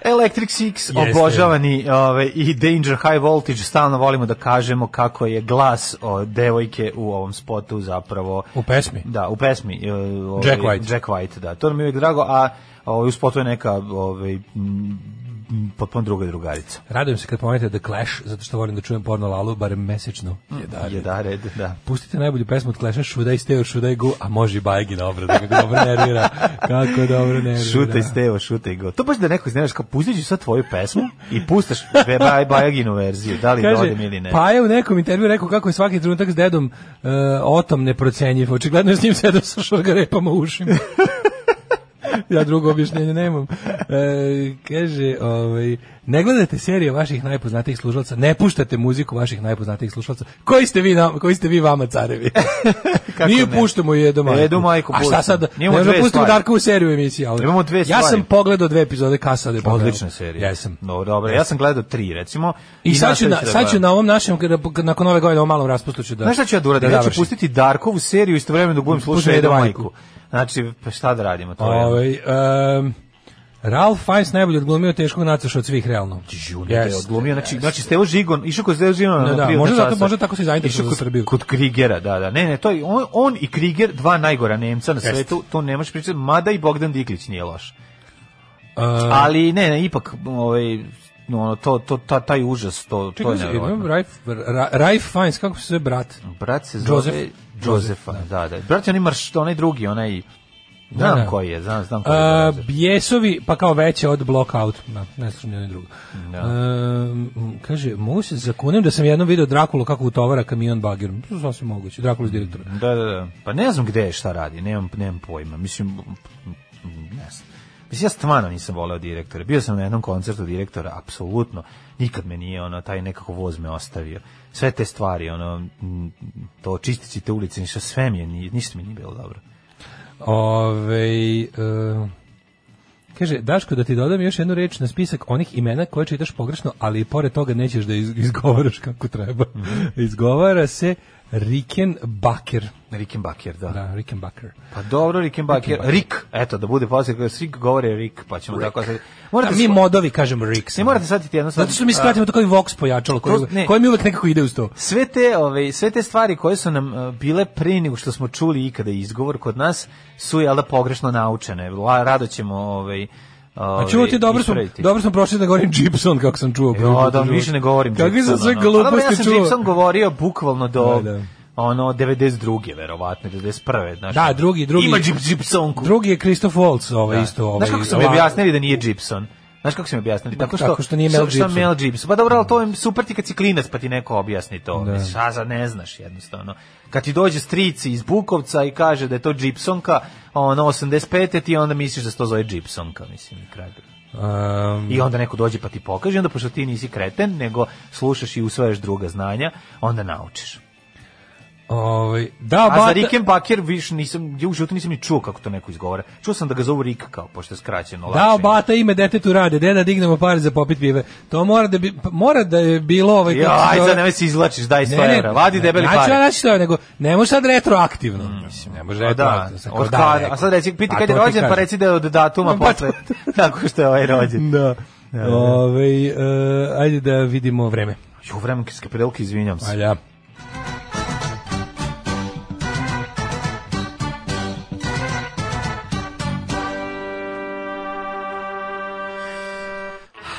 F: Electric Six, obožavani ove, i Danger High Voltage, stalno volimo da kažemo kako je glas o, devojke u ovom spotu zapravo...
G: U pesmi.
F: Da, u pesmi. e, ovaj,
G: Jack White.
F: Jack White, da. To nam je uvijek drago, a ovaj, u spotu je neka ovaj, m, potpuno druga drugarica.
G: Radujem se kad pomenete The Clash, zato što volim da čujem porno lalu, barem mesečno.
F: Mm.
G: Jedare.
F: da, red, da.
G: Pustite najbolju pesmu od Clash-a, Should I Stay or Should I Go, a može i Bajgi na obradu, kako dobro nervira. Kako dobro nervira.
F: Šutaj Stevo, šutaj go. To baš da neko izneneš, kao pustit ću sad tvoju pesmu i pustaš ve- baj, Bajaginu verziju, da li dođem ili ne.
G: pa je u nekom intervju rekao kako je svaki trenutak s dedom e, otom neprocenjiv. Očigledno je s njim sedao sa šargarepama u ušima. ja drugo objašnjenje nemam. E, kaže, ovaj, ne gledate serije vaših najpoznatijih slušalaca, ne puštate muziku vaših najpoznatijih slušalaca. Koji ste vi, nam, koji ste vi vama carevi? Nije
F: ne?
G: puštamo Edo Majku.
F: Edo Majku
G: A šta
F: puštamo.
G: sad? Ne
F: Imamo
G: možemo
F: dve
G: pustimo
F: stvari.
G: Darka u seriju emisije. Ali
F: Imamo dve
G: Ja sam
F: stvari.
G: pogledao dve epizode Kasade.
F: Odlična serija.
G: Jesam.
F: No, dobro, ja sam gledao tri, recimo.
G: I, sad, ću
F: nastavit da
G: na, sad ću
F: gledam.
G: na ovom našem, kada- nakon ove godine, ovom malom raspustu ću da
F: Znaš šta ću ja da uradim?
G: da
F: ja ću
G: završim.
F: pustiti Darkovu seriju istovremeno dok budem slušao
G: Puštaj
F: Edo
G: Edo
F: Majku.
G: Majku.
F: Znači, pa šta da radimo? To je... ono,
G: Ovaj um, Ralph Fiennes najbolje odglumio teškog nacaša od svih realno.
F: Juni yes, odglumio, znači, znači Stevo Žigon, išao kod Stevo Žigon
G: Da,
F: na
G: da,
F: privatna
G: možda zato-
F: časa.
G: možda tako se i zainteresovao
F: Išao
G: za
F: kod-
G: Srbiju.
F: Kod Krigera, da, da. Ne, ne, to je, on, on i Kriger, dva najgora Nemca na svetu, to ne možeš pričati, mada i Bogdan Diklić nije loš. Ali ne, ne, ipak, ovaj, no, ono, to, to, ta, taj užas, to, to
G: Čekaj,
F: je
G: znači,
F: nevjerovatno.
G: Ralph, Ra- Ralph Fiennes, kako se zove brat?
F: Brat se zove...
G: Joseph.
F: Josef. Josefa, da, da. Brat je onaj marš, onaj drugi, onaj... Znam
G: da.
F: koji je, znam, znam koji je.
G: Uh,
F: Josef.
G: bjesovi, pa kao veće od Blockout. Da, ne slušam ni jedno ni drugo. Um, kaže, mogu se zakunem da sam jednom video Drakulu kako utovara kamion bagerom. To je sasvim moguće. Drakulu iz direktora.
F: Da, da, da. Pa ne znam gde je šta radi, nemam, nemam pojma. Mislim, ne znam. Mislim, ja stvarno nisam voleo direktora. Bio sam na jednom koncertu direktora, apsolutno. Nikad me nije, ono, taj nekako voz me ostavio. Sve te stvari, ono, m, to čistići te ulice, ništa, sve mi je, ni- ništa mi nije bilo dobro.
G: Ove, e, kaže, Daško, da ti dodam još jednu reč na spisak onih imena koje čitaš pogrešno, ali i pored toga nećeš da iz- izgovaraš kako treba. Izgovara se Rickenbacker.
F: Rickenbacker, da.
G: Da, Rickenbacker.
F: Pa dobro, Rickenbacker. Rick, eto, da bude poslije, kada Rick govore Rick, pa ćemo tako... sad- Morate,
G: Da, mi
F: shva-
G: modovi kažemo Rick.
F: ne morate satiti jedno... sad-
G: Zato što mi skratimo to kao i Vox pojačalo, koje,
F: To- ne.
G: koje mi uvek nekako ide uz to.
F: sve te, ove, sve te stvari koje su nam e, bile pre nego što smo čuli ikada izgovor kod nas su jel da pogrešno naučene. La, rado ćemo ovaj
G: A čuo ti, dobro smo, dobro smo prošli da govorim Gibson, kako sam čuo. prvi put u
F: da,
G: životu.
F: E, više ne govorim.
G: Kakvi sam
F: Gibsona,
G: sve
F: no. A dobro,
G: gluposti
F: Ja sam
G: čuo.
F: Gibson govorio bukvalno do
G: Da, da.
F: ono 92. verovatno, 91. Znaš,
G: Da, drugi, drugi.
F: Ima Gib- Gibsonku.
G: Drugi je Christoph Waltz, ovaj isto. Ovaj,
F: Znaš kako su mi
G: ovaj-
F: objasnili da nije Gibson? Znaš kako su mi objasnili? Tako što,
G: Tako što nije Mel
F: što- što
G: Gibson.
F: Mel Gibson. Pa dobro, ali to je super ti kad si klinac pa ti neko objasni to. Da. Šta za ne znaš jednostavno. Kad ti dođe strici iz Bukovca i kaže da je to Gibsonka, ono 85. ti onda misliš da se to zove Gibsonka, mislim, i kraj.
G: Um,
F: I onda neko dođe pa ti pokaže, onda pošto ti nisi kreten, nego slušaš i usvajaš druga znanja, onda naučiš.
G: Ovaj da
F: A za
G: bata,
F: Rickenbacker više nisam, ja u životu nisam ni čuo kako to neko izgovara. Čuo sam da ga zovu Rick kao, pošto je skraćeno.
G: da
F: lakše.
G: bata ime detetu rade, deda dignemo pare za popit pive. To mora da bi pa mora da je bilo ovaj
F: Ja,
G: kako se
F: aj
G: zove-
F: sad nemoj se izlačiš, daj
G: Ne,
F: 100
G: ne,
F: evra, vadi
G: ne,
F: debeli
G: znači, ja
F: pare.
G: znači to, nego ne može sad retroaktivno. Mislim, ne može
F: Pa Da,
G: retroaktivno. sad kao
F: od
G: da,
F: kada,
G: rekao.
F: a sad reci, piti
G: Pa
F: kad je
G: to ti
F: rođen, pa
G: kažem.
F: reci da je od datuma
G: Pa
F: posle, tako što je ovaj rođen.
G: Da. Ovaj e, ajde da vidimo vreme.
F: Ju, vremenske prilike, izvinjam se.
G: Alja.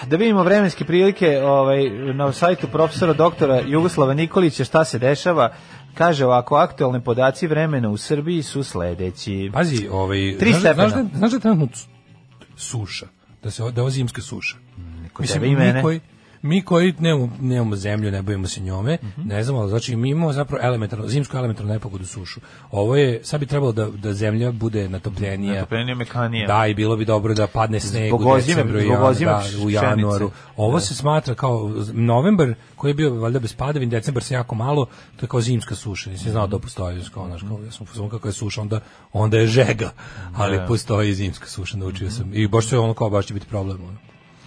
F: Da vidimo vremenske prilike ovaj, na sajtu profesora doktora Jugoslava Nikolića, šta se dešava. Kaže ovako, aktualne podaci vremena u Srbiji su sledeći.
G: Pazi, ovaj
F: Tri
G: znaš, da-
F: stepena.
G: znaš, da, znaš da je trenutno c- suša, da se da je ovo zimska suša.
F: Kod tebe i mene.
G: Mi koji, mi koji nemamo, nemamo zemlju, ne bojimo se njome,
F: Mhm.
G: ne znamo, ali znači mi imamo zapravo elementarno, zimsku elementarnu nepogodu sušu. Ovo je, sad bi trebalo da, da zemlja bude natopljenija.
F: Natopljenija, mekanija.
G: Da, i bilo bi dobro da padne sneg
F: Zbog
G: u
F: ozime-
G: decembru i
F: zbog
G: januaru,
F: ozime
G: da, u januaru.
F: pšenice.
G: Ovo se smatra kao z- novembar koji je bio valjda bez padavin, decembar se jako malo, to je kao zimska suša. Nisam znao da postoji kao,
F: Mhm.
G: znaš, kao, ja sam u fazonu kako je suša, onda, onda je žega. Ali postoji zimska suša, naučio
F: Mhm.
G: sam. I baš se ono kao baš će biti problem. Ono.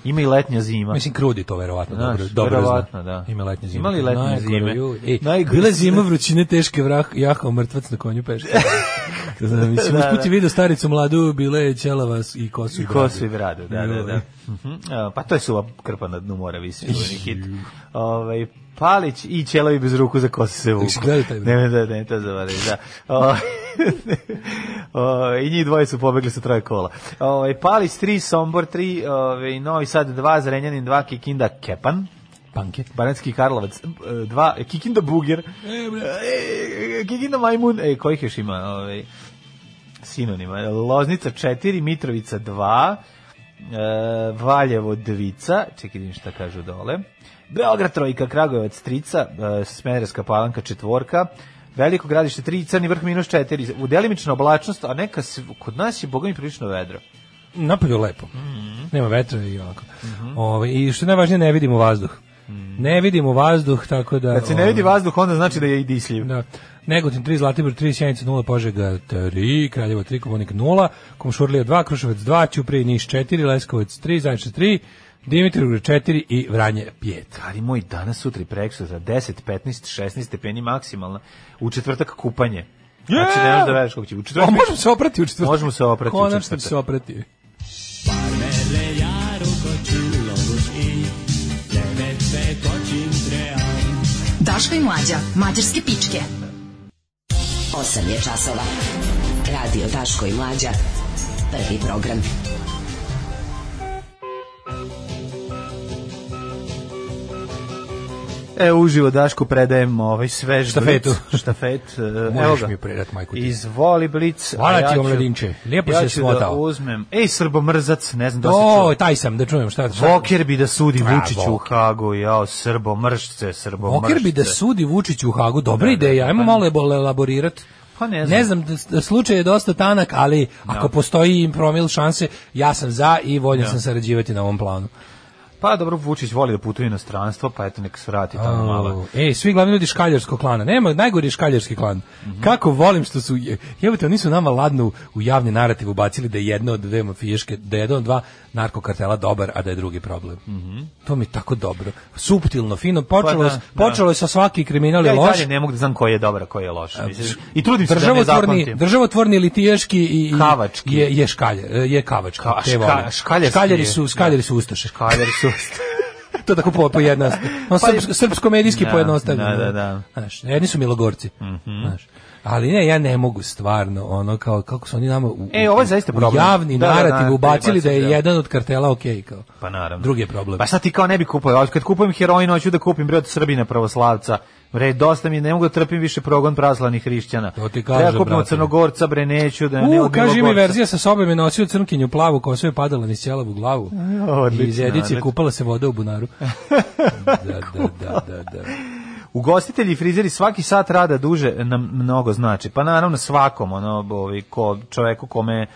F: Ima i letnja zima.
G: Mislim krudi to verovatno
F: Pa. Znaš,
G: dobro, dobro
F: verovatno,
G: zna.
F: da.
G: Ima letnje zime.
F: Ima li letnje
G: Najgore,
F: zime?
G: ju, ej,
F: Najgore
G: bila je
F: zime.
G: zima vrućine teške vrah, jahao mrtvac na konju peš. Znam, mislim, da, usput je video staricu mladu, bila je ćelava s- i kosu.
F: I
G: bradu.
F: kosu i bradu, da, da, da. Mhm. A, Pa to je suva krpa na dnu mora, visi čuveni hit. Ovaj, Palić i Ćelovi bez ruku za kosu se vuku.
G: Jesi gledao taj, bre?
F: Ne, ne, ne, to zavaraju, da. O, O, I njih dvoje su pobegli sa troje kola. O, Palić 3, Sombor 3, ove, Novi Sad 2, Zrenjanin 2, Kikinda Kepan. Panke. Baranski Karlovac 2, Kikinda Buger, e, Kikinda Majmun, e, kojih još ima? Ove, sinonima. Loznica 4, Mitrovica 2, e, Valjevo Dvica, čekaj da vidim šta kažu dole, Beograd Trojka, Kragujevac Trica, e, Smederska Palanka Četvorka, Veliko gradište 3, Crni vrh minus 4, u delimična oblačnost, a neka se, kod nas je bogami prilično vedro.
G: Napolju je lepo.
F: Mhm.
G: Nema vetra i ovako. Ovaj, I što je najvažnije, ne vidimo vazduh. Ne vidimo vazduh, tako da...
F: Kad se Mhm. ne
G: ovaj,
F: vidi vazduh, onda znači da je i disljiv.
G: Da. Negotin 3, Zlatibor 3, Sjenica 0, Požega 3, Kraljevo 3, Komunik 0, Komšurlija 2, Kruševac 2, Ćuprije Niš 4, Leskovac 3, Zajče 3, Dimitrovgrad 4 i Vranje 5.
F: Ali moj danas, sutra i preksu za 10, 15, 16 stepeni maksimalna. U četvrtak kupanje. Znači, ne možeš da veriš kako će. U
G: A
F: četvrtak
G: možemo se oprati u četvrtak.
F: Možemo se oprati u
G: Konačno
F: četvrtak.
G: se oprati.
H: Daško i Mlađa, mađarske pičke.
L: 8 je časova. Radio Daško i Mlađa. Prvi program.
F: E, uživo Dašku predajem ovaj svež
G: Štafetu.
F: Blic, štafet. e, Evo
G: Možeš
F: ga.
G: mi predat, majku ti.
F: Izvoli Blic. a
G: Hvala
F: ja
G: ti,
F: ću-
G: omladinče. Lijepo
F: ja
G: si
F: ću
G: se
F: Da
G: smotao.
F: uzmem. Ej, srbomrzac, ne znam da se
G: O,
F: čuo.
G: taj sam, da čujem šta. šta-
F: Voker bi da sudi
G: A,
F: Vučiću u
G: Voker.
F: Hagu, jao, srbomržce, srbomržce.
G: Voker bi da sudi Vučiću u Hagu. Dobra
F: Da, da,
G: ideja,
F: da,
G: ajmo
F: pa-
G: malo ebo- elaborirati.
F: Pa ne znam.
G: Ne znam, da, da slučaj je dosta tanak, ali ako postoji im promil šanse, ja sam za i voljen sam sarađivati na ovom planu.
F: Pa dobro, Vučić voli da putuje u inostranstvo, pa eto nek se vrati tamo malo.
G: Ej, svi glavni ljudi škaljarskog klana. Nema, najgori je škaljarski klan.
F: Mhm.
G: Kako volim što su, je- jebote, oni su nama ladno u, u javni narativ ubacili da je jedna od dve mafijaške, da je jedan od dva narkokartela dobar, a da je drugi problem. To mi je tako dobro. Suptilno, fino. Počelo,
F: Mhm. Pa da,
G: je s-
F: da.
G: počelo je sa svaki kriminal je
F: Ja i
G: loš.
F: dalje ne mogu da znam koji je dobar, a koji je loš. Mislim, I trudim se da ne
G: Državotvorni,
F: zapamtim.
G: državotvorni litijaški i, i
F: Kavački.
G: je je škalje, je kavački.
F: Ka-
G: te
F: ška-
G: volim.
F: škaljarski
G: škaljari
F: je,
G: su
F: da.
G: škaljari su ustaše.
F: Kaljer su...
G: to tako po pojednostavljeno. On
F: Pa je-
G: srpsko, srpsko medijski
F: Da,
G: pojednostavljeno.
F: da, da, da. Mhm.
G: Znaš, jedni su milogorci. Znaš. Ali ne, ja ne mogu stvarno, ono kao kako su oni nama u, u-
F: E, ovo je zaista
G: u
F: problem.
G: javni
F: Da, da, da,
G: narativ
F: da,
G: ubacili da je
F: da.
G: jedan od kartela okej kao.
F: Pa naravno.
G: Drugi je problem.
F: Pa sad ti kao ne bi kupao, ali kad kupujem heroin, hoću da kupim bre od Srbina pravoslavca. Bre, dosta mi, ne mogu da trpim više progon pravoslavnih hrišćana.
G: To ti kažem,
F: Treba kupim od
G: brate.
F: Crnogorca, bre, neću da ne
G: U,
F: od
G: kaže mi
F: Milogorca.
G: verzija sa sobom je nosio crnkinju plavu, kosa je padala niz ćelavu glavu.
F: E, odlično,
G: I iz edicije
F: odlično.
G: kupala se voda u bunaru. da, da, da, da, da.
F: Ugostitelji i frizeri svaki sat rada duže nam mnogo znači. Pa naravno svakom, ono, ovi, ko, čoveku kome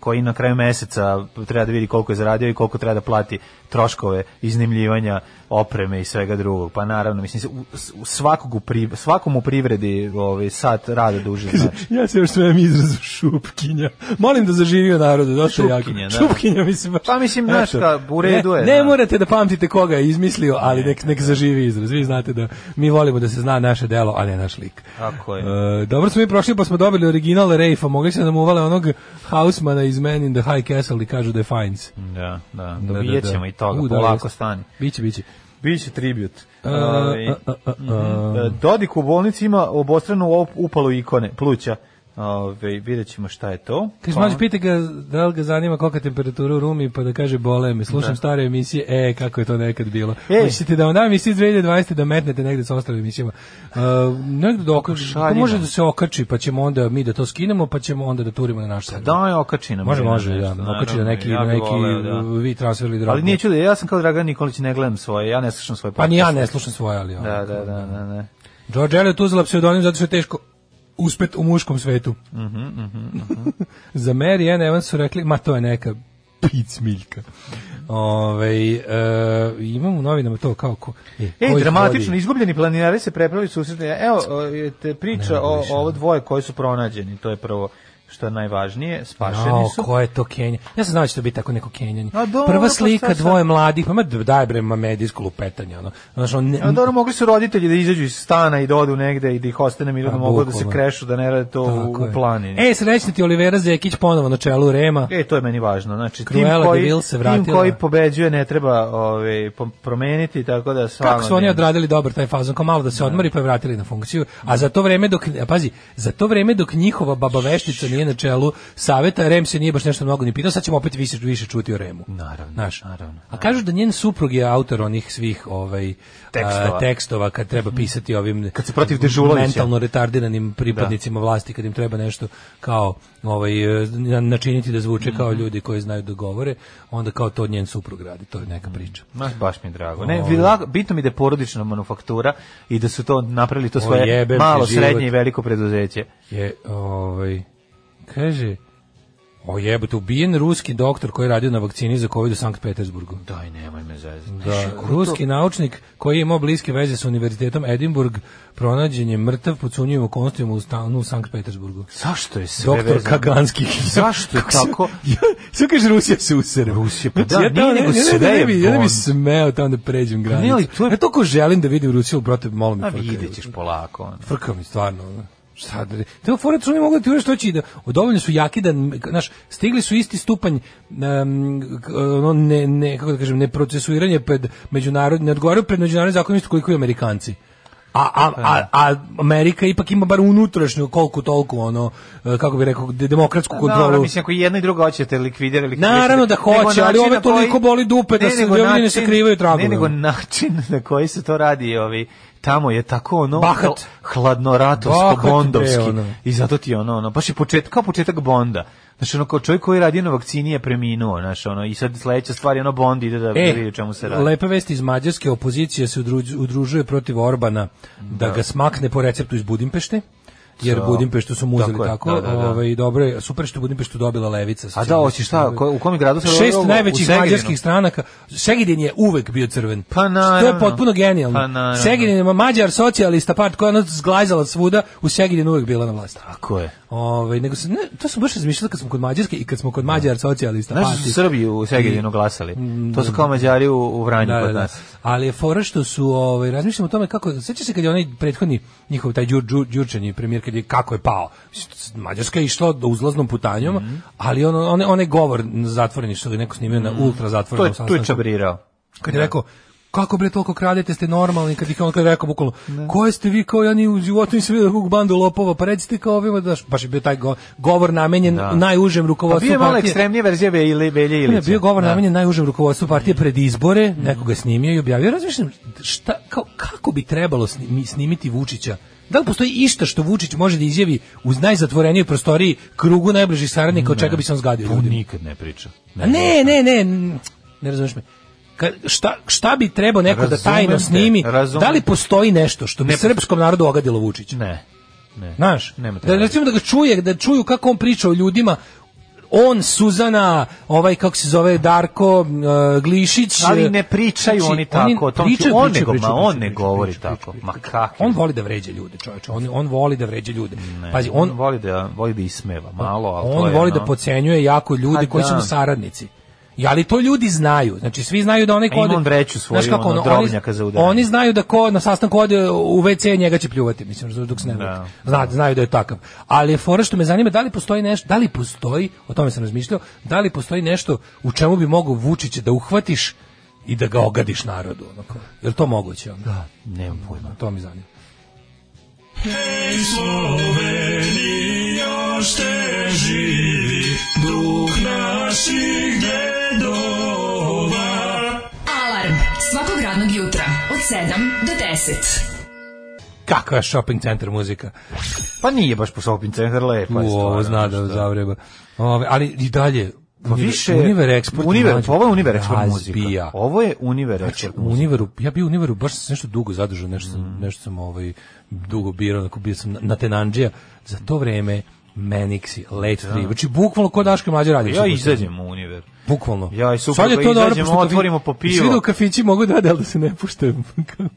F: koji na kraju meseca treba da vidi koliko je zaradio i koliko treba da plati troškove iznimljivanja opreme i svega drugog. Pa naravno, mislim, u- u svakog u pri- svakom u privredi ovaj, sat rada duže znači.
G: Ja se još svem izrazu šupkinja. Molim da zaživi u narodu, dosta je jako.
F: Šupkinja, da.
G: Šupkinja, mislim. baš-
F: Pa mislim, znaš
G: Eto.
F: šta, u redu je,
G: Ne, ne
F: da.
G: morate da pamtite koga je izmislio, ali nek, nek zaživi izraz. Vi znate da mi volimo da se zna naše delo, a ne naš lik.
F: Tako je.
G: E, dobro smo mi prošli pa smo dobili original Rejfa. Mogli se nam uvale onog Hausmana iz Men in the High Castle i kažu da je Fines.
F: Da, da,
G: Da, da,
F: dobijet
G: da.
F: ćemo i toga,
G: U, da,
F: polako
G: jeste.
F: stani.
G: Biće, biće. E,
F: Biće tribut. Ovaj,
G: a, a, a,
F: E, Dodik u bolnici ima obostranu op- upalu ikone, pluća. Ove, vidjet ćemo šta je to.
G: Kaže,
F: Pa-
G: mlađe, pita ga da li ga zanima kolika je temperatura u rumi, pa da kaže bole me. Slušam stare emisije, e, kako je to nekad bilo.
F: E.
G: Mislite da vam dam emisiju iz 2020. da metnete negde sa ostalim emisijama. Uh, negde da okači,
F: Šaljina.
G: to može da se okači, pa ćemo onda mi da to skinemo, pa ćemo onda da turimo na naš sajt.
F: Daj, okači nam.
G: Može,
F: jedan
G: može, da.
F: nešto,
G: Okači
F: naravno,
G: da neki,
F: ja bih
G: neki
F: voleo, da.
G: uh, vi transferili drogu.
F: Ali nije čudo, ja sam kao Dragan Nikolić, ne gledam svoje, ja ne slušam svoje
G: Pa ni ja
F: podcaste.
G: ne slušam svoje, ali... ono.
F: Da, da, da, da, da.
G: George Eliot uzela pseudonim zato što je teško uspet u muškom svetu.
F: Mhm,
G: Za Mary Ann Evans su rekli, ma to je neka picmiljka. Ove, e, imam u novinama to kao ko... E,
F: Ej,
G: ko ih
F: dramatično,
G: vodi?
F: izgubljeni planinari se prepravili su susretni. Evo, e, te priča
G: Ne,
F: o
G: više.
F: ovo dvoje koji su pronađeni, to je prvo. što je najvažnije, spašeni
G: Jao,
F: su.
G: ko je to Kenja? Ja sam znao da će to biti tako neko Kenjanje.
F: A dobro,
G: Prva
F: pa
G: slika
F: šta sad?
G: dvoje mladih, pa ma daj bre, ma medijsko lupetanje, ono. Znaš, on ne,
F: A dobro, mogli su roditelji da izađu iz stana i da odu negde i da ih ostane mir,
G: Pa,
F: da mogu da se
G: bukvalno.
F: krešu, da ne rade to u,
G: Tako je.
F: u planini.
G: E, srećni ti Olivera Zekić ponovo na čelu Rema.
F: E, to je meni važno. Znači,
G: Cruella
F: tim koji,
G: de Vil se
F: tim
G: vratila.
F: koji pobeđuje ne treba ove, pom- promeniti, tako da stvarno...
G: Kako su oni
F: nema.
G: odradili dobar taj fazon, kao malo da se odmori pa je vratili na funkciju, a za to vreme dok, a pazi, za to vreme dok njihova baba veštica nije na čelu saveta, Rem se nije baš nešto mnogo ni pitao, sad ćemo opet više, više čuti o Remu.
F: Naravno,
G: Znaš,
F: naravno.
G: A kažu da njen suprug je autor onih svih ovaj,
F: Tekstova. Mhm.
G: a, tekstova kad treba pisati ovim
F: Kad se protiv Dežulovića.
G: mentalno retardiranim pripadnicima vlasti, kad im treba nešto kao ovaj, e, na- načiniti da
F: Mhm.
G: zvuče kao ljudi koji znaju da govore, onda kao to njen suprug radi, to je neka priča.
F: Ma, baš mi je drago. Ne,
G: Ovaj.
F: vila- bitno mi da je porodična manufaktura i da su to napravili to
G: O,
F: svoje
G: jebem ti
F: malo,
G: život.
F: srednje i veliko preduzeće.
G: je ovaj kaže O jebote, ubijen ruski doktor koji je radio na vakcini za COVID u Sankt Petersburgu.
F: Daj, nemoj me zezati.
G: Da, ruski naučnik koji je imao bliske veze sa univerzitetom Edinburgh pronađen je mrtav pod sumnjivim okolnostima u stanu u Sankt Petersburgu.
F: Zašto je sve
G: Doktor
F: vezano?
G: Kaganski.
F: Zašto je tako?
G: Sve kaže Rusija se usere.
F: Rusija, pa
G: Znači,
F: da,
G: ja tamo
F: nije
G: ne-
F: nego
G: ne- ne-
F: sve
G: ne
F: je
G: bi- Ja ne bi
F: bon.
G: smeo tamo da pređem granicu.
F: ali to je-
G: Ja toliko želim da vidim Rusiju, brate, malo mi
F: A
G: frka,
F: Pa vidjet
G: jebote.
F: ćeš polako. ono.
G: Frka mi stvarno. ono. Šta da... Te fore su oni mogu da ti uveš što će i da... Dovoljno su jaki da... Znaš, stigli su isti stupanj em, k- ono, ne, ne, kako da kažem, neprocesuiranje pred međunarodni, ne odgovaraju pred međunarodni zakon isto koliko i Amerikanci. A, a, a, a Amerika ipak ima bar unutrašnju koliko toliko ono e, kako bi rekao de- demokratsku
F: Dobro,
G: kontrolu.
F: mislim, ako i jedno i drugo hoćete likvidirati, likvidirati.
G: Naravno da hoće, ali ove toliko boli dupe da se ljudi ne sakrivaju ono. tragove.
F: Ne, nego način na koji se to radi, ovi, tamo je tako ono
G: Bahat. Bahat, bre,
F: hladnoratovsko-bondovski.
G: ono.
F: I zato ti je ono, ono, baš je početak, kao početak Bonda. Znaš, ono, kao čovjek koji je radio na vakcini je preminuo, znaš, ono, i sad sledeća stvar je ono, Bond ide da
G: E,
F: vidi o čemu se radi.
G: Lepe vesti iz mađarske opozicije se udruž- udružuje protiv Orbana da, ga smakne po receptu iz Budimpešte. Jer
F: Sa-
G: Budimpeštu su mu uzeli
F: Tako
G: tako.
F: je, da, da, da.
G: Ovaj, dobro je, super što je Budimpeštu dobila levica.
F: A da, hoće šta, ko- u kom je gradu se
G: Šest
F: ovo- u
G: najvećih
F: Segedinu?
G: mađarskih stranaka. Segedin je uvek bio crven.
F: Pa
G: To
F: naravno.
G: je potpuno genijalno.
F: Pa naravno.
G: Segedin je mađar socijalista part koja je ono zglajzala svuda, u Segedin uvek bila na vlasti.
F: Tako je.
G: Ovaj, nego se, ne, to sam baš razmišljala kad smo kod Mađarske i kad smo kod Mađar socijalista.
F: Znaš da su
G: partije.
F: Srbi u Segedinu glasali? To su kao Mađari u, u Vranju
G: Mm, Da, da,
F: kod
G: da.
F: nas.
G: Ali je fora što su, ovaj, razmišljam o tome kako, sećaš se kad je onaj prethodni njihov, taj Đur, Đur, Đurčani premijer, kad je, kako je pao. Mislim, Mađarska je išla do uzlaznom putanjom,
F: Mhm.
G: ali on, on, onaj govor zatvoreni što ga je neko snimio na ultra
F: Mhm. To je,
G: zatvorenom
F: tu je
G: sastanku,
F: čabrirao.
G: kad je rekao, kako bre toliko kradete, ste normalni, kad ih je on kad je rekao bukvalno, koje ste vi kao ja ni u životu nisam vidio kakvu bandu lopova, pa recite kao ovima, daš, baš je bio taj go- govor namenjen
F: Da.
G: najužem
F: Pa
G: rukovodstvu
F: bio je malo
G: partije.
F: ekstremnije verzije Belje Belje
G: Ne,
F: Ilića.
G: Ono bio govor
F: Da.
G: namenjen najužem rukovodstvu partije pred izbore, nekoga snimio i objavio. Razmišljam, šta, kao, kako bi trebalo sni- snimiti Vučića? Da li postoji išta što Vučić može da izjavi uz najzatvorenijoj prostoriji krugu najbližih saradnika od čega bi se on zgadio?
F: Tu
G: ljudima?
F: Pa nikad ne priča.
G: A Ne, ne, ne, n- ne razumeš me. Ka- šta, šta bi trebao neko da
F: Razumem
G: tajno
F: te,
G: snimi?
F: razumem.
G: Da li postoji nešto što bi
F: Ne postoji.
G: srpskom narodu ogadilo Vučića?
F: Ne. Ne.
G: Znaš,
F: Nema te
G: da
F: veze.
G: recimo da ga čuje, da čuju kako on priča o ljudima, on, Suzana, ovaj kako se zove Darko e, Glišić.
F: Ali ne pričaju
G: Znači,
F: oni tako, o tom ću-
G: pričaju,
F: on ne
G: pričaju,
F: go- ma
G: pričaju,
F: on
G: pričaju,
F: ne
G: pričaju,
F: govori
G: pričaju,
F: tako.
G: pričaju,
F: Ma
G: pričaju.
F: kakvi?
G: On voli da vređa ljude, čoveče. On, on voli da vređa ljude.
F: Ne.
G: Pazi, on,
F: voli da voli da ismeva malo, al to
G: on
F: je
G: voli
F: ono-
G: da pocenjuje jako ljudi
F: Pa
G: koji su
F: da.
G: mu saradnici. I ali to ljudi znaju. Znači svi znaju da onaj
F: A
G: ko
F: ima
G: ode
F: on vreću svoju,
G: Znaš kako,
F: ono,
G: ono, oni-
F: drobnjaka za udaranje.
G: Oni znaju da ko na sastanku ode u WC njega će pljuvati, mislim, razumeš, dok se ne vrati. Zna, znaju da je takav. Ali je fora što me zanima da li postoji nešto, da li postoji, o tome sam razmišljao, da li postoji nešto u čemu bi mogao Vučića da uhvatiš i da ga ogadiš narodu, onako. Jel to moguće? Ono? Da.
F: Nemam pojma.
G: To mi zanima.
H: Alarm svakog radnog jutra od 7 do 10.
G: Kakva je shopping center muzika?
F: Pa nije baš po shopping center lepa je
G: U,
F: stvar,
G: ovo zna
F: znaš
G: da
F: Pa šta.
G: zavreba. Ove, ali i dalje,
F: Ma
G: Univer-
F: više
G: Univer Export.
F: Univer, pa
G: mlađo,
F: ovo je Univer Export muzika.
G: razbija. Znači,
F: Ovo je Univer Export
G: U
F: muzika. Mm.
G: Univeru, ja bio u Univeru, baš sam se nešto dugo zadržao, nešto, sam, nešto sam ovaj, dugo birao, onako bio sam na, na Tenandžija. Za to vreme Menixi, Late Three, znači bukvalno ko Daško i mlađe radi.
F: Ja izađem u Univer.
G: Bukvalno.
F: Ja, i super,
G: Sad je
F: da
G: to dobro,
F: izađemo,
G: pošto kafi-
F: otvorimo po pivo.
G: Svi da u kafići mogu da rade, ali da se ne pušta,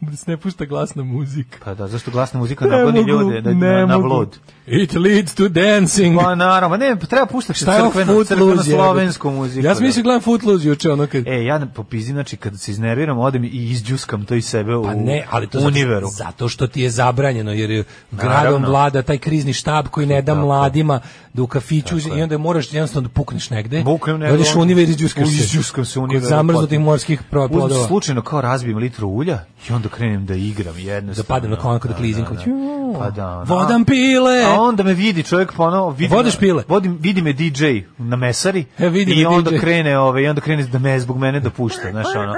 G: da se ne pušta glasna muzika.
F: Pa da, zašto glasna muzika nagoni ljude da, na, na vlod?
G: It leads to dancing.
F: Pa naravno, ne, pa treba puštati
G: Šta je ovo
F: crkvenu, crkvenu
G: Footloose? jebote?
F: slovensku muziku.
G: Ja sam mislio gledam Footloose juče, ono kad...
F: E, ja ne popizim, znači, kad se iznerviram, odem i izđuskam to iz sebe u
G: Pa ne, ali to
F: univeru.
G: zato, zato što ti je zabranjeno, jer je gradom
F: Naravno.
G: vlada taj krizni štab koji ne da
F: Tako je.
G: mladima da u kafiću i onda moraš jednostavno da pukneš negde.
F: Buknem
G: da odeš u univer i izđuskaš se.
F: Izđuskam se u
G: Kod
F: univeru.
G: Zamrznutih morskih pro-
F: Uzmem
G: plodova.
F: Slučajno kao razbijem litru ulja i onda krenem da igram
G: Da
F: jednostavno.
G: padne na konak da klizim. kao, "Ju,
F: Pa da, ono.
G: Vodam pile!
F: A onda me vidi čovjek ponovo, vidi
G: Vodiš
F: me-
G: pile?
F: Vodim, vidi me DJ na mesari
G: E, vidi
F: i
G: me
F: onda
G: DJ.
F: krene, ovaj, i onda krene da me zbog mene dopušta, znaš, ono.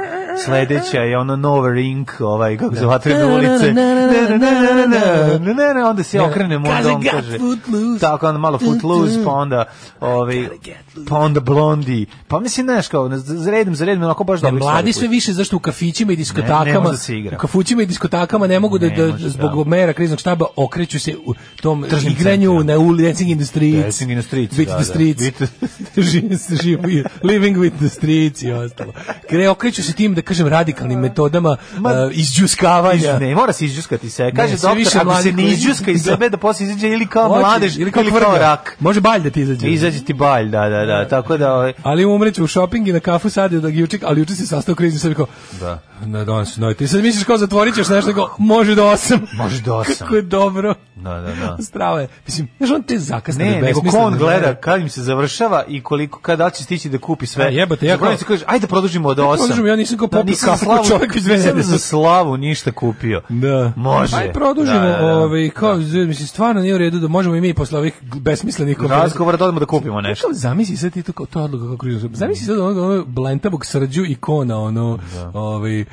F: Sledeća je ono Nova Ring, ovaj kako se vatrene ulice.
G: Na, na, na, na, na, na,
F: Ne, ne, ne, onda se ja
G: Ne,
F: okrenem,
G: kaže,
F: onda on
G: "Got
F: kaže.
G: footloose."
F: Tako onda malo footloose, pa onda ovaj pa onda blondi. Pa mislim znaš kao na- za redom, za redom, onako baš
G: Da,
F: dobro.
G: Pa mladi sve više zašto u kafićima i
F: Ne, ne
G: diskotakama,
F: može da se igra.
G: u kafućima i diskotakama ne mogu da,
F: Ne
G: da
F: može,
G: zbog
F: bravo.
G: mera kriznog štaba okreću se u tom
F: Tržnim
G: igranju
F: centrima.
G: na ulici dancing in the streets.
F: Dancing in the streets,
G: With
F: da,
G: the
F: da.
G: streets.
F: With
G: Živ- živ- living with the streets i ostalo. Kre okreću se tim da kažem radikalnim metodama
F: Ma,
G: uh, izđuskavanja.
F: Ne, mora se izđuskati se. Kaže
G: Ne, sve više
F: doktor, ako se
G: mladih
F: ne
G: koji-
F: izđuska iz
G: Da.
F: sebe, da posle izađe ili kao
G: Hoće,
F: mladež, ili kao,
G: kvrga.
F: rak.
G: Može balj da ti izađe.
F: Izađe ti balj, da, da, da. Tako da, ovaj,
G: Ali umreću u šoping i na kafu sad je da juče, ali juče se sastao krizni sebi kao. Da. Na danas no, ti sad misliš kao zatvorićeš nešto nego može do 8.
F: Može do osam.
G: Kako je dobro.
F: Da, da, da.
G: Strava je. Mislim, znaš on te zakasne
F: Ne, nego ko on gleda kad im se završava i koliko kada će stići da kupi sve.
G: A, jebote, E, ja
F: Zaboravim
G: kao-
F: se kaže ajde produžimo od 8.
G: produžimo, ja nisam kao popio kafu kao čovek već dve
F: nisam
G: nedelje.
F: za slavu ništa kupio.
G: Da.
F: Može.
G: Aj produžimo,
F: Da, da, da.
G: ovaj kao mislim stvarno nije u redu da možemo i mi posle ovih besmislenih
F: Razgovora da odemo da kupimo nešto.
G: Kao zamisli sad ti to kao to je odluka kako krizno. Zamisli sad onog onog blentavog srđu ikona ono ovaj eh,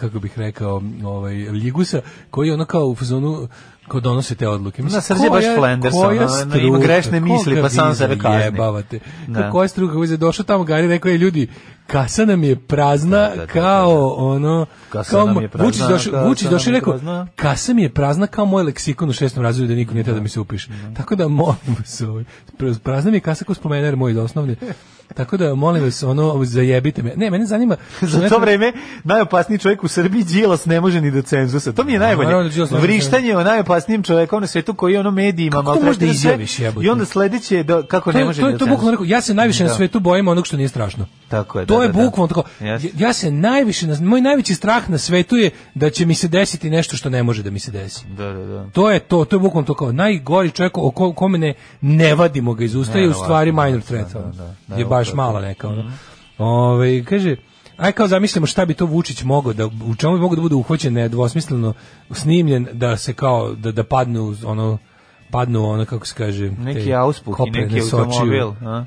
G: kako bih rekao ovaj Ljigusa koji ono kao u fazonu ko donose te odluke.
F: Da, Srđe je baš Flanders,
G: koja
F: ono, ono, ima
G: struka,
F: grešne misli,
G: koga
F: pa sam
G: vi
F: sebe kazni.
G: zajebavate?
F: Da.
G: Kako je struka koji je došao tamo Gari rekao je ljudi kasa nam je prazna
F: Da, da, da,
G: kao ono
F: Kasa
G: kao
F: nam je prazna,
G: Vučić došao
F: kasa
G: Vučić
F: nam
G: došao i
F: je
G: rekao
F: prazna.
G: kasa mi je prazna kao moj leksikon u šestom razredu da niko nije teo da mi se upiše. Tako da molim vas, ovaj, praz- prazna mi je kasa ko spomenar moj da osnovni. Tako da molim vas, ono, zajebite me. Ne, mene zanima...
F: Za to vreme najopasniji čovjek u Srbiji Đilas ne može ni do cenzusa. To mi je
G: naravno
F: najbolje.
G: da Đilas ne može
F: Vrištanje o najopasnijim čovekom na svetu koji je ono medijima
G: Kako to
F: maltretira
G: može da
F: sve.
G: izjaviš, jebote?
F: I onda sledeće je do, kako
G: To
F: ne
G: je,
F: može
G: to
F: ni
G: je,
F: do
G: to je bukvalno
F: cenzusa.
G: rekao, ja se najviše na
F: Da.
G: svetu bojim onog što nije strašno.
F: Tako je,
G: to
F: da,
G: je
F: da, da.
G: bukvalno tako.
F: Jeste.
G: Ja- Ja se najviše, na- moj najveći strah na svetu je da će mi se desiti nešto što ne može da mi se desi.
F: Da, da, da.
G: To je to, to je bukvalno to kao najgori čovjek o ko- kome ne, ne vadimo ga iz usta je u
F: Neverovatno,
G: stvari minor threat.
F: da,
G: ono.
F: da, da, da,
G: je
F: Mhm.
G: baš
F: upravo.
G: mala neka. Ono. Ovaj, kaže, aj kao zamislimo šta bi to Vučić mogao da, u čemu bi mogao da bude uhvaćen nedvosmisleno snimljen, da se kao, da, da padnu ono, padnu ono, kako se kaže, te
F: Neki auspuh i
G: kopre
F: neki
G: na sočiju.
F: automobil. A?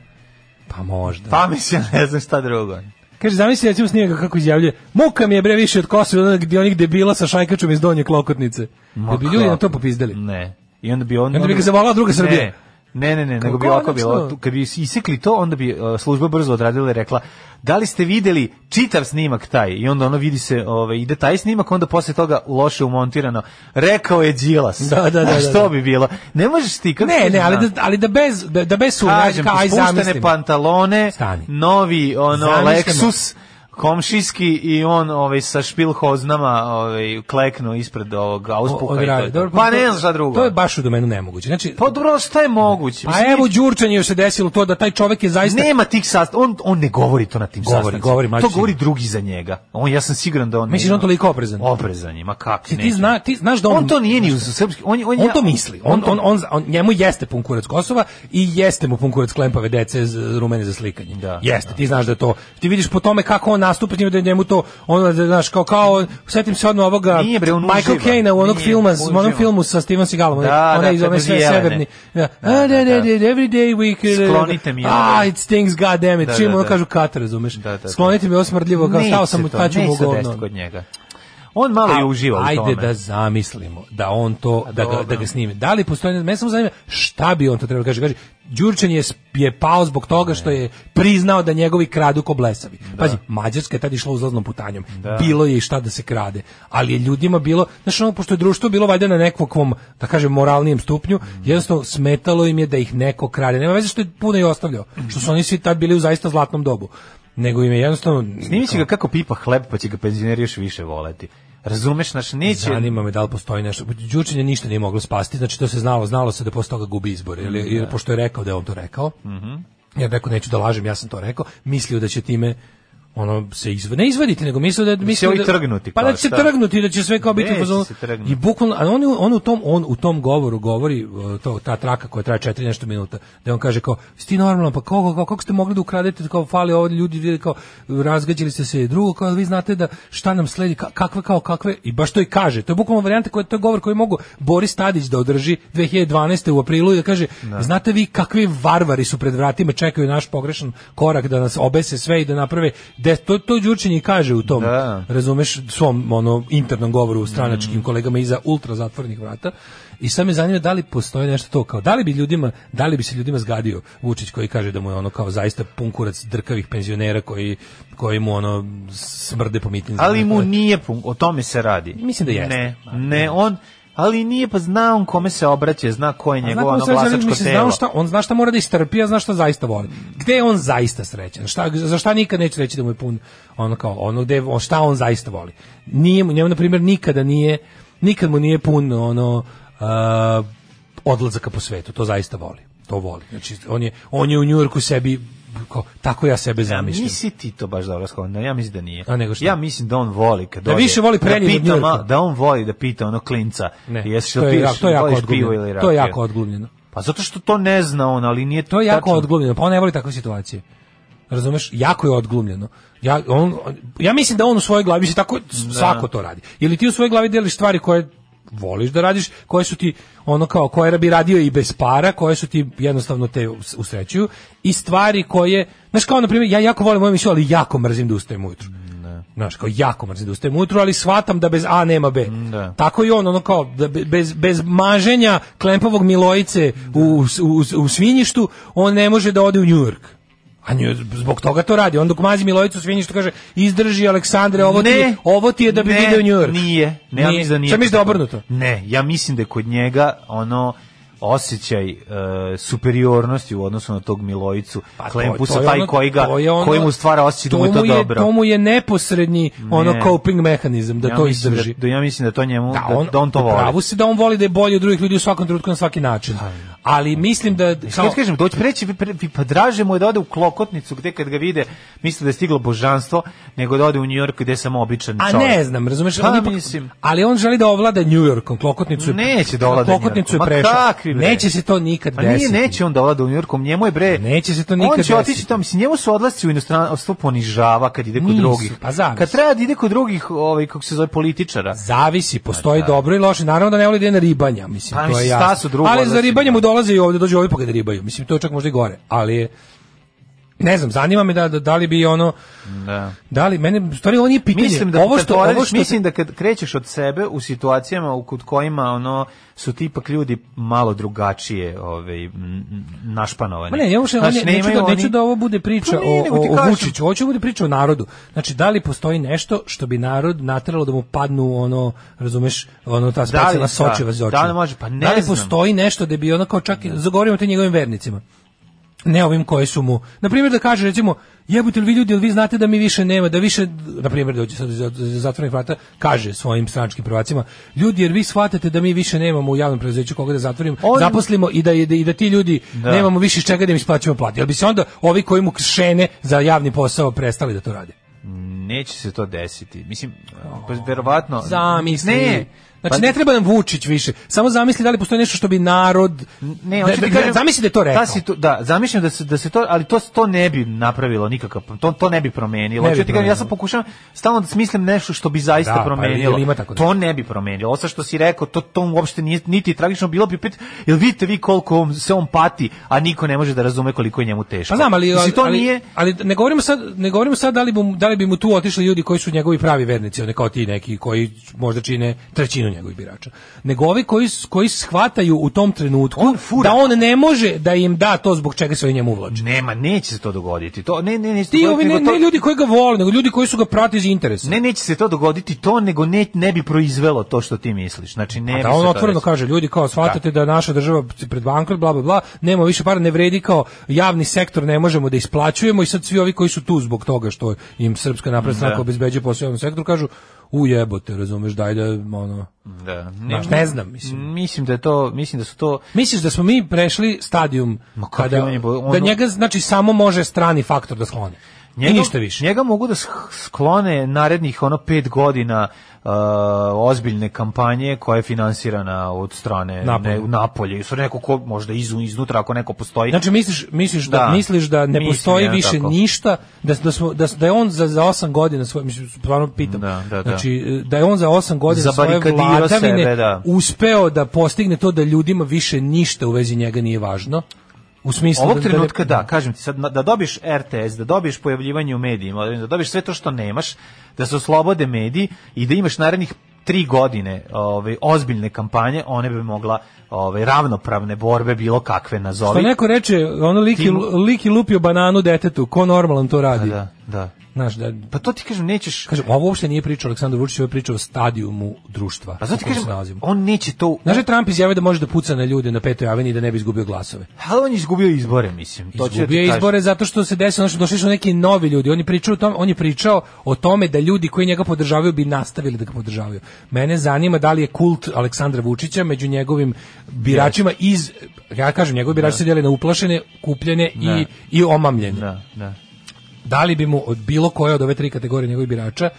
G: Pa možda.
F: Pa mislim, ne znam šta drugo.
G: Kaže, zamisli recimo snimka kako izjavljuje, muka mi je bre više od Kosova, gdje onih debila sa šajkačom iz donje klokotnice. da bi ljudi na to popizdali.
F: Ne. I onda bi on...
G: Onda bi ga zavolala druga Srbija.
F: Ne. Ne, ne, ne, nego bi
G: Kako
F: ovako bilo.
G: konačno?
F: Tu, Kad bi isekli to, onda bi uh, služba brzo odradila i rekla da li ste videli čitav snimak taj? I onda ono vidi se, ove, ide taj snimak, onda posle toga loše umontirano. Rekao je Đilas.
G: Da, da, da,
F: A
G: da,
F: što
G: da.
F: bi bilo? Ne možeš ti... kako
G: Ne,
F: ti
G: ne, ali
F: znaš?
G: da, ali da bez da, da bez sumnje,
F: Kažem,
G: aj
F: spuštene pa
G: zamislim.
F: pantalone,
G: Stani.
F: novi ono
G: Zamislimo.
F: Lexus, komšijski i on ovaj sa špilhoznama ovaj klekno ispred ovog auspuha i to je to. pa ne znam šta drugo.
G: To je Pa baš u domenu nemoguće. Znači,
F: pa dobro, šta je moguće?
G: a
F: Mislim,
G: evo Đurčanju se desilo to da taj čovjek je zaista
F: Nema tih sast, on on ne govori to na tim
G: Govori,
F: sastancima.
G: govori,
F: to
G: mađo.
F: govori drugi za njega. On ja sam siguran da on
G: Misliš
F: nema-
G: on toliko oprezan?
F: Oprezan je, ma kak
G: Ti- ti
F: neće.
G: zna- ti znaš da on-
F: on to nije ni uz srpski, on on,
G: On
F: je-
G: to misli. On, on, on, on- njemu jeste pun kurac Kosova i jeste mu pun kurac klempave dece z- rumene za slikanje.
F: Da,
G: jeste, ti znaš da je to. Ti vidiš po tome kako on nastupa, ti da je njemu to, ono, da, znaš, kao, kao, setim se odmah ovoga
F: Nije, bre, on
G: Michael
F: uživa.
G: Caine u onog
F: Nije,
G: filma, s- u onom
F: uživa.
G: filmu sa Steven Seagalom, onaj-
F: Da,
G: onaj
F: da,
G: iz one
F: kad
G: sve
F: dozi jelene.
G: severni. Da,
F: Da,
G: "Ah, da,
F: da,
G: da,
F: da.
G: da, every day we could-
F: Sklonite mi ovo."
G: Ah, it stings, god damn it.
F: Da,
G: Čim
F: da,
G: ono
F: da.
G: kažu kat, razumeš?
F: Da, da, da.
G: Sklonite mi ovo smrdljivo, kao, stao sam,
F: Neće to,
G: taču mu
F: neće se
G: govno.
F: desiti kod njega. On malo je
G: A-
F: uživa u
G: ajde
F: tome.
G: da zamislimo da on to, da ga,
F: dobro.
G: da ga snime. Da li postoji, mene samo zanima šta bi on to trebalo kaže. Kaže, Đurčan je, sp- je pao zbog toga što je priznao da njegovi kradu ko blesavi. Pazi, Mađarska je tad išla uzlaznom putanjom. Bilo je i šta da se krade. Ali je ljudima bilo, znaš ono, pošto je društvo bilo valjda na nekakvom, da kažem, moralnijem stupnju,
F: Mm.
G: jednostavno smetalo im je da ih neko krade. Nema veze što je puno i ostavljao. Što su oni svi tad bili u zaista zlatnom dobu. Nego im je jednostavno...
F: Snimit će ga kako pipa hleb, pa će ga penzioneri još više voleti. Razumeš, znaš, neće...
G: Zanima me da li postoji nešto. Đurčin je ništa nije moglo spasti, znači to se znalo, znalo se da posle toga gubi izbore, jer,
F: Mm-hmm.
G: je- jer pošto je rekao da je on to rekao. Ja rekao neću da lažem, ja sam to rekao. Mislio da će time ono se izv... ne izvaditi, nego mislio da mislio
F: ovi
G: da
F: trgnuti,
G: Pa
F: kao,
G: da će se
F: šta?
G: trgnuti, da će sve kao biti u
F: Neće
G: fazonu.
F: se trgnuti.
G: I bukvalno a on, je- on u tom on u tom govoru govori uh, to ta traka koja traje 4 nešto minuta, da on kaže kao sti normalno, pa kako kako, kako ste mogli da ukradete kao fali ovdje ljudi vidi kao razgađili ste se drugo kao vi znate da šta nam sledi ka- kakve kao kakve i baš to i kaže. To je bukvalno varijanta koja to je govor koji mogu Boris Tadić da održi 2012. u aprilu i da kaže znate vi kakvi varvari su pred vratima čekaju naš pogrešan korak da nas obese sve i da naprave de, to to Đurčin i kaže u tom
F: Da.
G: razumeš svom ono internom govoru stranačkim
F: Mhm.
G: kolegama iza ultra zatvorenih vrata i sad me zanima da li postoji nešto to kao da li bi ljudima da li bi se ljudima zgadio Vučić koji kaže da mu je ono kao zaista pun kurac drkavih penzionera koji koji mu ono smrde po mitinzima.
F: Ali mu nije, pun- o tome se radi.
G: Mislim da jeste.
F: Ne, ne, on... Ali nije, pa zna on kome se obraća, zna ko je
G: A
F: njegovo
G: on
F: ono
G: sve želi,
F: glasačko
G: mislim,
F: telo.
G: Zna on, šta, on zna šta mora da istrpi, a zna šta zaista voli. Gde je on zaista srećan? Šta, za šta nikad neće reći da mu je pun ono kao, ono gde, on, šta on zaista voli. Nije mu, njemu, na primjer, nikada nije, nikad mu nije pun ono, a, odlazaka po svetu, to zaista voli. To voli. Znači, on je, on je u Njujorku sebi, kao, tako ja sebe
F: Ja,
G: zamišljam.
F: nisi ti to baš dobro skonio, ja mislim da nije.
G: A nego šta?
F: Ja mislim da on voli kad
G: Da
F: dođe,
G: više voli Preljinu od
F: da, pita,
G: Njujorka.
F: ma- da on voli da pita ono klinca,
G: Ne,
F: jesi
G: to
F: li
G: je,
F: piješ,
G: jako- to je jako
F: voliš pivo
G: odgubljeno.
F: ili
G: To je
F: rakiju?
G: jako odgubljeno.
F: Pa zato što to ne zna on, ali nije
G: To je jako
F: tačno.
G: odglumljeno, pa on ne voli takve situacije. Razumeš? Jako je odglumljeno. Ja, on, on- ja mislim da on u svojoj glavi, mislim, tako svako to radi. Ili ti u svojoj glavi deliš stvari koje voliš da radiš, koje su ti ono kao koje bi radio i bez para, koje su ti jednostavno te us- usrećuju i stvari koje, znaš kao na primjer, ja jako volim moju emisiju, ali jako mrzim da ustajem ujutru. Znaš, kao jako mrzim da ustajem ujutru, ali shvatam da bez A nema B.
F: da.
G: Tako i on, ono kao, da be- bez, bez maženja klempovog Milojice u, u, u svinjištu, on ne može da ode u Njujork. A nju, zbog toga to radi. On dok mazi Milojicu u svinjištu kaže, izdrži Aleksandre, ovo, ti, je, ovo ti je da bi
F: ne,
G: video Njujork.
F: Nije, ne, ja mislim da nije.
G: Šta misliš da je
F: tako.
G: obrnuto?
F: Ne, ja mislim da je kod njega ono osjećaj e, superiornosti u odnosu na tog Milojicu
G: Pa to-
F: Klempusa,
G: to je
F: taj
G: ono-
F: koji, ga,
G: to je ono-
F: koji mu stvara osjećaj da mu je to
G: je-
F: dobro.
G: To mu je neposredni ono
F: Ne.
G: coping mehanizam da
F: ja
G: to
F: mislim
G: izdrži.
F: Da, da ja mislim da to njemu, da,
G: Da, on,
F: da on to
G: u
F: voli. Pa,
G: pravu si da on voli da je bolji od drugih ljudi u svakom trenutku na svaki način. Ali mislim da...
F: Kao, ti kažem, doći preći, pre- vi- pa draže mu je da ode u klokotnicu gde kad ga vide misle da je stiglo božanstvo, nego da ode u Njujork gde je samo običan
G: A
F: čovjek.
G: ne znam, razumeš,
F: Pa,
G: on ipak-
F: mislim.
G: ali on želi da ovlada Njujorkom, Klokotnicu. je-
F: Neće da ovlada
G: Klokotnicu je
F: Njujorkom. Ma
G: prešao.
F: kakvi, bre.
G: Neće se to nikad
F: Pa nije,
G: desiti. Pa
F: neće on da vlada u Njujorkom, njemu je bre...
G: Neće se to nikad
F: On će otići
G: desiti.
F: tamo, mislim, njemu su odlasci u inostranstvo ponižava kad ide kod
G: Nisu,
F: drugih.
G: pa zamisli.
F: Kad treba da ide kod drugih, ovaj, kako se zove, političara.
G: Zavisi, postoji dobro i loše. Naravno da ne voli da je na ribanja, mislim,
F: Pa,
G: to je
F: mislim,
G: jasno.
F: šta su drugo
G: ali za
F: odnosima?
G: ribanje mu dolaze i ovdje, dođu ovdje pa ga da ribaju. Mislim, to je čak možda i gore. Ali je, ne znam, zanima me da, da, da li bi ono,
F: Da.
G: da li, mene, u stvari ovo nije pitanje.
F: Mislim da
G: ovo
F: kad
G: što,
F: poradiš,
G: ovo što
F: mislim da kad krećeš od sebe u situacijama u kod kojima ono su ti ipak ljudi malo drugačije, ovaj m, m, našpanovani.
G: Ma ne, ja uopšte
F: Znaš,
G: ne, neću,
F: nemaju
G: da, neću
F: oni-
G: da ovo bude priča
F: Pa ne,
G: o,
F: nego ti
G: o, o
F: kažem.
G: Vučiću, hoću da bude priča o narodu. Znači, da li postoji nešto što bi narod natralo da mu padnu ono, razumeš, ono ta specijalna
F: da,
G: sočeva iz
F: da
G: očiju?
F: li može? Pa ne
G: Da li
F: znam.
G: postoji nešto da bi ono kao čak, zagovorimo te njegovim vernicima ne ovim koji su mu. Na primjer da kaže recimo jebote li vi ljudi, jel vi znate da mi više nema, da više na primjer dođe sad iz iz zatvorenih vrata, kaže svojim stranačkim prvacima, ljudi jer vi shvatate da mi više nemamo u javnom preduzeću koga da zatvorimo,
F: On-
G: zaposlimo i da je- i da ti ljudi nemamo više iz čega da im isplaćujemo plate. Jel bi se onda ovi koji mu šene za javni posao prestali da to rade?
F: Neće se to desiti. Mislim, pa verovatno...
G: Zamisli.
F: Ne, Pa
G: Znači, ne treba nam Vučić više. Samo zamisli da li postoji nešto što bi narod...
F: Ne,
G: da-
F: hoću
G: da-
F: ti
G: da-
F: kažem-
G: zamisli da je to rekao.
F: Ta situ- da, zamišljam da se da se to, ali to to ne bi napravilo nikakav, to to ne bi promenilo.
G: Ne bi
F: Hoću ti kažem, ja
G: promenilo.
F: sam pokušavam stalno da smislim nešto što bi zaista
G: Da, pa
F: promenilo.
G: jel ima tako nešto?
F: to ne bi promenilo. Ovo sad što si rekao, to to uopšte nije niti tragično bilo bi pit, jel vidite vi koliko on, se on pati, a niko ne može da razume koliko je njemu teško.
G: Pa znam, ali,
F: Mislim,
G: ali,
F: to
G: ali-
F: nije
G: ali ne govorimo sad, ne govorimo sad da li, bi, mu- da li bi mu tu otišli ljudi koji su njegovi pravi vernici, one kao ti neki koji možda čine trećinu njegovih birača. Nego ovi koji, s- koji shvataju u tom trenutku
F: fura.
G: da on ne može da im da to zbog čega se oni njemu uvlače.
F: nema, neće se to dogoditi. To ne ne neće se
G: Ti
F: dogoditi,
G: ovi ne,
F: nego to-
G: ne ljudi koji ga vole, nego ljudi koji su ga pratili iz interesa.
F: Ne, neće se to dogoditi to, nego ne, ne bi proizvelo to što ti misliš. Znači, ne bi
G: Pa da
F: se
G: on
F: to
G: otvoreno
F: desilo.
G: kaže ljudi kao shvatate da. naša država pred bankrot bla bla bla nema više para ne vredi kao javni sektor ne možemo da isplaćujemo i sad svi ovi koji su tu zbog toga što im srpska napredna stranka
F: Da.
G: obezbeđuje posao u javnom sektoru kažu u jebote razumeš daj da ono
F: Da.
G: Znaš, ne znam, mislim.
F: Mislim da je to, mislim da su to
G: Misliš da smo mi prešli stadijum
F: Ma kakvi
G: kada,
F: on je bo-
G: da
F: ono-
G: njega znači samo može strani faktor da skloni. I ništa više.
F: Njega mogu da sh- sklone narednih ono pet godina uh, ozbiljne kampanje koja je finansirana od strane
G: Napolje.
F: napolje. Ne, napolje. Jesu neko ko možda izu, iznutra ako neko postoji.
G: Znači misliš misliš da,
F: Da.
G: misliš da ne
F: Mislim,
G: postoji
F: ja,
G: više
F: tako.
G: ništa da da smo da, da je on za za 8 godina svoje mislim stvarno pitam.
F: Da, da, da.
G: Znači e, da je on za 8 godina svoje
F: Zabarikadirao
G: vladavine
F: sebe, da.
G: uspeo da postigne to da ljudima više ništa u vezi njega nije važno. U smislu
F: Ovog
G: da- da ne-
F: trenutka da, kažem ti sad, na- da dobiš RTS, da dobiš pojavljivanje u medijima, da dobiš sve to što nemaš, da se oslobode mediji i da imaš narednih tri godine ove, ozbiljne kampanje, one bi mogla ove, ravnopravne borbe bilo kakve nazovi.
G: Što neko reče, ono liki,
F: Tim-
G: liki lupio bananu detetu, ko normalan to radi.
F: Da, da.
G: Znaš, da,
F: Pa to ti kažem, nećeš...
G: kažem, ovo uopšte nije priča o Aleksandru Vučiću, ovo je priča o stadijumu društva.
F: Pa zato
G: u
F: ti
G: kojem se
F: kažem,
G: nalazimo.
F: on neće to...
G: Znaš da je Trump izjavio da može da puca na ljude na petoj aveni i da ne bi izgubio glasove.
F: Ali on je izgubio izbore, mislim. To ću da ti
G: Izgubio je
F: kažem.
G: izbore zato što se desilo, znači došli su neki novi ljudi. On je pričao o tome, on je pričao o tome da ljudi koji njega podržavaju bi nastavili da ga podržavaju. Mene zanima da li je kult Aleksandra Vučića među njegovim biračima iz ja kažem, njegovi birači se dijele na uplašene, kupljene i i omamljene.
F: Da, da.
G: Da li bi mu od bilo koje od ove tri kategorije njegovih birača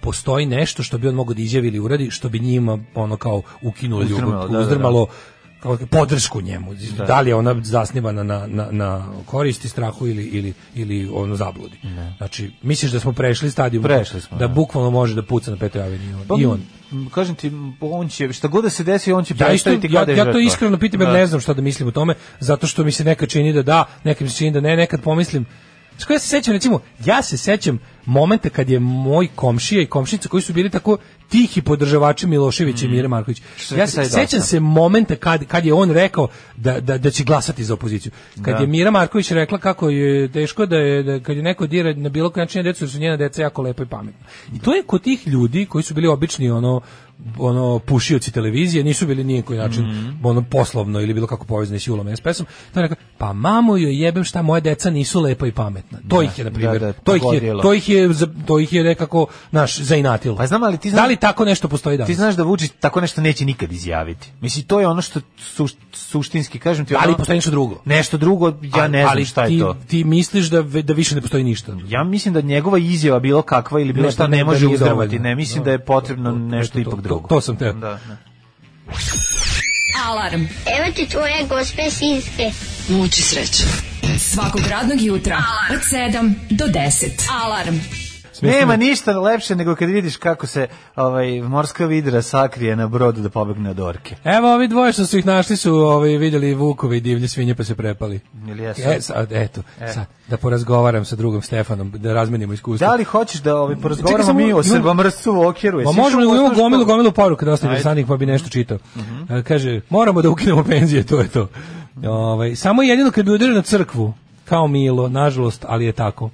G: postoji nešto što bi on mogao da izjavi ili uradi što bi njima ono kao ukinulo
F: Uzdrmalo,
G: ljubav,
F: da, da, da.
G: uzdrmalo kao podršku njemu. Da. li je ona zasnivana na, na, na koristi, strahu ili, ili, ili ono zabludi. Znači, misliš da smo prešli stadijum
F: Prešli smo,
G: da,
F: da. Pa
G: bukvalno može da puca na petoj aveni i on. i on.
F: M, Kažem ti, m, on će, šta god da se desi, on će
G: Ja, isto,
F: predstaviti
G: ja,
F: kada je
G: ja to
F: žrtva.
G: iskreno pitam jer ne znam šta da mislim o tome, zato što mi se nekad čini da da, nekad mi se čini da ne, nekad pomislim. Znaš kako ja se sećam, recimo, ja se sećam momenta kad je moj komšija i komšinica koji su bili tako tihi podržavači Miloševića i Mire Marković.
F: Što
G: Ja
F: je
G: Mm. se
F: taj
G: sećam
F: dosta.
G: se momenta kad, kad je on rekao da, da, da će glasati za opoziciju. Kad
F: Da.
G: je Mira Marković rekla kako je teško da je da kad je neko dira na bilo koji način na decu, jer su njena deca jako lepa i pametna. I to je kod tih ljudi koji su bili obični ono ono pušioci televizije, nisu bili ni na koji način
F: Mhm.
G: ono poslovno ili bilo kako povezani s Julom i SPS-om, to je rekao, pa mamu joj jebem šta moja deca nisu lepa i pametna. To ih je na primjer,
F: da, da,
G: to ih je
F: pogodilo.
G: to ih je za- to ih je nekako naš zainatilo.
F: Pa znam, ali ti
G: Da
F: znaš-
G: li tako nešto postoji danas?
F: Ti znaš da Vučić tako nešto neće nikad izjaviti. Mislim, to je ono što suš- suštinski, kažem ti, ono,
G: ali postoji nešto drugo.
F: nešto drugo, ja ne znam
G: ali
F: šta
G: ti,
F: je to.
G: Ti misliš da, ve- da više ne postoji ništa?
F: Ja mislim da njegova izjava bilo kakva ili bilo
G: Ne,
F: šta
G: ne,
F: ne,
G: da
F: može
G: nije
F: uzdrmati.
G: dovoljno.
F: Ne, mislim
G: Da,
F: da je potrebno
G: to- to-
F: nešto
G: to-
F: ipak
G: to-
F: drugo.
G: to sam teo.
F: Da, da.
H: Alarm.
E: Evo ti tvoje gospe sinske.
L: Muči sreće.
H: Svakog radnog jutra od 7 do 10. Alarm.
F: Nema ništa lepše nego kad vidiš kako se ovaj, morska vidra sakrije na brodu da pobegne od orke.
G: Evo, ovi dvoje što su ih našli su ovaj, vidjeli Vukove i divlje svinje pa se prepali.
F: Ili jesu?
G: E, sad, eto, sad, da porazgovaram sa drugom Stefanom, da razmenimo iskustvo.
F: Da li hoćeš da ovaj,
G: Čekaj,
F: porazgovaramo
G: samo
F: mi o
G: imam-
F: srbomrscu Vokeru?
G: Ma
F: Jesi
G: možemo,
F: išao u
G: imamo
F: osnovnu
G: gomilu,
F: školu?
G: gomilu poruka dosta
F: Ajde.
G: interesantnih, pa bi nešto čitao. E, Kaže, moramo da ukinemo penzije, to je to. Ovaj, samo jedino kad bi udario na crkvu, kao milo, nažalost, ali je tako.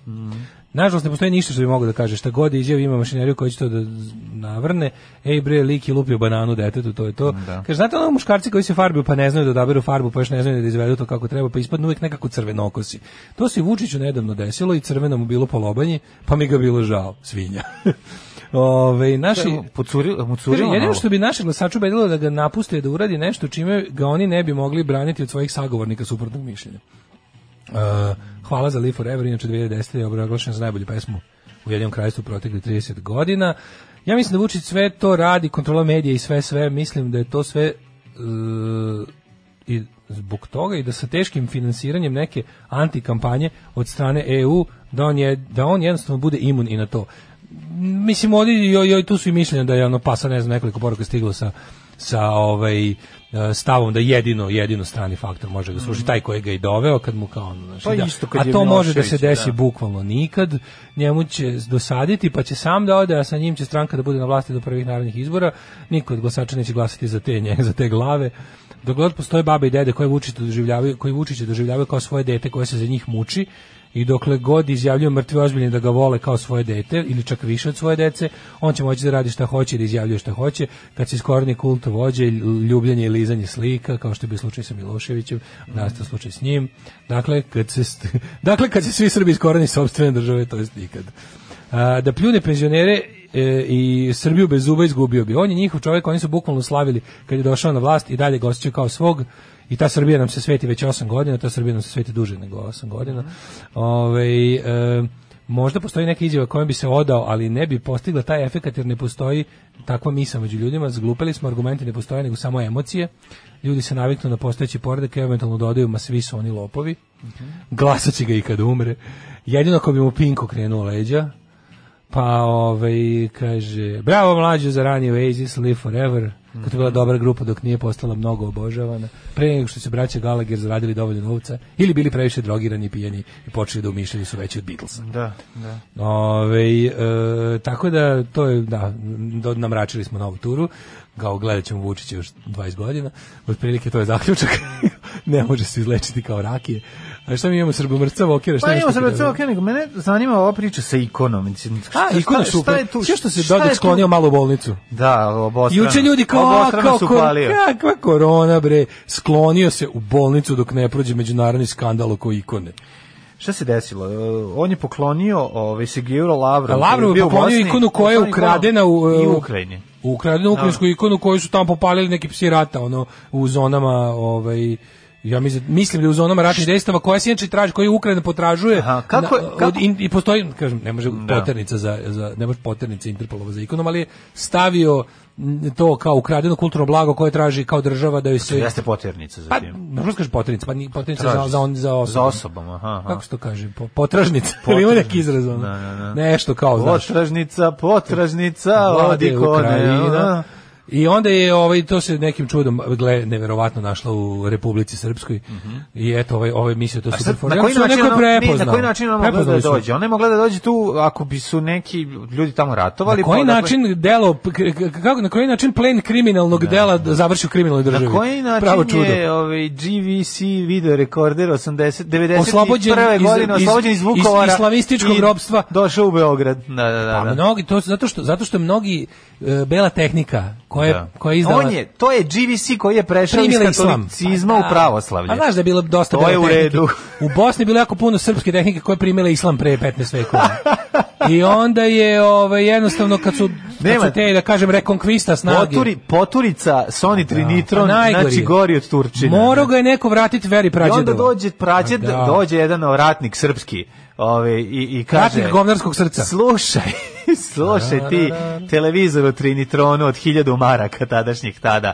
G: Nažalost, ne postoji ništa što bi mogo da kaže. Šta god izjavi, ima mašineriju koja će to da z- navrne. Ej, bre, lik je lupio bananu detetu, to je to. Kaže, znate ono muškarci koji se farbiju, pa ne znaju da odaberu farbu, pa još ne znaju da izvedu to kako treba, pa ispadnu uvijek nekako crvenokosi. To se i Vučiću nedavno desilo i crveno mu bilo po lobanji, pa mi ga bilo žao, svinja. Ove, naši,
F: Pocuri- mu curilo
G: Kaže, jedino
F: malo.
G: što bi naše glasače ubedilo da ga napuste da uradi nešto čime ga oni ne bi mogli braniti od svojih sagovornika suprotnog mišljenja. Uh, hvala za Live Forever, inače 2010. je obrazglašen za najbolju pesmu u jednom krajstvu proteklih 30 godina. Ja mislim da Vučić sve to radi, kontrola medija i sve sve, mislim da je to sve e, i zbog toga i da sa teškim finansiranjem neke antikampanje od strane EU da on je da on jednostavno bude imun i na to. Mislim ovdje joj, joj, tu su i mišljenja da je ono pa sad ne znam nekoliko poruka je stiglo sa sa ovaj e, stavom da jedino jedino strani faktor može ga služi taj koji ga je i doveo kad mu kao ono,
F: Mm.
G: znaš,
F: Pa
G: da,
F: isto kad
G: a
F: je
G: to može da se
F: Milošević,
G: desi
F: da.
G: bukvalno nikad njemu će dosaditi pa će sam da ode a sa njim će stranka da bude na vlasti do prvih narodnih izbora niko od glasača neće glasati za te nje, za te glave dok god postoje babe i dede koje Vučića doživljavaju koji Vučića doživljavaju kao svoje dete koje se za njih muči i dokle god izjavljuju mrtvi ozbiljni da ga vole kao svoje dete ili čak više od svoje dece, on će moći da radi šta hoće i da izjavljuje šta hoće, kad se iskorni kult vođe, ljubljenje i lizanje slika, kao što je bio slučaj sa Miloševićem, nastao slučaj s njim. Dakle, kad se, st- dakle, kad se svi Srbi iskorni sobstvene države, to jest nikad. A, da pljune penzionere e, i Srbiju bez zuba izgubio bi. On je njihov čovjek, oni su bukvalno slavili kad je došao na vlast i dalje ga osjećaju kao svog i ta Srbija nam se sveti već 8 godina, ta Srbija nam se sveti duže nego 8 godina. Ovaj, e, možda postoji neka izjava kojom bi se odao, ali ne bi postigla taj efekat jer ne postoji takva misa među ljudima. Zglupili smo, argumenti ne postoje nego samo emocije. Ljudi se naviknu na postojeći poredak i eventualno dodaju, ma svi su oni lopovi. Glasat će ga i kad umre. Jedino ako bi mu Pinko krenuo leđa, pa ovaj, kaže, bravo mlađo za rani Oasis, Live Forever, kad je bila dobra grupa dok nije postala mnogo obožavana, pre nego što su braća Gallagher zaradili dovoljno novca, ili bili previše drogirani i pijeni i počeli da umišljaju da su veći od Beatlesa.
F: Da, da.
G: Ovaj, e, tako da to je da do- namračili smo novu turu. Kao gledat ćemo Vučića još 20 godina. Otprilike to je zaključak. ne može se izlečiti kao rakije. A šta mi imamo srbomrca Vokira? Šta
F: Pa
G: još
F: imamo
G: ti
F: sam
G: treba?
F: recimo, okej, nego mene zanima ova priča sa ikonom. mislim, šta-
G: A, i kod
F: šta- šta
G: super.
F: je tu-
G: Sve što se
F: šta je tu-
G: Dodik
F: Pa
G: sklonio malo u bolnicu.
F: Da, obostrano.
G: Juče ljudi kao, a,
F: Obostrano
G: kao
F: su
G: kor-
F: palio.
G: kakva korona bre, sklonio se u bolnicu dok ne prođe međunarodni skandal oko ikone.
F: Šta se desilo? E, On je poklonio ovaj Sigiro Lavru.
G: Lavrov je poklonio ikonu koja je ukradena u,
F: i
G: e,
F: u Ukrajini.
G: Ukradenu ukrajinsku ikonu koju su tamo popalili neki psi rata, ono, u zonama, ovaj, ja mislim, mislim da je u zonama ratnih dejstava koja se inače traži, koju Ukrajina potražuje.
F: Aha, kako je-
G: na-
F: kako-
G: od in- I postoji, kažem, ne može
F: Da.
G: poternica za, za, ne može poternica Interpolova za ikonom, ali je stavio m, to kao ukradeno kulturno blago koje traži kao država da joj se...
F: Jeste poternica za
G: Pa,
F: tim.
G: ne možeš kažeš poternica, pa ni poternica
F: Traži
G: za, za, on, za
F: Za
G: osobom.
F: osobom, aha. aha.
G: Kako se to kaže? Po, potražnica. Ili ima neki izraz? ono?
F: Da, da, da.
G: Nešto kao, znaš.
F: Potražnica, potražnica,
G: Vlade
F: odi kone.
G: Ukrajina.
F: aha.
G: I onda je ovaj to se nekim čudom gle neverovatno našlo u Republici Srpskoj. I eto ovaj ovaj mislio to
F: A
G: su
F: Pa sad,
G: performans.
F: na koji
G: Onda su
F: način
G: neko
F: ona- ne,
G: prepoznao.
F: na koji način ona mogla da
G: Prepoznali su.
F: dođe? Ona je mogla da dođe tu ako bi su neki ljudi tamo ratovali.
G: Na koji
F: pa odakle-
G: način delo k- k- kako na koji način plen kriminalnog dela da završi u kriminalnoj državi?
F: Na koji način
G: Pravo čudo.
F: je ovaj GVC video rekorder 80 91.
G: Oslobođen iz-
F: godine
G: iz-
F: oslobođen iz
G: iz
F: Vukovara
G: islamističkog
F: i
G: ropstva.
F: došao u Beograd. Da, da, da.
G: Pa
F: da.
G: mnogi to su- zato što zato što mnogi e, bela tehnika koja
F: Da.
G: koja je izdala
F: On je, to je GVC koji je prešao iz
G: primila islam.
F: katolicizma
G: Pa
F: u pravoslavlje.
G: A znaš da je bilo dosta
F: To je
G: bele
F: u
G: tehnike.
F: redu.
G: U Bosni je bilo jako puno srpske tehnike koje je primila islam pre 15 vekova. I onda je ovaj, jednostavno kad su, kad
F: Nema-
G: su te, da kažem, rekonkvista snage.
F: Poturi, poturica Sony Trinitron,
G: Pa najgori
F: znači
G: je.
F: gori od Turčina.
G: Morao ga je neko vratiti veri
F: I
G: prađedova.
F: onda dođe prađed,
G: Pa da.
F: dođe jedan ratnik srpski ovaj, i, i kaže...
G: Ratnik govnarskog srca.
F: Slušaj, slušaj ti televizor u Trinitronu od hiljadu maraka tadašnjih tada.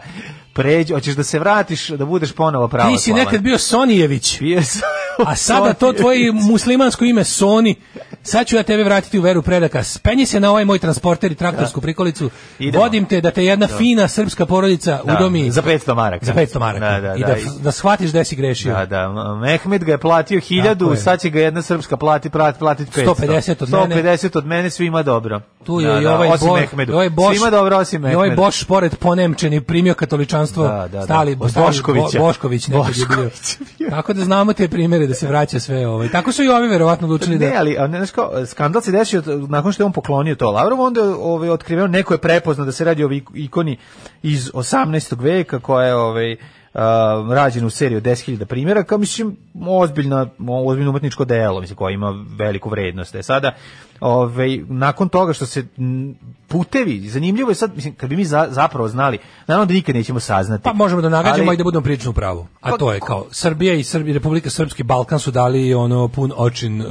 F: Pređi, hoćeš da se vratiš, da budeš ponovo pravoslavan.
G: Ti si nekad bio Sonijević.
F: Bio sam-
G: A sada to tvoje muslimansko ime Soni. Sad ću ja tebe vratiti u veru predaka. Spenji se na ovaj moj transporter i traktorsku prikolicu.
F: Idemo.
G: Vodim te da te jedna fina srpska porodica
F: Da,
G: udomi
F: Za 500 maraka.
G: za 500 maraka.
F: Pa Da, da,
G: I da,
F: da.
G: da shvatиш da si grešio.
F: Da, da, Mehmet ga je platio hiljadu,
G: Tako je.
F: sad će ga jedna srpska plati, prat, platit 500.
G: 150 od
F: 150 od mene, svima dobro.
G: Tu je
F: Da,
G: i
F: da,
G: ovaj
F: osim
G: Boš,
F: Mehmedu.
G: i ovaj Boš,
F: Svima dobro, osim
G: i
F: Mehmedu.
G: ovaj Boš pored ponemčeni primio katoličanstvo,
F: Da, da, da.
G: stali,
F: Od
G: stali
F: Boškovića.
G: Bo- Bošković nekad je bio.
F: Bošković je bio.
G: Tako da znamo te primere da se vraća sve ovaj. Tako su i ovi verovatno odlučili
F: Ne,
G: da
F: ali a ne, znaš kao, skandal se desio t- nakon što je on poklonio to Lavrovu, onda je ovaj, otkriveno, neko je prepoznao da se radi o ik- ikoni iz 18. veka koja je ovaj, a, rađena u seriji od 10.000 primjera, kao mislim ozbiljna, ozbiljno umetničko delo, mislim, koje ima veliku vrednost. E sada, ovaj, nakon toga što se m, putevi, zanimljivo je sad, mislim, kad bi mi za- zapravo znali, naravno da nikad nećemo saznati.
G: Pa možemo da nagađamo
F: Ali-
G: i da budemo prilično u pravu. A
F: Pa-
G: to je kao Srbija i Srbi, Republika Srpski Balkan su dali ono pun očin e,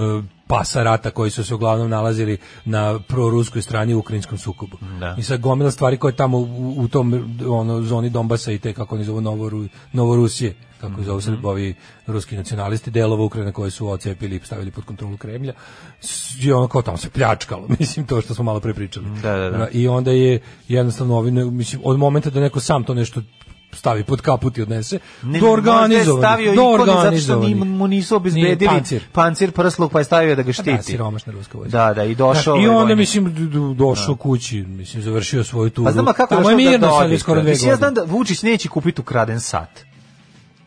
G: pasa rata koji su se uglavnom nalazili na proruskoj strani u ukrajinskom sukobu.
F: Da.
G: I sad gomila stvari koje tamo u, u tom ono, zoni Donbasa i te kako oni zovu Novoru, Novorusije, kako
F: Mhm.
G: ih zovu Srbi, ovi ruski nacionalisti, delova Ukrajine koje su ocepili i stavili pod kontrolu Kremlja, s- i ono kao tamo se pljačkalo, mislim to što smo malo pre pričali.
F: Da, da, da.
G: I onda je jednostavno ovi, ne- mislim, od momenta da neko sam to nešto stavi pod kaput i odnese,
F: Ne,
G: do organizovani,
F: možda je stavio
G: do
F: ikone zato što
G: organizovani.
F: ni- mu nisu
G: Nije
F: obezbedili
G: pancir.
F: pancir. prsluk pa je stavio da ga štiti.
G: Da, siromašna ruska vojska.
F: Da, da, i došao.
G: Znaš, I
F: ovaj
G: onda,
F: vojnik.
G: mislim, d- d- došao kući, mislim, završio svoju turu.
F: Pa znam a kako
G: Tamo je
F: došao da
G: mirno sad
F: dođe.
G: već skoro dve
F: Mislim, ja
G: godine.
F: znam da Vučić neće kupiti ukraden sat.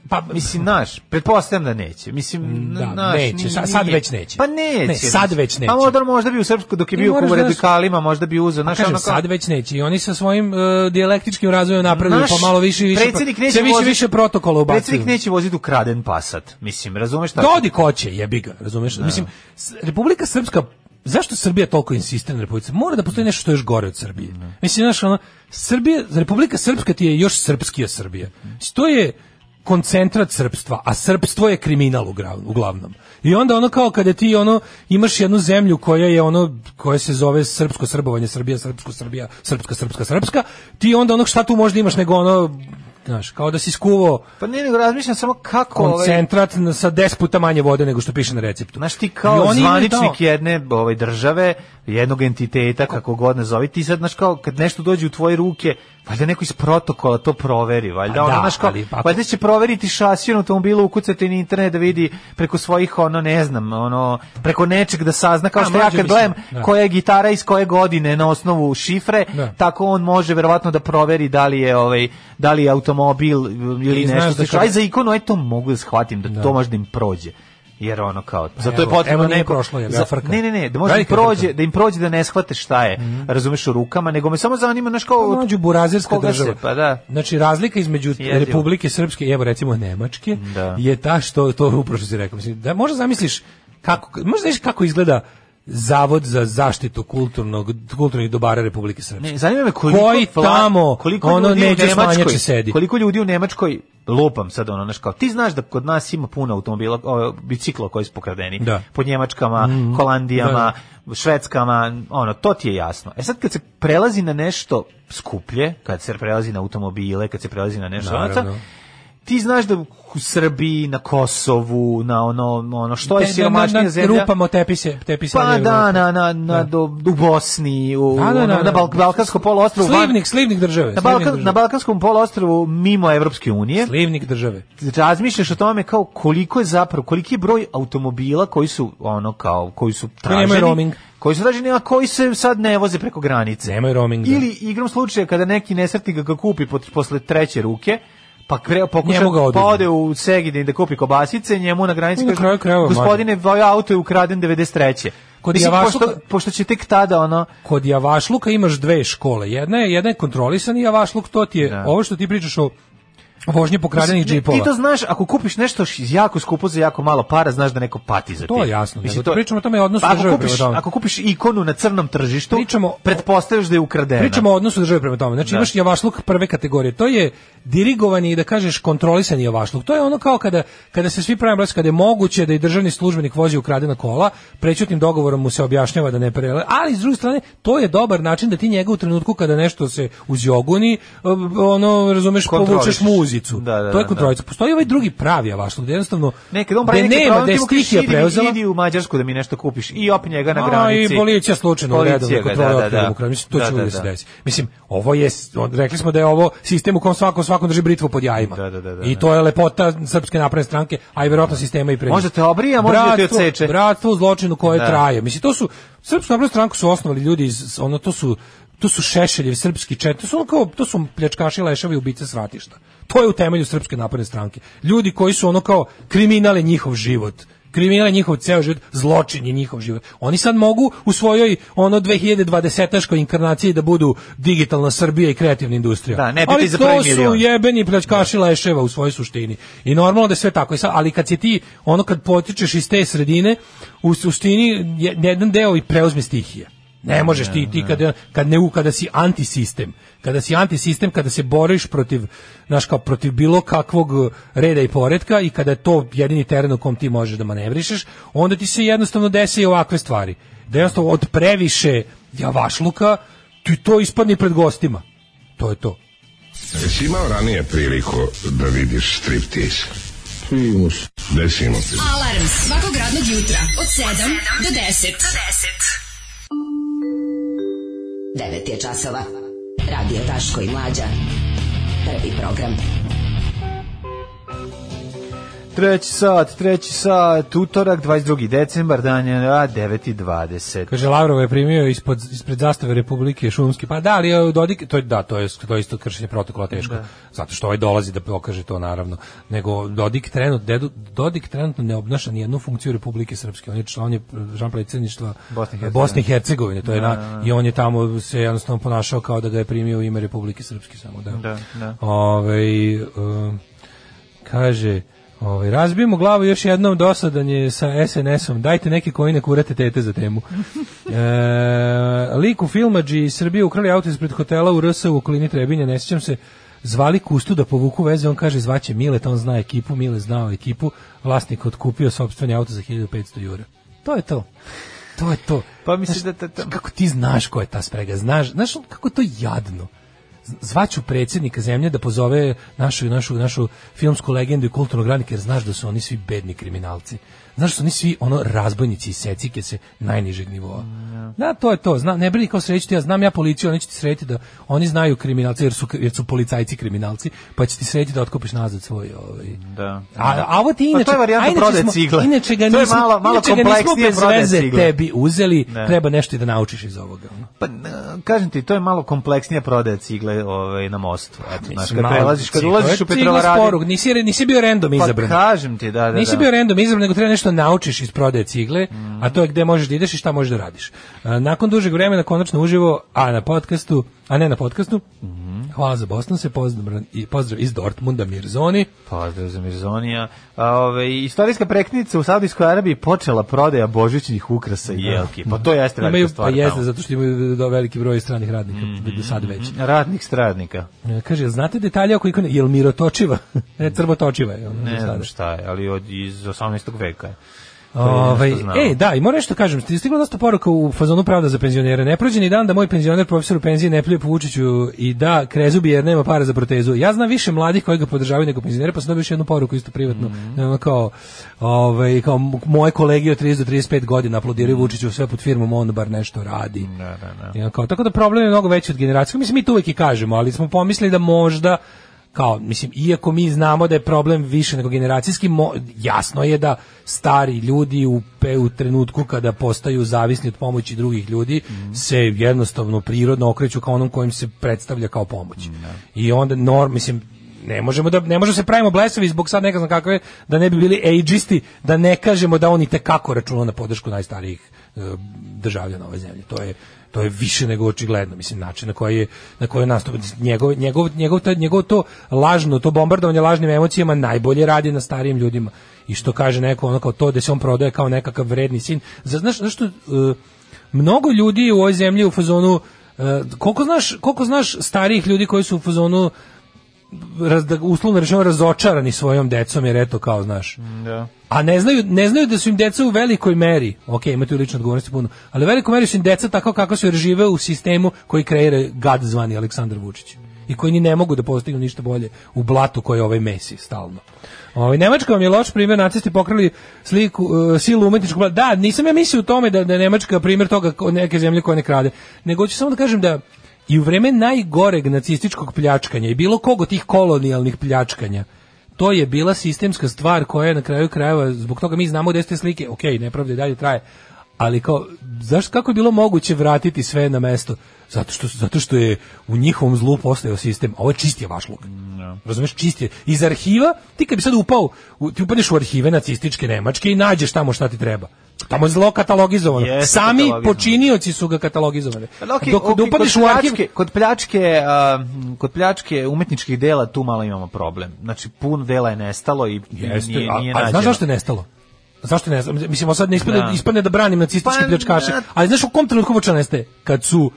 G: Pa,
F: Mislim, naš, pretpostavljam da neće. Mislim,
G: Da,
F: naš,
G: neće,
F: ni-
G: sa- sad
F: nije.
G: već neće.
F: Pa neće.
G: Ne, sad već neće.
F: A možda, možda bi u Srpsku, dok je
G: Ne,
F: bio
G: moraš
F: u
G: da-
F: radikalima, možda bi uzeo. ono Naš,
G: pa Kažem, sad već neće. I oni sa svojim e, dijalektičkim razvojem napravili
F: Naš
G: pa malo više i više.
F: predsjednik neće
G: sve više,
F: voziti-
G: više protokola ubacuju.
F: Predsjednik neće voziti ukraden pasat. Mislim, razumeš šta?
G: Dodi ko će, jebi ga, razumeš? Mislim, s- Republika Srpska Zašto Srbija toliko insistira na Republici? Mora da postoji nešto što je još gore od Srbije. Mislim, znaš, ono, Srbija, Republika Srpska ti je još srpskija Srbija. Mislim, To je koncentrat srpstva, a srpstvo je kriminal ugra- uglavnom. I onda ono kao kada ti ono imaš jednu zemlju koja je ono koja se zove srpsko srbovanje, Srbija, srpsko Srbija, srpska, srpska, srpska, ti onda ono šta tu možda imaš nego ono znaš, kao da si skuvao
F: Pa ne, nego razmišljam samo kako... ovaj,
G: koncentrat na- sa 10 puta manje vode nego što piše na receptu.
F: Znaš ti
G: I
F: kao
G: oni imaju
F: zvaničnik
G: to.
F: jedne ovaj, države, jednog entiteta, kako god nazovi, ti sad, znaš, kao, kad nešto dođe u tvoje ruke, valjda neko iz protokola to proveri, valjda,
G: Pa
F: ono,
G: da,
F: znaš, kao,
G: ali ako-
F: valjda će proveriti šasiju na automobilu, ukucati na internet da vidi preko svojih, ono, ne znam, ono, preko nečeg da sazna, kao
G: A,
F: što ja
G: mlađe
F: kad
G: mislim,
F: gledam
G: da.
F: koja je gitara iz koje godine na osnovu šifre,
G: Da.
F: tako on može verovatno da proveri da li je, ovaj, da li je automobil ili
G: I znaš
F: nešto,
G: da
F: slično.
G: kad-
F: aj za ikonu, aj to mogu da shvatim, da, to možda im prođe. Jer ono kao, zato je
G: evo,
F: potrebno
G: evo nije
F: neko
G: prošlo, jebe,
F: za-
G: frka.
F: Ne, ne, ne, da možda im
G: Velika
F: prođe,
G: frka. Mhm.
F: da im prođe da ne shvate šta je, razumeš u rukama, nego me samo zanima znaš
G: Pa
F: kao od-
G: Mlađu burazerska
F: koga se,
G: država.
F: pa da.
G: Znači razlika između
F: Jezivo.
G: Republike Srpske i evo recimo Nemačke
F: Da.
G: je ta što to upravo što si rekao. Mislim, da možda zamisliš kako možda znaš kako izgleda Zavod za zaštitu kulturnog kulturnih dobara Republike Srpske.
F: Ne, zanima me koliko
G: Koji
F: vla-
G: tamo ono
F: ljudi u
G: neđe
F: Nemačkoj-
G: smanjače sedi.
F: Koliko ljudi u Nemačkoj lupam sad ono znaš kao ti znaš da kod nas ima puno automobila, o, bicikla koji su pokradeni
G: Da. Mhm.
F: po Njemačkama, Holandijama, Švedskama, ono to ti je jasno. E sad kad se prelazi na nešto skuplje, kad se prelazi na automobile, kad se prelazi na nešto ono,
G: Naravno.
F: ti znaš da u Srbiji, na Kosovu, na ono, ono što je
G: Te- na- na-
F: siromašnija zemlja.
G: Rupamo tepise, tepise.
F: Pa da, na, na, na, do, u Bosni, u,
G: Da, da,
F: ono,
G: da,
F: na
G: da.
F: Balk- Balkanskom poluostrovu. van-
G: Slivnik, slivnik države.
F: na,
G: slivnik
F: Balkan-
G: države.
F: na Balkanskom poluostrovu mimo Evropske unije
G: slivnik države.
F: razmišljaš o tome kao koliko je zapravo koliki je broj automobila koji su ono kao koji su traženi
G: nemaju roaming.
F: koji su traženi a koji se sad ne voze preko granice
G: Nemaju roaming, da.
F: ili igrom slučaja kada neki nesretnik ga kupi pot- posle treće ruke pa kre, pokuša
G: Njemu ga
F: pa
G: oduzme.
F: ode u Segedin da kupi kobasice njemu na granici
G: I na kraju krajeva,
F: gospodine vaš auto je ukraden 93
G: Kod
F: Mislim,
G: Javašluka-
F: pošto, pošto će tek tada ono
G: kod javašluka imaš dve škole. Jedna je jedna je kontrolisani javašluk, to ti je
F: Da.
G: ovo što ti pričaš o vožnji pokradenih
F: Mislim,
G: džipova.
F: Ti to znaš, ako kupiš nešto š- jako skupo za jako malo para, znaš da neko pati za
G: To je jasno, nego ti pričamo o tome odnosu
F: Pa ako
G: države
F: kupiš,
G: prema tome.
F: Ako kupiš ikonu na crnom tržištu,
G: Pričamo-
F: pretpostavljaš da je ukradena.
G: Pričamo o odnosu države prema tome. Znači
F: Da.
G: imaš javašluk prve kategorije. To je dirigovani i da kažeš kontrolisani javašluk. To je ono kao kada kada se svi pravimo kada je moguće da i državni službenik vozi ukradena kola, prećutnim dogovorom mu se objašnjava da ne prele. Ali s druge strane, to je dobar način da ti njega u trenutku kada nešto se uzjoguni, ono razumeš, povučeš
F: Kontrolišeš.
G: muzicu.
F: Da, da,
G: to je
F: da,
G: kontrolica. Postoji ovaj drugi pravi javašluk, gde jednostavno
F: Nekad on pravi
G: gde
F: neki
G: nema,
F: problem,
G: gde
F: ti
G: je
F: mu kažeš,
G: stihija
F: idi mi-
G: preuzela.
F: Idi u Mađarsku da mi nešto kupiš i op njega na
G: A,
F: granici.
G: i policija slučajno u
F: Policija
G: redovnoj
F: ga,
G: kontroli
F: da, da,
G: otkrila
F: da.
G: u Ukrajini. Mislim, to
F: Da,
G: će
F: da,
G: uvijek se
F: da.
G: desiti. Mislim, ovo je, on- rekli smo da je ovo sistem u kom svako, svakom drži britvu pod jajima.
F: Da, da, da, da.
G: I to je lepota srpske napredne stranke, a i verovatno sistema i pre. njih.
F: Možda te obrije, a možda te
G: Bratstvo-
F: odseče.
G: Bratstvo u zločinu koje
F: Da.
G: traje. Mislim, to su, srpsku naprednu stranku su osnovali ljudi iz, ono, to su, to su Šešeljevi srpski čet, to su ono kao, to su pljačkaši, leševi, ubice svratišta. To je u temelju srpske napredne stranke. Ljudi koji su ono kao kriminale njihov život. Kriminal je njihov ceo život, zločin je njihov život. Oni sad mogu u svojoj ono 2020-aškoj inkarnaciji da budu digitalna Srbija i kreativna industrija.
F: Da, ne piti
G: Ali
F: za
G: to
F: prvi
G: su
F: milion.
G: jebeni pljačkaši leševa u svojoj suštini. I normalno da je sve tako. I sad, ali kad si ti, ono kad potičeš iz te sredine, u suštini je- jedan deo i preuzme stihija. Ne možeš ti, ti kad, kad, ne, u- kada si antisistem, kada si antisistem, kada se boriš protiv, znaš, kao protiv bilo kakvog reda i poretka i kada je to jedini teren u kom ti možeš da manevrišeš, onda ti se jednostavno desi i ovakve stvari. Da jednostavno od previše javašluka ti to ispadni pred gostima. To je to.
M: Jesi imao ranije priliku da vidiš striptease? Imao sam. Gde si imao?
H: Alarm svakog radnog jutra od 7 do 10.
L: 9 je časova. Radio Daško i Mlađa. Prvi program.
F: Treći sat, treći sat, utorak, 22. decembar, dan je a, 9.20.
G: Kaže Lavrov je primio ispod ispred zastave Republike Šumski. Pa da, ali je Dodik to je da, to je to je isto kršenje protokola teško.
F: Da.
G: Zato što ovaj dolazi da pokaže to naravno. Nego Dodik trenutno dedu- Dodik trenutno ne obnaša ni jednu funkciju Republike Srpske. On je član on je član predsjedništva
F: Bosne i Hercegovine.
G: Bosne i Hercegovine. To je
F: Da,
G: na-
F: da, da.
G: i on je tamo se jednostavno ponašao kao da ga je primio u ime Republike Srpske samo da.
F: Da, da.
G: Ovaj, um, kaže, ovaj, razbijemo glavu još jednom dosadan je sa SNS-om. Dajte neke koji ne kurate tete za temu. e, lik u filmađi iz Srbije ukrali auto ispred hotela u RS u okolini Trebinja, ne sjećam se, zvali Kustu da povuku veze, on kaže zvaće Milet, on zna ekipu, Mile znao ekipu, vlasnik otkupio sopstveni auto za 1500 jura. To je to. To je to.
F: Pa mislim
G: Znaš,
F: da- da- da-
G: Kako ti znaš ko je ta sprega? Znaš, znaš kako je to jadno? Z- Zvaću predsjednika zemlje da pozove našu, našu, našu filmsku legendu i kulturnog radnika, jer znaš da su oni svi bedni kriminalci. Znaš da su oni svi ono razbojnici i secike se najnižeg nivoa.
F: Mm,
G: Da, to je to. Zna, ne brini kao sreću ti, ja znam ja policiju, oni će ti sreći da oni znaju kriminalci jer su, jer su policajci kriminalci, pa će ti sreći da otkupiš nazad svoj ovaj,
F: Da.
G: a, a ovo ti
F: Pa
G: inače,
F: to je varijanta
G: a inače
F: prodaje
G: smo-
F: cigle.
G: Inače ga
F: To je
G: nismo,
F: malo- malo
G: inače ga nismo
F: kompleksnije
G: bez
F: prodaje
G: veze
F: cigle.
G: tebi uzeli,
F: Ne.
G: treba nešto i da naučiš iz ovoga. ono.
F: Pa, n- kažem ti, to je malo kompleksnija prodaja cigle ovaj, na mostu. Eto, znaš, kad
G: Malo
F: prelaziš, kad
G: cigle.
F: ulaziš
G: To
F: u
G: je cigle sporog,
F: Petrovaradin,
G: nisi, nisi bio random
F: pa
G: izabran.
F: kažem ti, da, da,
G: Nisi
F: da.
G: bio random izabran, nego treba nešto naučiš iz prodaje cigle, a to je gde možeš da ideš i šta možeš da radiš. A, Nakon dužeg vremena, konačno uživo, a na podcastu, a ne na podcastu, hvala za Bosnu se, pozdrav, i pozdrav iz Dortmunda Mirzoni.
F: Pozdrav za Mirzonija. A, ove, istorijska preknica u Saudijskoj Arabiji počela prodaja božićnih ukrasa i jelki. Pa to jeste
G: Imaju,
F: velika
G: pa
F: stvar.
G: jeste,
F: tamo. Mhm.
G: zato što imaju do- veliki broj stranih radnika, do sad već.
F: Radnik stradnika.
G: E, Kaže, jel znate detalje oko ikone? Jel mirotočiva? ne, crvotočiva je. Ono,
F: Ne
G: za
F: znam
G: sada.
F: šta je, ali od, iz 18. veka je.
G: Ovaj,
F: nešto znamo.
G: ej, da, i moram nešto kažem, sti- stiglo dosta poruka u fazonu pravda za penzionere. Ne prođe ni dan da moj penzioner profesor u penziji ne pljuje po Vučiću i da krezubi jer nema para za protezu. Ja znam više mladih koji ga podržavaju nego penzionere, pa sam dobio još jednu poruku isto privatno. Ono kao, ovaj, kao m- moje kolege od 30 do 35 godina aplodiraju Vučiću sve pod firmom, on bar nešto radi. I ono kao, tako da problem je mnogo veći od generacijskog. Mislim, mi to uvijek i kažemo, ali smo pomislili da možda kao, mislim, iako mi znamo da je problem više nego generacijski, mo- jasno je da stari ljudi u, pe- u trenutku kada postaju zavisni od pomoći drugih ljudi, se jednostavno prirodno okreću ka onom kojim se predstavlja kao pomoć. I onda, norm, mislim, ne možemo da ne možemo se pravimo blesavi zbog sad ne znam kakve da ne bi bili ageisti da ne kažemo da oni te kako računa na podršku najstarijih e, državljana ove zemlje to je to je više nego očigledno mislim način na koji je na koji je nastup njegov njegov njegov ta- njegov to lažno to bombardovanje lažnim emocijama najbolje radi na starijim ljudima i što kaže neko ono kao to da se on prodaje kao nekakav vredni sin Za- znaš zašto mnogo ljudi je u ovoj zemlji u fazonu e, koliko znaš koliko znaš starijih ljudi koji su u fazonu raz, da, uslovno rečeno razočarani svojom decom jer eto kao znaš
F: Da.
G: a ne znaju, ne znaju da su im deca u velikoj meri, ok, imate u ličnoj odgovornosti puno, ali u velikoj meri su im deca tako kako su jer žive u sistemu koji kreira gad zvani Aleksandar Vučić i koji ni ne mogu da postignu ništa bolje u blatu koje ovaj mesi stalno. Ovaj Nemačka vam je loš primjer, nacisti pokrali sliku e, silu umetničkog blata. Da, nisam ja mislio u tome da, da je Nemačka primjer toga ko- neke zemlje koje ne krade, nego ću samo da kažem da i u vreme najgoreg nacističkog pljačkanja i bilo kog od tih kolonijalnih pljačkanja, to je bila sistemska stvar koja je na kraju krajeva, zbog toga mi znamo gde su te slike, ok, nepravda i dalje traje, ali kao, zašto, kako je bilo moguće vratiti sve na mesto? Zato što, zato što je u njihovom zlu postojao sistem, a ovo je čist je vaš luk. Razumeš, čist je. Iz arhiva, ti kad bi sad upao, u- ti upadneš u arhive nacističke Nemačke i nađeš tamo šta ti treba. Tamo je zlo katalogizovano.
F: Jeste
G: Sami
F: katalogizovano.
G: počinioci su ga katalogizovali.
F: Ali okej,
G: Dok,
F: okej,
G: da upadneš
F: kod
G: u arhiv,
F: pljačke- kod pljačke, a, m, kod pljačke umetničkih dela tu malo imamo problem. Znači puno dela je nestalo i
G: Jeste,
F: nije,
G: a-
F: nije
G: a,
F: nađeno.
G: znaš zašto je nestalo? Zašto ne znam? Mislim, ovo sad ne ispadne,
F: Da.
G: ispadne da branim nacističke
F: Pa,
G: pljačkaše.
F: na-
G: Ali znaš u kom trenutku počeo nestaje? Kad su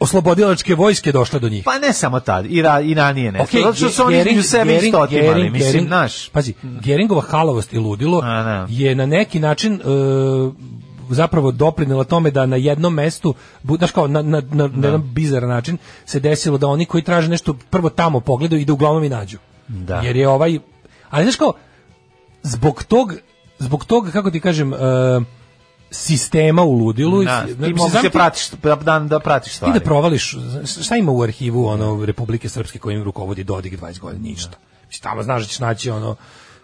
G: oslobodilačke vojske došle do njih.
F: Pa ne samo tad, i, ra, i ranije ne.
G: Okej,
F: Okay, Zato što su oni
G: Gering-
F: između sebe
G: Gering-
F: i stotimali,
G: Gering-
F: mislim,
G: Gering-
F: naš.
G: Pazi, Geringova halavost i ludilo je na neki način e, zapravo doprinela tome da na jednom mestu, bu- znaš kao, na, na, na, na jedan bizaran način se desilo da oni koji traže nešto prvo tamo pogledaju i da uglavnom i nađu.
F: Da.
G: Jer je ovaj, ali znaš kao, zbog tog, zbog tog, kako ti kažem, e, sistema u ludilu,
F: Da,
G: i-
F: ti
G: mislim,
F: mogu se
G: zamisli-
F: pratiš, da, da, da pratiš
G: ti
F: stvari.
G: da provališ, šta ima u arhivu ono Republike Srpske kojim rukovodi Dodik 20 godina? Ništa. Mislim, tamo znaš da ćeš naći ono,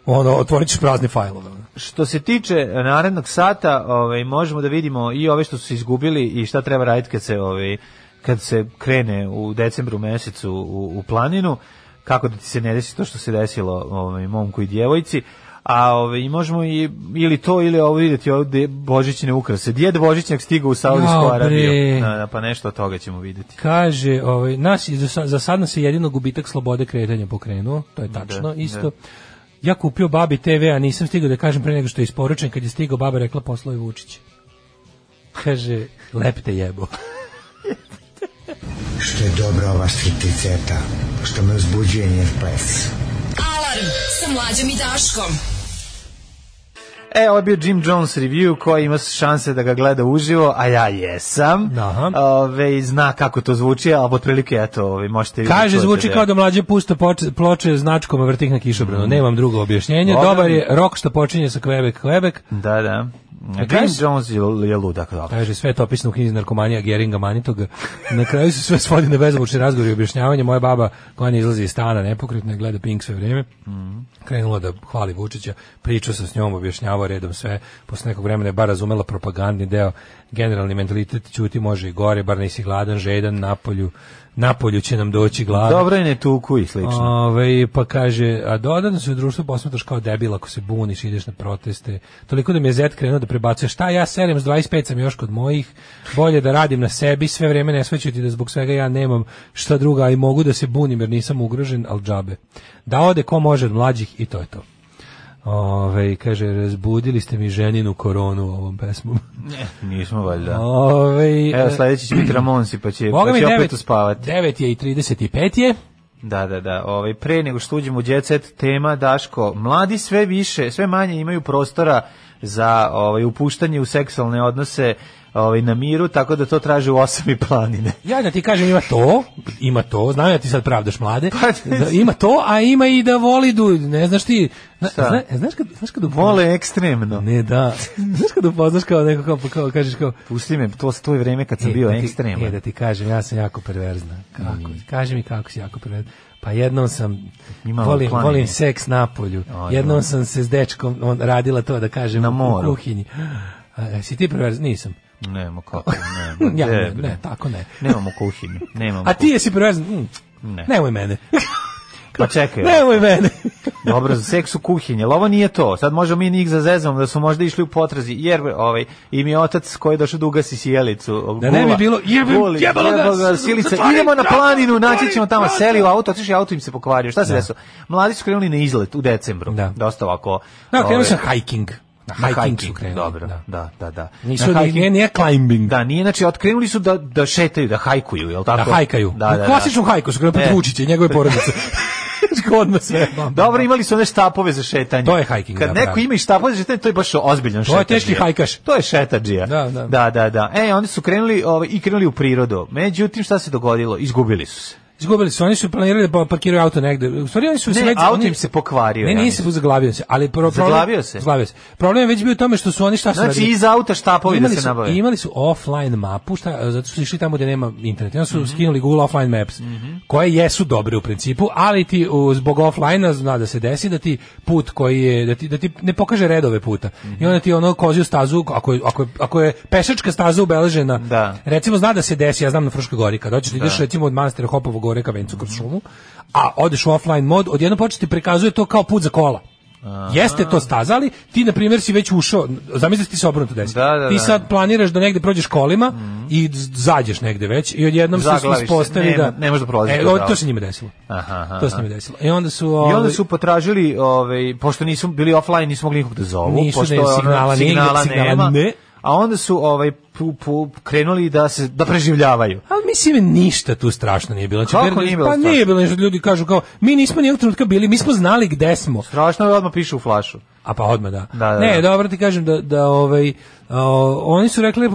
G: ono, otvorit ćeš prazne fajlove. ono.
F: Što se tiče narednog sata, ovaj možemo da vidimo i ove što su se izgubili i šta treba raditi kad se ovaj kad se krene u decembru mesecu u, u planinu, kako da ti se ne desi to što se desilo ovaj momku i djevojci. A ovaj i možemo i ili to ili ovo videti ovde božićne ukrase. Djed Božićnjak stigao u Saudijsku
G: Jao, bre.
F: Arabiju. Da, da, pa nešto od toga ćemo vidjeti
G: Kaže, ovaj, nas, je za, sa- za sad nas je jedino gubitak slobode kretanja pokrenuo, to je tačno
F: Da,
G: isto.
F: da.
G: Ja kupio babi TV, a nisam stigao da kažem pre nego što je isporučen, kad je stigao baba rekla poslao je Vučić. Kaže, lepte jebo.
N: Što je dobra ova stripticeta, što me uzbuđuje njen ples.
H: Alarm sa mlađom i Daškom.
F: E, ovo je bio Jim Jones review koji ima šanse da ga gleda uživo, a ja jesam. Ove, zna kako to zvuči, ali otprilike, eto, ove, možete vidjeti.
G: Kaže,
F: čujete
G: zvuči
F: da-
G: kao da mlađe pušta poč- ploče značkoma vrtih na kišobranu. Nemam drugo objašnjenje.
F: Dobro.
G: Dobar je rok što počinje sa Quebec, Quebec.
F: Da, da. Jim
G: E, kaže-
F: Jones je, je ludak, da.
G: Kaže, sve je to opisano u knjizi narkomanija Geringa Manitoga. Na kraju se sve svodi na bezomučni razgovor i objašnjavanje. Moja baba koja ne izlazi iz stana nepokretna i gleda Pink sve vrijeme. Krenula da hvali Vučića. Pričao sam s njom, objašnjavao redom sve. Posle nekog vremena je bar razumela propagandni deo. Generalni mentalitet ćuti može i gore, bar nisi gladan, žedan, napolju. Napolju će nam doći gladan.
F: Dobro je ne tuku i slično.
G: Ove, pa kaže, a dodatno se u društvu posmetaš kao debil ako se buniš, ideš na proteste. Toliko da mi je zet krenuo da prebacuje, šta ja serem s 25 sam još kod mojih, bolje da radim na sebi, sve vreme ne shvaćaju ti da zbog svega ja nemam šta druga i mogu da se bunim jer nisam ugrožen, al džabe. Da ode ko može od mlađih i to je to. Ove, kaže, razbudili ste mi ženinu koronu ovom pesmom.
F: Nismo valjda.
G: Ove,
F: Evo, sledeći će biti Ramonsi, pa će,
G: Boga
F: pa
G: mi,
F: će opet
G: devet-
F: uspavati.
G: 9 je i 35 je.
F: Da, da, da. Ovaj pre nego što uđemo u jet set tema Daško, mladi sve više, sve manje imaju prostora za ovaj upuštanje u seksualne odnose ovaj na miru, tako da to traže u osami planine.
G: Ja da ti kažem ima to, ima to, znam ja ti sad pravdaš mlade,
F: Pa,
G: da, ima to, a ima i da voli du, ne znaš ti, zna,
F: Šta?
G: zna- znaš kad, znaš kad upoznaš,
F: Vole ekstremno.
G: ne da, znaš kad upoznaš kao neko, kao, kao kažeš kao,
F: Pusti me, to to je vreme kad sam
G: E,
F: bio
G: da ti-
F: ekstreman.
G: E, da ti kažem, ja sam jako perverzna. Kako? Kaži mi kako si jako perverzna. Pa jednom sam,
F: Imala
G: volim,
F: u planini.
G: volim seks na polju.
F: Ajmo.
G: jednom sam se s dečkom on, radila to, da kažem,
F: Na
G: u
F: moru.
G: kuhinji. A, jesi ti perverzna? Nisam.
F: Nemo kako, nemo.
G: Ja, ne,
F: Gde, bre?
G: ne, tako ne.
F: Nemamo kuhinju, nemamo.
G: A ti jesi perverzna? Mm,
F: Ne.
G: Nemoj mene.
F: kuhinju. Pa čekaj.
G: Nemoj mene.
F: Dobro, za seks u kuhinji, ali ovo nije to. Sad možemo mi njih zazezamo da su možda išli u potrazi, jer ovaj, im je otac koji je došao da ugasi sjelicu.
G: Da ne bi
F: Gula.
G: bilo, jebem,
F: Guli,
G: jebalo ga,
F: jebalo sjelica.
G: zatvori
F: Idemo na
G: vrata,
F: planinu, naći
G: zatvori
F: ćemo tamo,
G: vrata.
F: seli u auto, otišli auto im se pokvario. Šta se
G: Da.
F: desilo? Mladi su krenuli na izlet u decembru.
G: Da.
F: Dosta ovako.
G: Da,
F: ovaj,
G: krenuli su na hiking. Na
F: na
G: hiking, su krenuli.
F: Dobro,
G: Da.
F: da, da, da.
G: Nisu,
F: Na
G: ni-
F: hiking.
G: nije, nije climbing.
F: Da, nije, znači, otkrenuli su da, da šetaju, da hajkuju, jel tako?
G: Da, hajkaju.
F: Da, da, da.
G: Klasičnu hajku su krenuli pred
F: E.
G: Vučića i njegove porodice. Odmah sve.
F: Dobro, imali su one štapove za šetanje.
G: To je hiking,
F: Kad
G: da,
F: neko
G: bravo.
F: ima i štapove za šetanje, to je baš ozbiljan
G: To je
F: šetadžija.
G: teški hajkaš.
F: To je šetadžija.
G: Da, da.
F: da, da, da. E, oni su krenuli ovaj, i krenuli u prirodu. Međutim, šta se dogodilo? Izgubili su se.
G: Izgubili su, oni su planirali da pa- parkiraju auto negde. U stvari oni su
F: Ne,
G: sledeći-
F: auto
G: oni-
F: im se pokvario.
G: Ne,
F: ja
G: nije se
F: mislim.
G: zaglavio se, ali pro, problem-
F: Zaglavio se?
G: Zaglavio se. Problem je već bio u tome što su oni šta su
F: Znači,
G: radili?
F: iz auta štapovi da
G: imali
F: se
G: su,
F: nabave.
G: Imali su offline mapu, šta, zato što su išli tamo gde nema interneta. Onda su skinuli Google Offline Maps, koje jesu dobre u principu, ali ti u, zbog offline-a zna da se desi da ti put koji je, da ti, da ti ne pokaže redove puta. I onda ti ono koziju stazu, ako je, ako je, ako je pešačka staza ubeležena,
F: Da.
G: recimo zna da se desi, ja znam na Fruškoj gori, kad hoćeš da ideš recimo od manastira Hopovo gore ka Vencu kroz šumu, a odeš u offline mod, odjedno početi prikazuje to kao put za kola Jeste to staza, ali ti, na primjer, si već ušao, zamisli da ti se obrnuto desi.
F: Da, da,
G: ti
F: da.
G: sad planiraš da negde prođeš kolima i z- zađeš negde već i odjednom
F: Zaglaviš
G: se
F: se,
G: ispostavi
F: nema-
G: da...
F: ne možeš da prolaziš
G: E,
F: kroz
G: o,
F: pravo.
G: to se njima desilo.
F: Aha, aha,
G: To se
F: aha.
G: njima desilo. I onda su...
F: I onda
G: ovaj,
F: su potražili, ovaj, pošto nisu bili offline, nisu mogli nikog da zovu,
G: Nisu,
F: pošto
G: ne,
F: ono,
G: signala nigde,
F: signala
G: signala
F: nema,
G: ne.
F: a onda su ovaj, pu, pu, krenuli da se da preživljavaju.
G: Ali mislim ništa tu strašno nije bilo. Znači,
F: Kako
G: Bergović-
F: nije bilo
G: Pa
F: strašno?
G: nije bilo nešto, ljudi kažu kao, mi nismo nijednog trenutka bili, mi smo znali gde smo.
F: Strašno je odmah piše u flašu.
G: A pa odmah da.
F: Da, da,
G: ne,
F: da.
G: dobro ti kažem da, da ovaj, o, oni su rekli,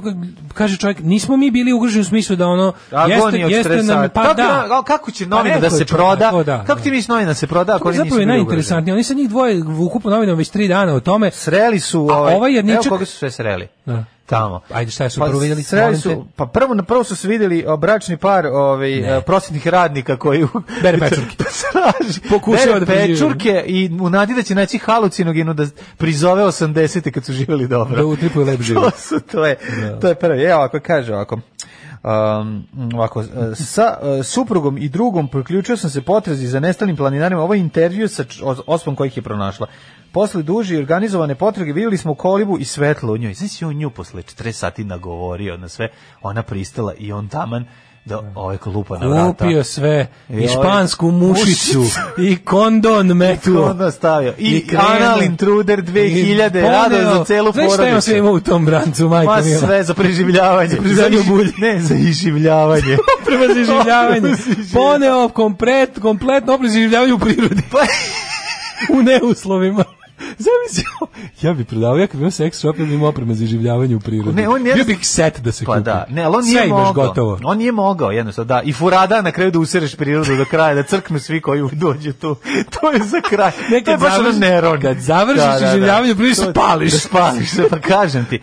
G: kaže čovjek, nismo mi bili ugroženi u smislu da ono, jeste,
F: Agonija od
G: jeste
F: stresa.
G: nam, pa
F: kako,
G: da.
F: al kako će
G: Pa
F: novina da
G: rekao je
F: se
G: čovjek,
F: proda?
G: to da,
F: kako
G: da.
F: ti misliš novina da se proda ako
G: To je
F: oni nisu
G: zapravo i
F: bili ugroženi?
G: najinteresantnije. Oni su njih dvoje ukupno novinom već tri dana o tome.
F: Sreli su
G: ovaj,
F: ovaj,
G: ovaj
F: evo
G: jedničak...
F: koga su sve sreli.
G: Da.
F: Tamo. Pa
G: Ajde, šta su prvo vidjeli?
F: sreli
G: Molim te.
F: su, pa prvo na prvo su se videli o, bračni par ovaj e, prosvetnih radnika koji u-
G: Bere pečurke.
F: traži
G: Pokušava
F: bere
G: da preživi.
F: pečurke i u nadi da će naći halucinogenu da prezove 80 kad su živjeli dobro.
G: Da utripuju lep
F: to,
G: život.
F: su, to, je, to je prvi. Evo, ako kaže ovako. Um, ovako, e, sa e, suprugom i drugom priključio sam se potrazi za nestalim planinarima. Ovo je intervju sa č- os- ospom kojih je pronašla. Posle duže i organizovane potrage vidjeli smo kolibu i svetlo u njoj. Znači on nju posle 40 sati nagovorio na sve. Ona pristala i on taman da ovaj lupa na vrata.
G: Kupio sve,
F: I
G: i špansku
F: ovaj-
G: mušicu,
F: mušicu.
G: i kondon metuo.
F: Onda stavio. I,
G: I krenuo.
F: Anal Intruder 2000,
G: I
F: rado
G: poneo-
F: za celu
G: Znaš
F: porodicu.
G: šta imam sve ima u tom brancu, majko
F: Ma
G: mila?
F: Pa sve za preživljavanje.
G: Za ljubulj.
F: Ne, za iživljavanje.
G: Oprema za iživljavanje.
F: Oprema za iživljavanje.
G: Poneo komplet, kompletno oprema za iživljavanje u prirodi.
F: Pa-
G: u neuslovima. Zamislio, ja bih prodavao, ja kad bi imao sex shop, ja bih imao opreme za iživljavanje u prirodi.
F: Ne, on je-
G: Bio bih set da se
F: Pa
G: kupi.
F: da, ne, ali on
G: Sve
F: nije
G: imaš
F: mogao.
G: gotovo.
F: On nije mogao, jednostavno, da. I furada na kraju da usereš prirodu do kraja, da crknu svi koji dođu tu. To je za kraj.
G: Ne,
F: to je
G: kad
F: baš ono
G: završiš-
F: Neron.
G: kad završiš iživljavanje, prvi se
F: To-
G: pališ.
F: Da spališ se, pa kažem ti.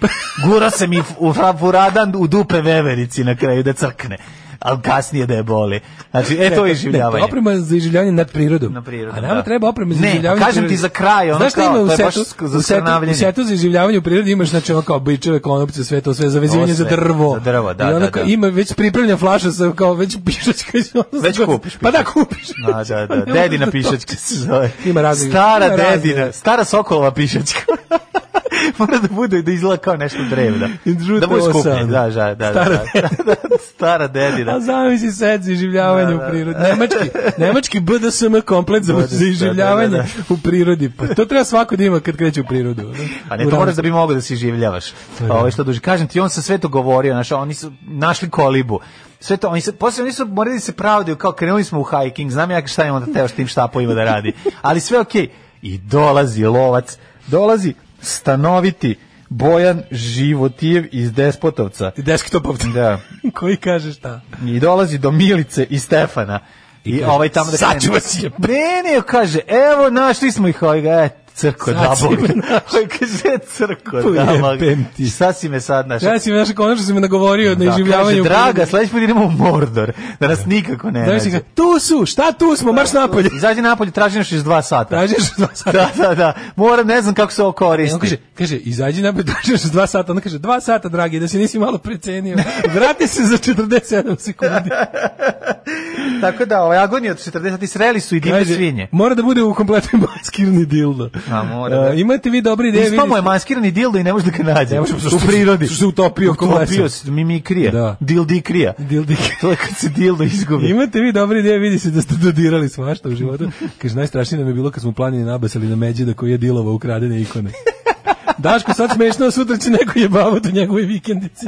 F: Gura sam i u fra- furadan u dupe veverici na kraju da crkne. Ali kasnije da je boli. Znači, e, to je
G: Ne,
F: iživljavanje.
G: oprema za iživljavanje nad prirodom.
F: Na prirodu,
G: A nama
F: da.
G: treba oprema za
F: Ne,
G: iživljavanje.
F: kažem
G: u prirodi.
F: ti za kraj, ono
G: Znaš šta
F: kao,
G: ima u
F: to je baš
G: setu?
F: sk- za
G: u, setu, u
F: skrnavljenje.
G: setu za iživljavanje u prirodi imaš znači ono kao bičeve, konopce, sve to sve za vezivanje
F: Ovo
G: za
F: sve,
G: drvo.
F: za drvo, da,
G: I ono
F: da,
G: kao
F: da.
G: Ima već pripremljena flaša sa kao već pišačka. iz ono
F: Već
G: sa-
F: kupiš
G: Pa da
F: pišačku.
G: kupiš.
F: Da, da, da.
G: Ne možeš
F: Dedina
G: da
F: pišačka
G: točiš.
F: se zove.
G: Ima raznih-
F: Stara
G: ima raznih-
F: dedina, stara sokolova pišačka. Mora da bude da izgleda kao nešto drevno.
G: Žuta
F: Da bude skupljen,
G: osam.
F: da, da, da.
G: Stara
F: da, da, da, stara dedina.
G: A zamisli set za iživljavanje
F: Da,
G: u
F: da.
G: prirodi. Nemački, nemački BDSM komplet za, za iživljavanje
F: Da, da,
G: u prirodi. Pa to treba svako da ima kad kreće u prirodu. ono.
F: Pa ne,
G: U
F: to moraš
G: razne-
F: da bi mogao da se življavaš. Ovo što duže. Kažem ti, on se sve to govorio, znaš, oni su našli kolibu. Sve to, oni se, posle oni su morali da se pravdaju, kao krenuli smo u hiking, znam ja šta je onda teo s tim štapovima da radi. Ali sve okej. I dolazi lovac, dolazi stanoviti Bojan Životijev iz Despotovca.
G: Desktopovca.
F: Da.
G: Koji kaže šta?
F: I dolazi do Milice i Stefana. I,
G: kaže,
F: ovaj tamo da
G: "Sad ću
F: krene.
G: vas jeb-
F: Ne, ne, kaže, evo našli smo ih ovih, e, crko
G: Sad
F: da
G: si
F: bog.
G: me
F: Ovaj kaže, crko da bog.
G: Pojebem ti.
F: Šta si me sad našao?
G: Ja si me našao Znači, konačno si me nagovorio na iživljavanje.
F: kaže,
G: u
F: draga,
G: prirodi.
F: sledeći put idemo u Mordor, da nas nikako ne
G: Da mi si
F: nađe.
G: ga, tu su, šta tu smo, marš napolje.
F: Izađi napolje, traži nas iz dva sata.
G: Tražiš dva sata.
F: Da, da, da. Moram, ne znam kako se ovo
G: I on
F: koristi.
G: kaže, kaže, izađi napolje, tražiš dva sata. Ona kaže, dva sata, dragi, da si nisi malo precenio. Vrati se za 47 sekundi.
F: Tako da, ovaj agonija od 40 i sreli su i divne
G: Kaže,
F: svinje.
G: Mora da bude u kompletnoj maskirni dildo.
F: A, mora, da.
G: E, imate vi dobre ideje.
F: Ispao mu je
G: vidite-
F: maskirani dildo i ne može da ga nađe.
G: Ne može,
F: u
G: što se-
F: prirodi.
G: što se utopio ko
F: Utopio
G: lesa.
F: se, mimikrija.
G: Da.
F: Dildikrija.
G: Dildik.
F: To je kad se dildo izgubi.
G: Imate vi dobre ideje, vidi se da ste dodirali svašta u životu. Kaže, najstrašnije nam je bilo kad smo u planini nabasali na međida koji je dilova ukradene ikone. Daško, sad smešno, sutra će neko jebavati u njegove vikendice.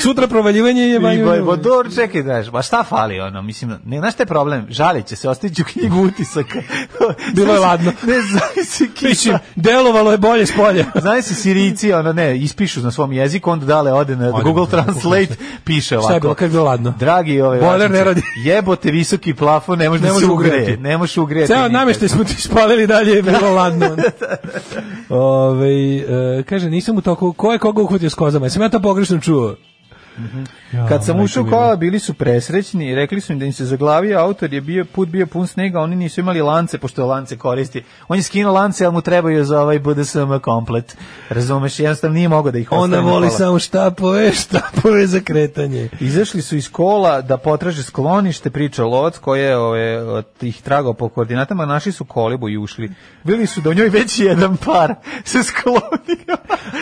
G: sutra provaljivanje je
F: I
G: jebanje.
F: boj, bo, dobro, čekaj, znaš, ma šta fali ono, mislim, ne, znaš šta je problem, žalit će se, ostavit ću knjigu utisaka.
G: Bilo je ladno.
F: Ne, zavisi
G: Mislim,
F: kiša.
G: delovalo je bolje s polja.
F: Znaš si Sirici, ono ne, ispišu na svom jeziku, onda dale ode na
G: Ode
F: Google
G: na-
F: Translate, piše ovako.
G: Šta je bilo, kad je bilo ladno?
F: Dragi ove...
G: Bojler
F: važnice,
G: ne radi.
F: Jebote visoki plafon, ne može
G: Ne
F: da se
G: može
F: ugreje.
G: ugreti.
F: Ne može ugreti.
G: Ceo
F: nikad.
G: nameštaj smo ti spalili dalje je bilo ladno. e, Ove, kaže, nisam u toku, ko je koga uhvatio s kozama? Jesam ja to pogrešno čuo?
F: Mhm. Kad sam ušao u kola, bili su presrećni i rekli su im da im se zaglavio autor, je bio, put bio pun snega, oni nisu imali lance, pošto je lance koristi. On je skinuo lance, ali mu trebaju za ovaj BDSM komplet. Razumeš, jednostavno nije mogao da ih ostavi.
G: Ona
F: na
G: voli
F: kola.
G: samo štapove, štapove za kretanje.
F: Izašli su iz kola da potraže sklonište, priča Loc koji je ove, ih tragao po koordinatama, našli su kolibu i ušli. Bili su da u njoj već jedan par se sklonio.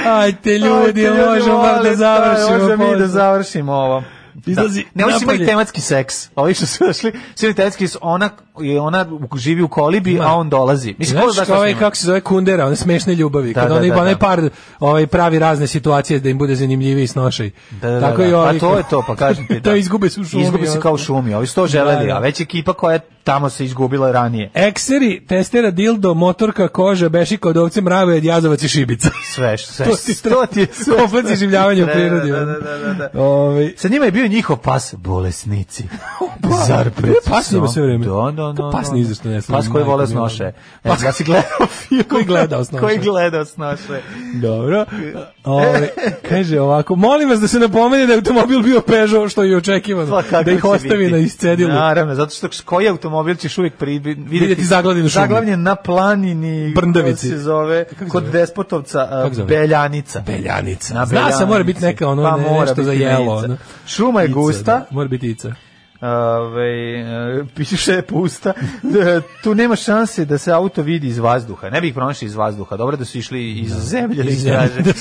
G: Ajte ljudi,
F: Ajte,
G: možemo bar
F: molim,
G: da završimo.
F: Možemo mi da
G: posao.
F: završimo ovo.
G: Izlazi
F: da. Ne, oni su imali
G: napolje.
F: tematski seks. Ovi što su došli, su imali tematski seks. Ona, je- ona živi u kolibi,
G: Ima.
F: a on dolazi. Mislim, ko zna
G: Znaš
F: šta
G: ovaj,
F: snima?
G: kako se zove Kundera, one smešne ljubavi,
F: Da,
G: kad
F: da,
G: onaj,
F: da,
G: onaj
F: da.
G: par ovaj, pravi razne situacije da im bude zanimljiviji s nošaj.
F: Da, da,
G: Tako
F: da,
G: i
F: da.
G: ovi-
F: Pa to je to, pa kažem ti. Da.
G: to izgube se u šumi.
F: Izgube se
G: ono.
F: kao u šumi. Ovi su to želeli,
G: Da, da.
F: a već ekipa koja je tamo se izgubila ranije. E,
G: Ekseri, testera, dildo, motorka, koža, bešika od ovce, mrave, jazovac i šibica.
F: Sve, sve.
G: To ti
F: to ti je sve.
G: Komplet iživljavanja u
F: Da,
G: prirodi,
F: Da,
G: ono.
F: da, da, da, da.
G: Ovaj,
F: Sa njima je bio njihov pas bolesnici. Zar
G: Pa, bio je
F: pred
G: pas njima
F: psom?
G: sve vreme.
F: Da, da, da.
G: Kao pas
F: da.
G: ni izašto ne služi,
F: Pas koji
G: majko
F: vole
G: mila.
F: snoše. E, ja si gledao film.
G: Pa Koji gledao snoše.
F: Koji gledao snoše.
G: Dobro. Ove, kaže ovako, molim vas da se napomene da je automobil bio Peugeot, što je očekivano.
F: Pa kako
G: da ih
F: će
G: ostavi
F: biti?
G: na iscedilu.
F: Naravno, zato što koji automobil ćeš uvijek pri, vidjeti,
G: Vidjeti zaglavljen u šumi.
F: Zaglavljen na planini,
G: Brndavici.
F: kako se zove,
G: se
F: kod
G: zove?
F: despotovca, a,
G: Kako zove?
F: Beljanica.
G: Beljanica.
F: Na
G: Zna se, mora biti
F: Beljanici.
G: neka ono,
F: Pa
G: ne-
F: mora
G: nešto za
F: biti
G: jelo,
F: Ica.
G: ono.
F: Šuma je
G: Ica,
F: gusta,
G: da. Mora biti Ica.
F: Ove, e, piše je pusta. E, Tu nema šanse da se auto vidi iz vazduha. Ne bi ih pronašli iz vazduha. Dobro da su išli iz zemlje. da ih traže.
G: da,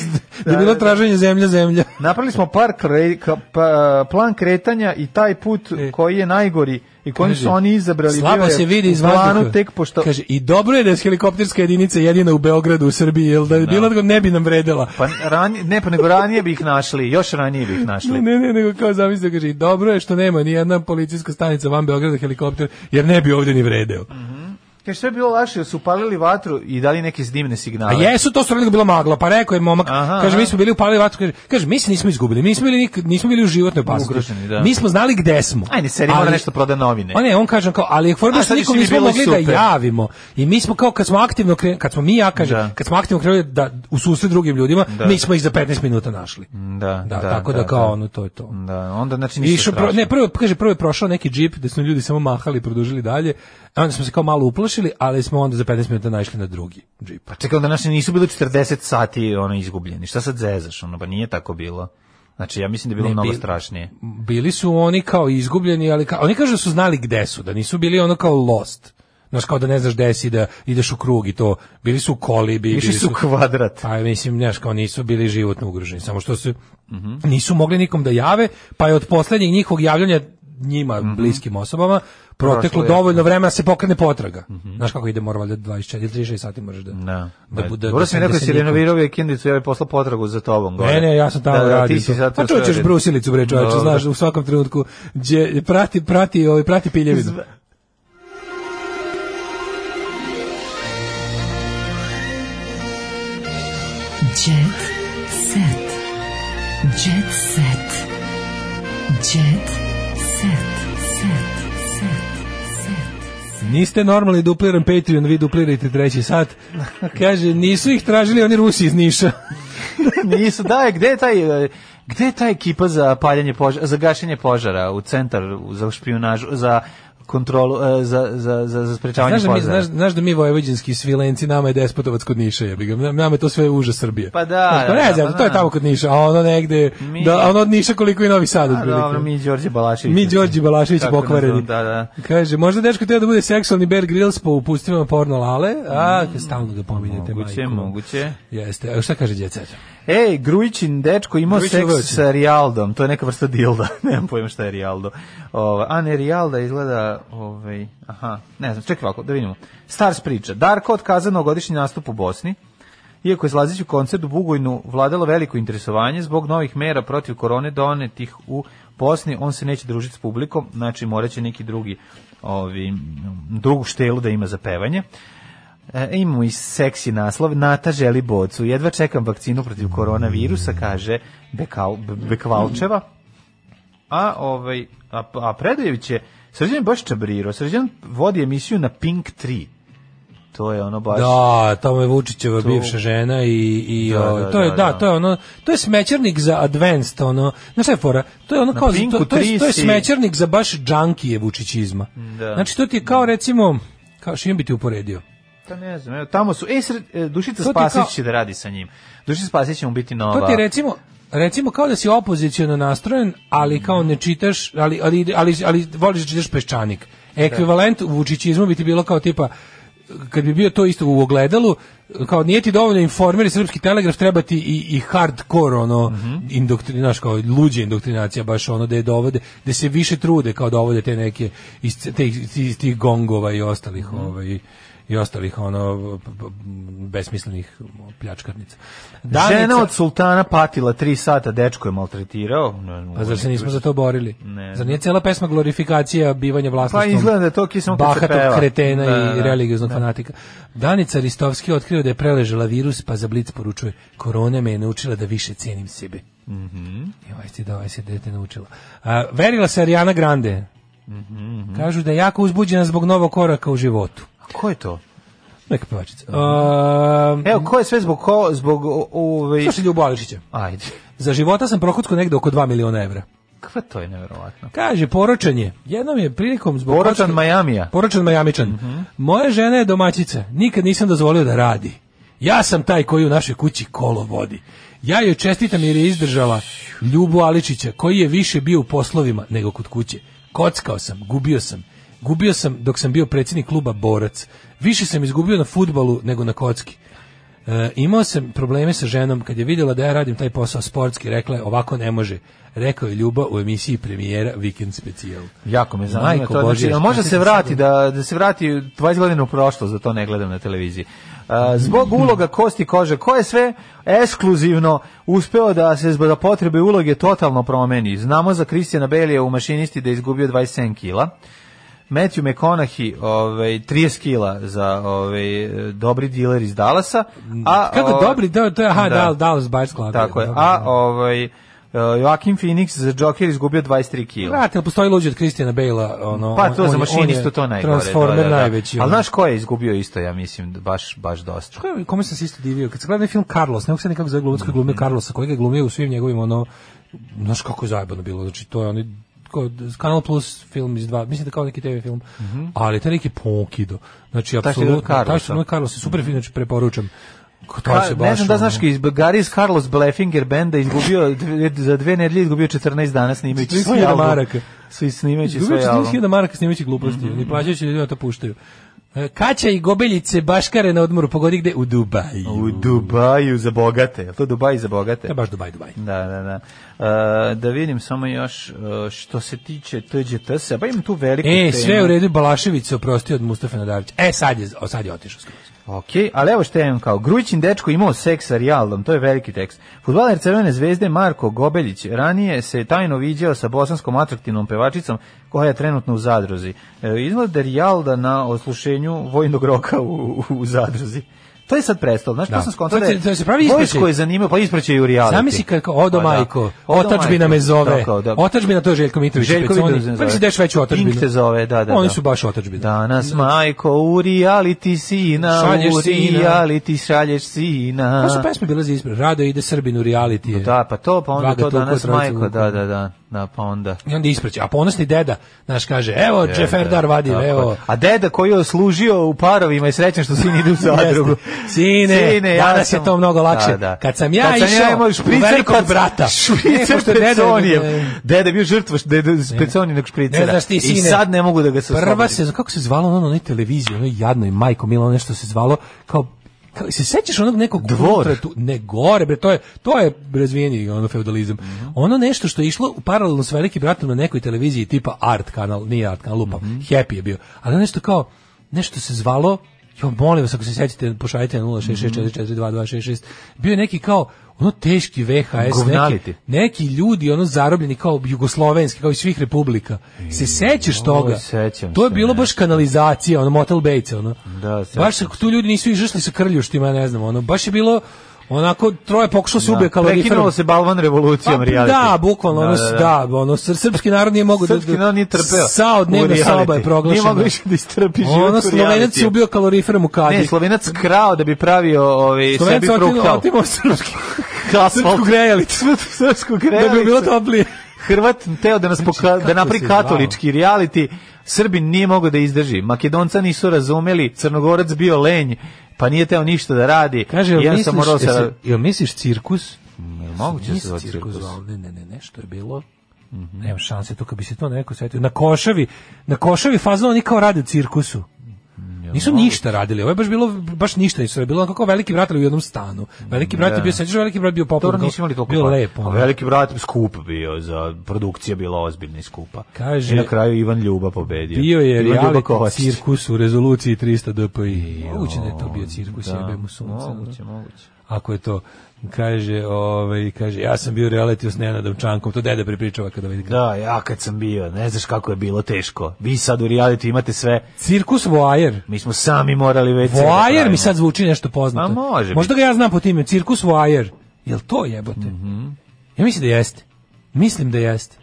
G: da je bilo
F: Da, da.
G: traženje zemlja, zemlja.
F: Napravili smo par kre, ka- pa, plan kretanja i taj put koji je najgori i koji
G: E. Kaže,
F: su oni izabrali. bio
G: Slabo
F: je
G: se vidi iz
F: u planu
G: vazduha.
F: Tek pošto,
G: Kaže, i dobro je da je helikopterska jedinica jedina u Beogradu, u Srbiji, jer da je bila da ne bi nam vredela.
F: pa ranije, ne, pa nego ranije bi ih našli. Još ranije bi ih našli.
G: Ne, ne, ne, nego kao zamislio, kaže, i dobro je što nema ni jedna policijska stanica van Beograda helikopter, jer ne bi ovdje ni vredeo.
F: Kaže, sve je bilo lakše, jer su upalili vatru i dali neke dimne signale.
G: A jesu, to su radili bila magla, pa rekao je momak,
F: Aha,
G: kaže,
F: aha.
G: mi smo bili upalili vatru, kaže, kaže, mi se nismo izgubili, mi nismo bili, nik- nismo bili u životnoj opasnosti.
F: Ugroženi, da.
G: Mi smo znali gde smo.
F: Ajde, seri mora
G: Ali-
F: nešto proda novine.
G: A ne, on kaže kao, ali je fora
F: A,
G: bila što
F: sad
G: nikom
F: više bi
G: nismo
F: bilo
G: mogli da
F: super.
G: javimo. I mi smo kao kad smo aktivno krenuli, kad smo mi ja kažem,
F: Da.
G: kad smo aktivno krenuli da u susret drugim ljudima,
F: Da.
G: mi smo ih za 15 minuta našli.
F: Da,
G: Da, tako da, kao ono to je to.
F: Da, onda znači
G: I
F: ništa
G: išao pro,
F: strašno.
G: ne, prvo kaže prvo je prošao neki džip da su ljudi samo mahali i produžili dalje. A onda smo se kao malo uplašili, ali smo onda za 15 minuta naišli na drugi džip.
F: Pa čekaj, onda naši nisu bili 40 sati ono izgubljeni. Šta sad zezaš? Ono, pa nije tako bilo. Znači, ja mislim da je bilo
G: Ne,
F: mnogo
G: bil-
F: strašnije.
G: Bili su oni kao izgubljeni, ali ka, oni kažu da su znali gde su, da nisu bili ono kao lost. Znaš, kao da ne znaš gde si, da ideš u krug i to. Bili su u kolibi.
F: Išli
G: bili
F: su u kvadrat.
G: Pa mislim, znaš, kao nisu bili životno ugroženi, samo što su
F: Mhm.
G: nisu mogli nikom da jave, pa je od poslednjeg njihovog javljanja njima, bliskim osobama, proteklo
F: Mhm. Prošlo je. Mhm.
G: dovoljno vremena da se pokrene potraga. Znaš kako ide, mora valjda 24 ili 36 sati možeš da...
F: Da.
G: Da
F: Da,
G: bude-
F: Dobro
G: da
F: si mi
G: se- da
F: rekao
G: se
F: si
G: niko-
F: renovirao vikendicu, ja bih poslao potragu za tobom. Gore.
G: Ne, ne, ja sam tamo
F: da, da,
G: radio.
F: ti si
G: to.
F: sad
G: Pa
F: to sve
G: čućeš
F: radio.
G: brusilicu, bre, čoveče,
F: Dobro.
G: znaš, u svakom trenutku. Gdje, prati, prati, ovaj, prati piljevinu.
O: Jet set. Jet set. Jet set. Set. Set.
G: Niste normalni, dupliram Patreon, vi duplirajte treći sat. Kaže, nisu ih tražili oni Rusi iz Niša.
F: Nisu, da, gde je taj... e, Gde je ta ekipa za paljanje požara, za gašenje požara u centar za špijunažu, za kontrolu, e, za, za, za, za sprečavanje
G: Znaš da, mi,
F: požara?
G: znaš, znaš da mi vojvođanski svilenci, nama je despotovac kod Niša, jebi ga. Nama je to sve užas Srbije.
F: Pa da,
G: Znaš,
F: da,
G: ne
F: da,
G: znam,
F: pa
G: to je
F: da.
G: tamo kod Niša, a ono negde,
F: Mi-
G: da, a ono od Niša koliko i Novi Sad.
F: A,
G: otprilike.
F: dobro, mi i Đorđe Balašević.
G: Mi Đorđe Balašević
F: Tako
G: pokvareni.
F: nazovem, Da, da.
G: Kaže, možda dečko teo da bude seksualni Bear Grylls po upustivama porno lale, a stalno ga pominjete,
F: Mm. Moguće,
G: majko.
F: moguće.
G: Jeste, a šta kaže djeca?
F: Ej, Grujićin dečko imao
G: Grujićin
F: seks
G: Grujićin.
F: sa Rialdom, to je neka vrsta dilda, nemam pojma šta je Rialdo. Ova, a ne, Rialda izgleda, ovaj, aha, ne znam, čekaj ovako, da vidimo. Stars priča, Darko otkazano godišnji nastup u Bosni, Iako je Slaziću koncert u Bugojnu vladalo veliko interesovanje zbog novih mera protiv korone donetih u Bosni, on se neće družiti s publikom, znači moraće neki drugi ovi, drugu štelu da ima za pevanje. E, imamo i seksi naslov Nata želi bocu, jedva čekam vakcinu protiv koronavirusa, kaže Bekau, B- Bekvalčeva a ovaj a, a Predojević je Srđan je baš čabriro Srđan vodi emisiju na Pink 3 to je ono baš...
G: Da, tamo je Vučićeva
F: To-
G: bivša žena i, i
F: Da,
G: o,
F: da,
G: to je
F: da,
G: da,
F: da.
G: to je ono to je smećernik za advanced ono. Znaš šta je fora? To je ono
F: Na
G: kao
F: Pinku
G: to, to, je, to je
F: tri si.
G: smećernik za baš džankije Vučićizma.
F: Da.
G: Znači to ti je kao recimo kao šim bi ti uporedio.
F: Pa ne znam, evo, tamo su... E, sred, e, Dušica
G: To ti
F: Spasić
G: kao-
F: će da radi sa njim. Dušica Spasić će mu biti nova.
G: To Pa ti je recimo recimo kao da si opoziciono nastrojen, ali kao ne čitaš, ali ali ali, ali voliš da čitaš peščanik. Ekvivalent Vučićizmu bi ti bilo kao tipa kad bi bio to isto u ogledalu, kao nije ti dovoljno informer i srpski telegraf, treba ti i, i hardcore ono,
F: Mhm.
G: indoktri- znaš, kao luđe indoktrinacija, baš ono da je dovode, da se više trude kao dovode te neke iz c- te- iz- iz tih gongova i ostalih
F: Mhm.
G: ovaj, i ostalih ono p- p- besmislenih pljačkarnica.
F: Žena
G: Danica-
F: od sultana patila tri sata, dečko je maltretirao. Ne,
G: a Pa zar se nismo za to borili?
F: Ne.
G: Zar nije cijela pesma glorifikacija bivanja
F: Pa
G: vlasništvom?
F: izgleda da je to kisamo kad se
G: bahatog
F: peva.
G: kretena
F: Da,
G: i
F: da,
G: religioznog
F: da.
G: fanatika. Danica Ristovski otkrio da je preležela virus, pa za blic poručuje, korona me je naučila da više cijenim sebe.
F: Mhm.
G: I ovaj si da, ovaj se dete naučila. A, verila se Ariana Grande.
F: Mhm,
G: Kažu da je jako uzbuđena zbog novog koraka u životu.
F: Ko je to?
G: Neka pevačica. A,
F: Mhm. Evo, ko je sve zbog ko, zbog o- ovaj...
G: Slušaj Ljubo Ališića.
F: Ajde.
G: Za života sam prokockao negde oko 2 miliona evra.
F: Kva to je nevjerovatno.
G: Kaže, poročan je. Jednom je prilikom zbog...
F: Poročan
G: kocke-
F: Majamija.
G: Poročan Majamičan. Moja žena je domaćica. Nikad nisam dozvolio da radi. Ja sam taj koji u našoj kući kolo vodi. Ja joj čestitam jer je izdržala Ljubu Aličića, koji je više bio u poslovima nego kod kuće. Kockao sam, gubio sam. Gubio sam dok sam bio predsjednik kluba Borac. Više sam izgubio na futbalu nego na kocki. E, imao sam probleme sa ženom kad je vidjela da ja radim taj posao sportski, rekla je ovako ne može. Rekao je Ljuba u emisiji premijera Vikend specijal.
F: Jako me zanima
G: Majko
F: to. Znači,
G: Božja,
F: jel može
G: znači
F: se
G: da
F: vrati
G: sad-
F: da da se vrati 20 godina u prošlost, da to ne gledam na televiziji. A, zbog uloga kosti i kože, ko je sve ekskluzivno uspeo da se zbog potrebe uloge totalno promeni. Znamo za Kristijana Belija u mašinisti da je izgubio 27 kila. Matthew McConaughey, ovaj 30 kila za ovaj dobri diler iz Dallasa, a
G: Kako
F: ovaj,
G: dobri, da, to je aha, da, da, Dallas Buyers Club.
F: Tako je.
G: Dobro,
F: A
G: da.
F: ovaj Joakim Phoenix za Joker izgubio 23 kila.
G: Vrate, ali postoji luđi od Kristijana Bejla, ono...
F: Pa
G: on-
F: to za
G: on je- on je
F: mašinistu to najgore.
G: Transformer
F: da, da, da.
G: najveći.
F: Ali
G: ono.
F: znaš ko je izgubio isto, ja mislim, baš, baš dosta.
G: Ko je- Kome sam se isto divio? Kad sam gledao onaj film Carlos, nekog se nekako zove glumac koji je glumio Carlosa, koji ga je glumio u svim njegovim, ono, znaš kako je zajebano bilo, znači to je onaj kao Kanal Plus film iz dva, mislim da kao neki TV film, ali taj neki pokido, znači
F: Taj što je
G: apsolutno,
F: Carlosa.
G: Mhm. taj što je Carlos, super film, znači preporučam. Ko- to se
F: ne
G: baš,
F: znam da
G: ono-
F: znaš ki iz Garis Carlos Blefinger benda izgubio dve- za dve nedelje izgubio 14 dana snimajući
G: 14.000
F: svoj album.
G: maraka.
F: Svi snimajući
G: Izgubio
F: svoj album. Mhm.
G: 14.000 maraka snimajući gluposti, ni plaćajući ljudima to puštaju. E, Kaća i gobeljice baškare na odmoru, pogodi gde? U Dubaju.
F: U Dubaju za bogate. Jel to Dubaj za bogate?
G: To je E, baš Dubaj, Dubaj.
F: Da, da, da. E, da vidim samo još e, što se tiče TGTS-a, pa imam tu veliku
G: E,
F: temu.
G: sve je u redu, Balašević se oprostio od Mustafa Nadarića. E, sad je, o, sad je otišao skroz.
F: Ok, ali evo što ja imam kao. Grujićin dečko imao seks sa Rijaldom, to je veliki tekst. Futbaler Crvene zvezde Marko Gobeljić ranije se tajno viđao sa bosanskom atraktivnom pevačicom koja je trenutno u zadruzi. E, izgleda da je Rijalda na oslušenju vojnog roka u, u, u zadruzi. To je sad prestalo, znaš, to
G: Da.
F: sam skontao
G: To
F: da
G: se-
F: je
G: to se pravi ispraćaj.
F: vojsko je zanimao, pa ispraćaj u reality.
G: Zamisli kako, odo
F: Pa da.
G: majko,
F: Odo
G: otačbina me
F: majko.
G: zove.
F: Tako, da.
G: Otačbina to je Željko Mitrović.
F: Željko
G: Peconi.
F: Mitrović me
G: Pa
F: zove.
G: nisi deš veću otačbinu.
F: Ink te zove, da, da,
G: Oni
F: da.
G: su baš otačbina.
F: Danas majko u reality sina,
G: Šalješ
F: u
G: sina.
F: reality šalješ sina.
G: Pa su pesme bile za ispred. Rado ide Srbin u reality.
F: Da, pa to, pa onda
G: Dva ga
F: to
G: tuku,
F: danas
G: trojica
F: majko,
G: vuku.
F: da, da, da, da, pa onda.
G: I onda ispraća. A ponosni deda, znaš, kaže, evo,
F: Je,
G: Džeferdar
F: da,
G: vadi,
F: tako
G: evo.
F: je. A deda koji je služio u parovima i srećan što sin ide u zadrugu.
G: Sine,
F: ja
G: danas
F: sam-
G: je to mnogo lakše.
F: Da, da.
G: Kad sam ja išao
F: imao
G: u velikog
F: pac-
G: brata. E,
F: Špricer
G: pošto je deda-
F: Peconijev.
G: e.
F: Deda je bio žrtva š- deda Peconijenog špricera.
G: Ne znaš ti,
F: I
G: sine.
F: sad ne mogu da ga se
G: Prva
F: oslobodi.
G: se, kako se zvalo ono na onoj televiziji, ono jadnoj majko Milo, ono nešto se zvalo, kao kao, se sećaš onog nekog
F: Dvor.
G: ultra tu- ne gore bre to je to je razvijeni ono feudalizam
F: Mhm.
G: ono nešto što je išlo u paralelno s velikim bratom na nekoj televiziji tipa art kanal nije art kanal lupa
F: Mhm.
G: happy je bio ali ono nešto kao nešto se zvalo jo molim vas ako se sećate pošaljite na 0664422266 bio je neki kao ono teški VHS neki,
F: Govnaliti.
G: neki ljudi ono zarobljeni kao jugoslovenski kao iz svih republika se sećaš toga.
F: Oj, sećam
G: to je
F: se,
G: bilo
F: ne.
G: baš kanalizacija, ono Motel Bates, ono.
F: Da, sećam
G: baš se tu ljudi nisu izašli sa krljuštima, ne znam, ono baš je bilo Onako troje pokušao se ubije kalorifer.
F: Prekinulo se balvan revolucijom
G: Pa,
F: reality.
G: Da, bukvalno, ono, da, da, ono, sr- srpski narod nije mogao da...
F: Srpski narod nije trpeo
G: Sa od
F: u
G: dnevna
F: reality.
G: soba je proglašena.
F: Nije mogao više da istrpi život
G: Ono,
F: u
G: slovenac
F: realitiju.
G: se ubio kaloriferom u kadi.
F: Ne, slovenac krao da bi pravio ovaj,
G: Slovenac
F: sebi
G: otimao
F: fruktal.
G: otimo srpski,
F: Kasno.
G: srpsku grejalicu.
F: Srpsku
G: Da bi bilo toplije.
F: Hrvat teo da nas poka, da
G: se
F: napravi
G: zvao?
F: katolički reality, Srbin nije mogao da izdrži. Makedonca nisu razumeli, Crnogorac bio lenj, pa nije teo ništa da radi.
G: Kaže,
F: I
G: jel
F: ja sam
G: misliš,
F: morao sa...
G: jesi- jel misliš cirkus?
F: Jel moguće da se zove
G: Nis cirkus,
F: cirkus?
G: zvao, Ne, ne, ne, nešto je bilo. Nema šanse, to kad bi se to neko setio. Na košavi, na košavi fazno oni kao rade u cirkusu.
F: Mm,
G: Nisu ništa radili, ovo je baš bilo, baš ništa nisu radili, bilo ono kako veliki brat ali u jednom stanu. Veliki brat je
F: Da.
G: bio, sećaš, veliki brat je bio
F: Dobro,
G: popularno,
F: nisu imali toliko
G: bio
F: para.
G: lepo.
F: A
G: ono.
F: Veliki brat skup bio, za produkcija bila ozbiljna i skupa.
G: Kaže-
F: I na kraju Ivan Ljuba pobedio.
G: Bio je
F: Ivan Ljuba
G: reality
F: Kovačić.
G: cirkus u rezoluciji 300 dpi. Moguće da je to bio cirkus,
F: Da,
G: jebe mu sunce.
F: Moguće,
G: ono.
F: moguće.
G: Ako je to kaže, ovaj kaže ja sam bio reality s Nenadom Čankom, to deda prepričava ovaj- kada vidi.
F: Da, ja kad sam bio, ne znaš kako je bilo teško. Vi sad u reality imate sve.
G: Cirkus Voajer.
F: Mi smo sami morali već.
G: Voajer mi sad zvuči nešto poznato.
F: Ma, Pa može
G: Možda ga ja znam po time, cirkus Voajer. Jel to jebote?
F: Mhm.
G: Ja mislim da jeste. Mislim da jeste.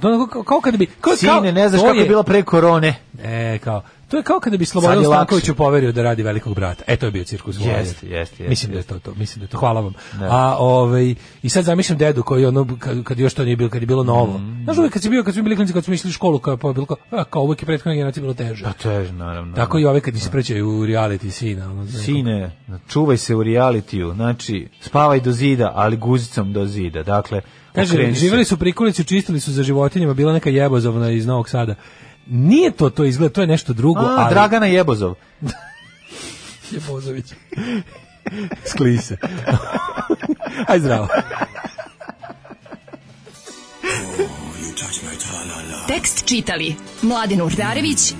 G: To onako kao, kao kada bi... Kao, kao-
F: Sine, ne znaš
G: to
F: kako je
G: je-
F: bilo pre korone.
G: E, kao, to je kao kada bi
F: Sad
G: Slobodan
F: je lakše.
G: Stankoviću poverio da radi velikog brata. E, to je bio cirkus Voajer.
F: Jeste, jeste, jeste,
G: Mislim da je
F: jeste.
G: to to, mislim da je to. Hvala vam.
F: Da.
G: A, ovaj, I sad zamišljam dedu koji ono, kad, kad još to nije bilo, kad je bilo novo.
F: Mhm.
G: Znaš, uvijek kad si bio, kad smo bili klinici, kad smo išli u školu, kao, pa je bilo kao, a, kao uvijek je prethodna generacija bilo teže.
F: Pa to je, naravno.
G: Tako i ove kad se prećaju u reality sina. Ono, znaš,
F: Sine, čuvaj se u realitiju, znači, spavaj do zida, ali guzicom do zida, dakle,
G: Kaže,
F: okreni se.
G: živjeli su u prikolici, čistili su za životinjama, bila neka jebozovna iz Novog Sada. Nije to to izgled, to je nešto drugo.
F: A,
G: ali...
F: Dragana Jebozov.
G: Jebozović. Skli se. Aj zdravo.
H: Tekst čitali Mladin Urdarević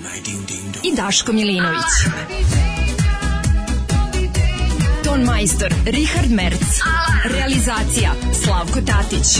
H: i Daško Milinović. Ton majstor Richard Merc. Realizacija Slavko Tatić.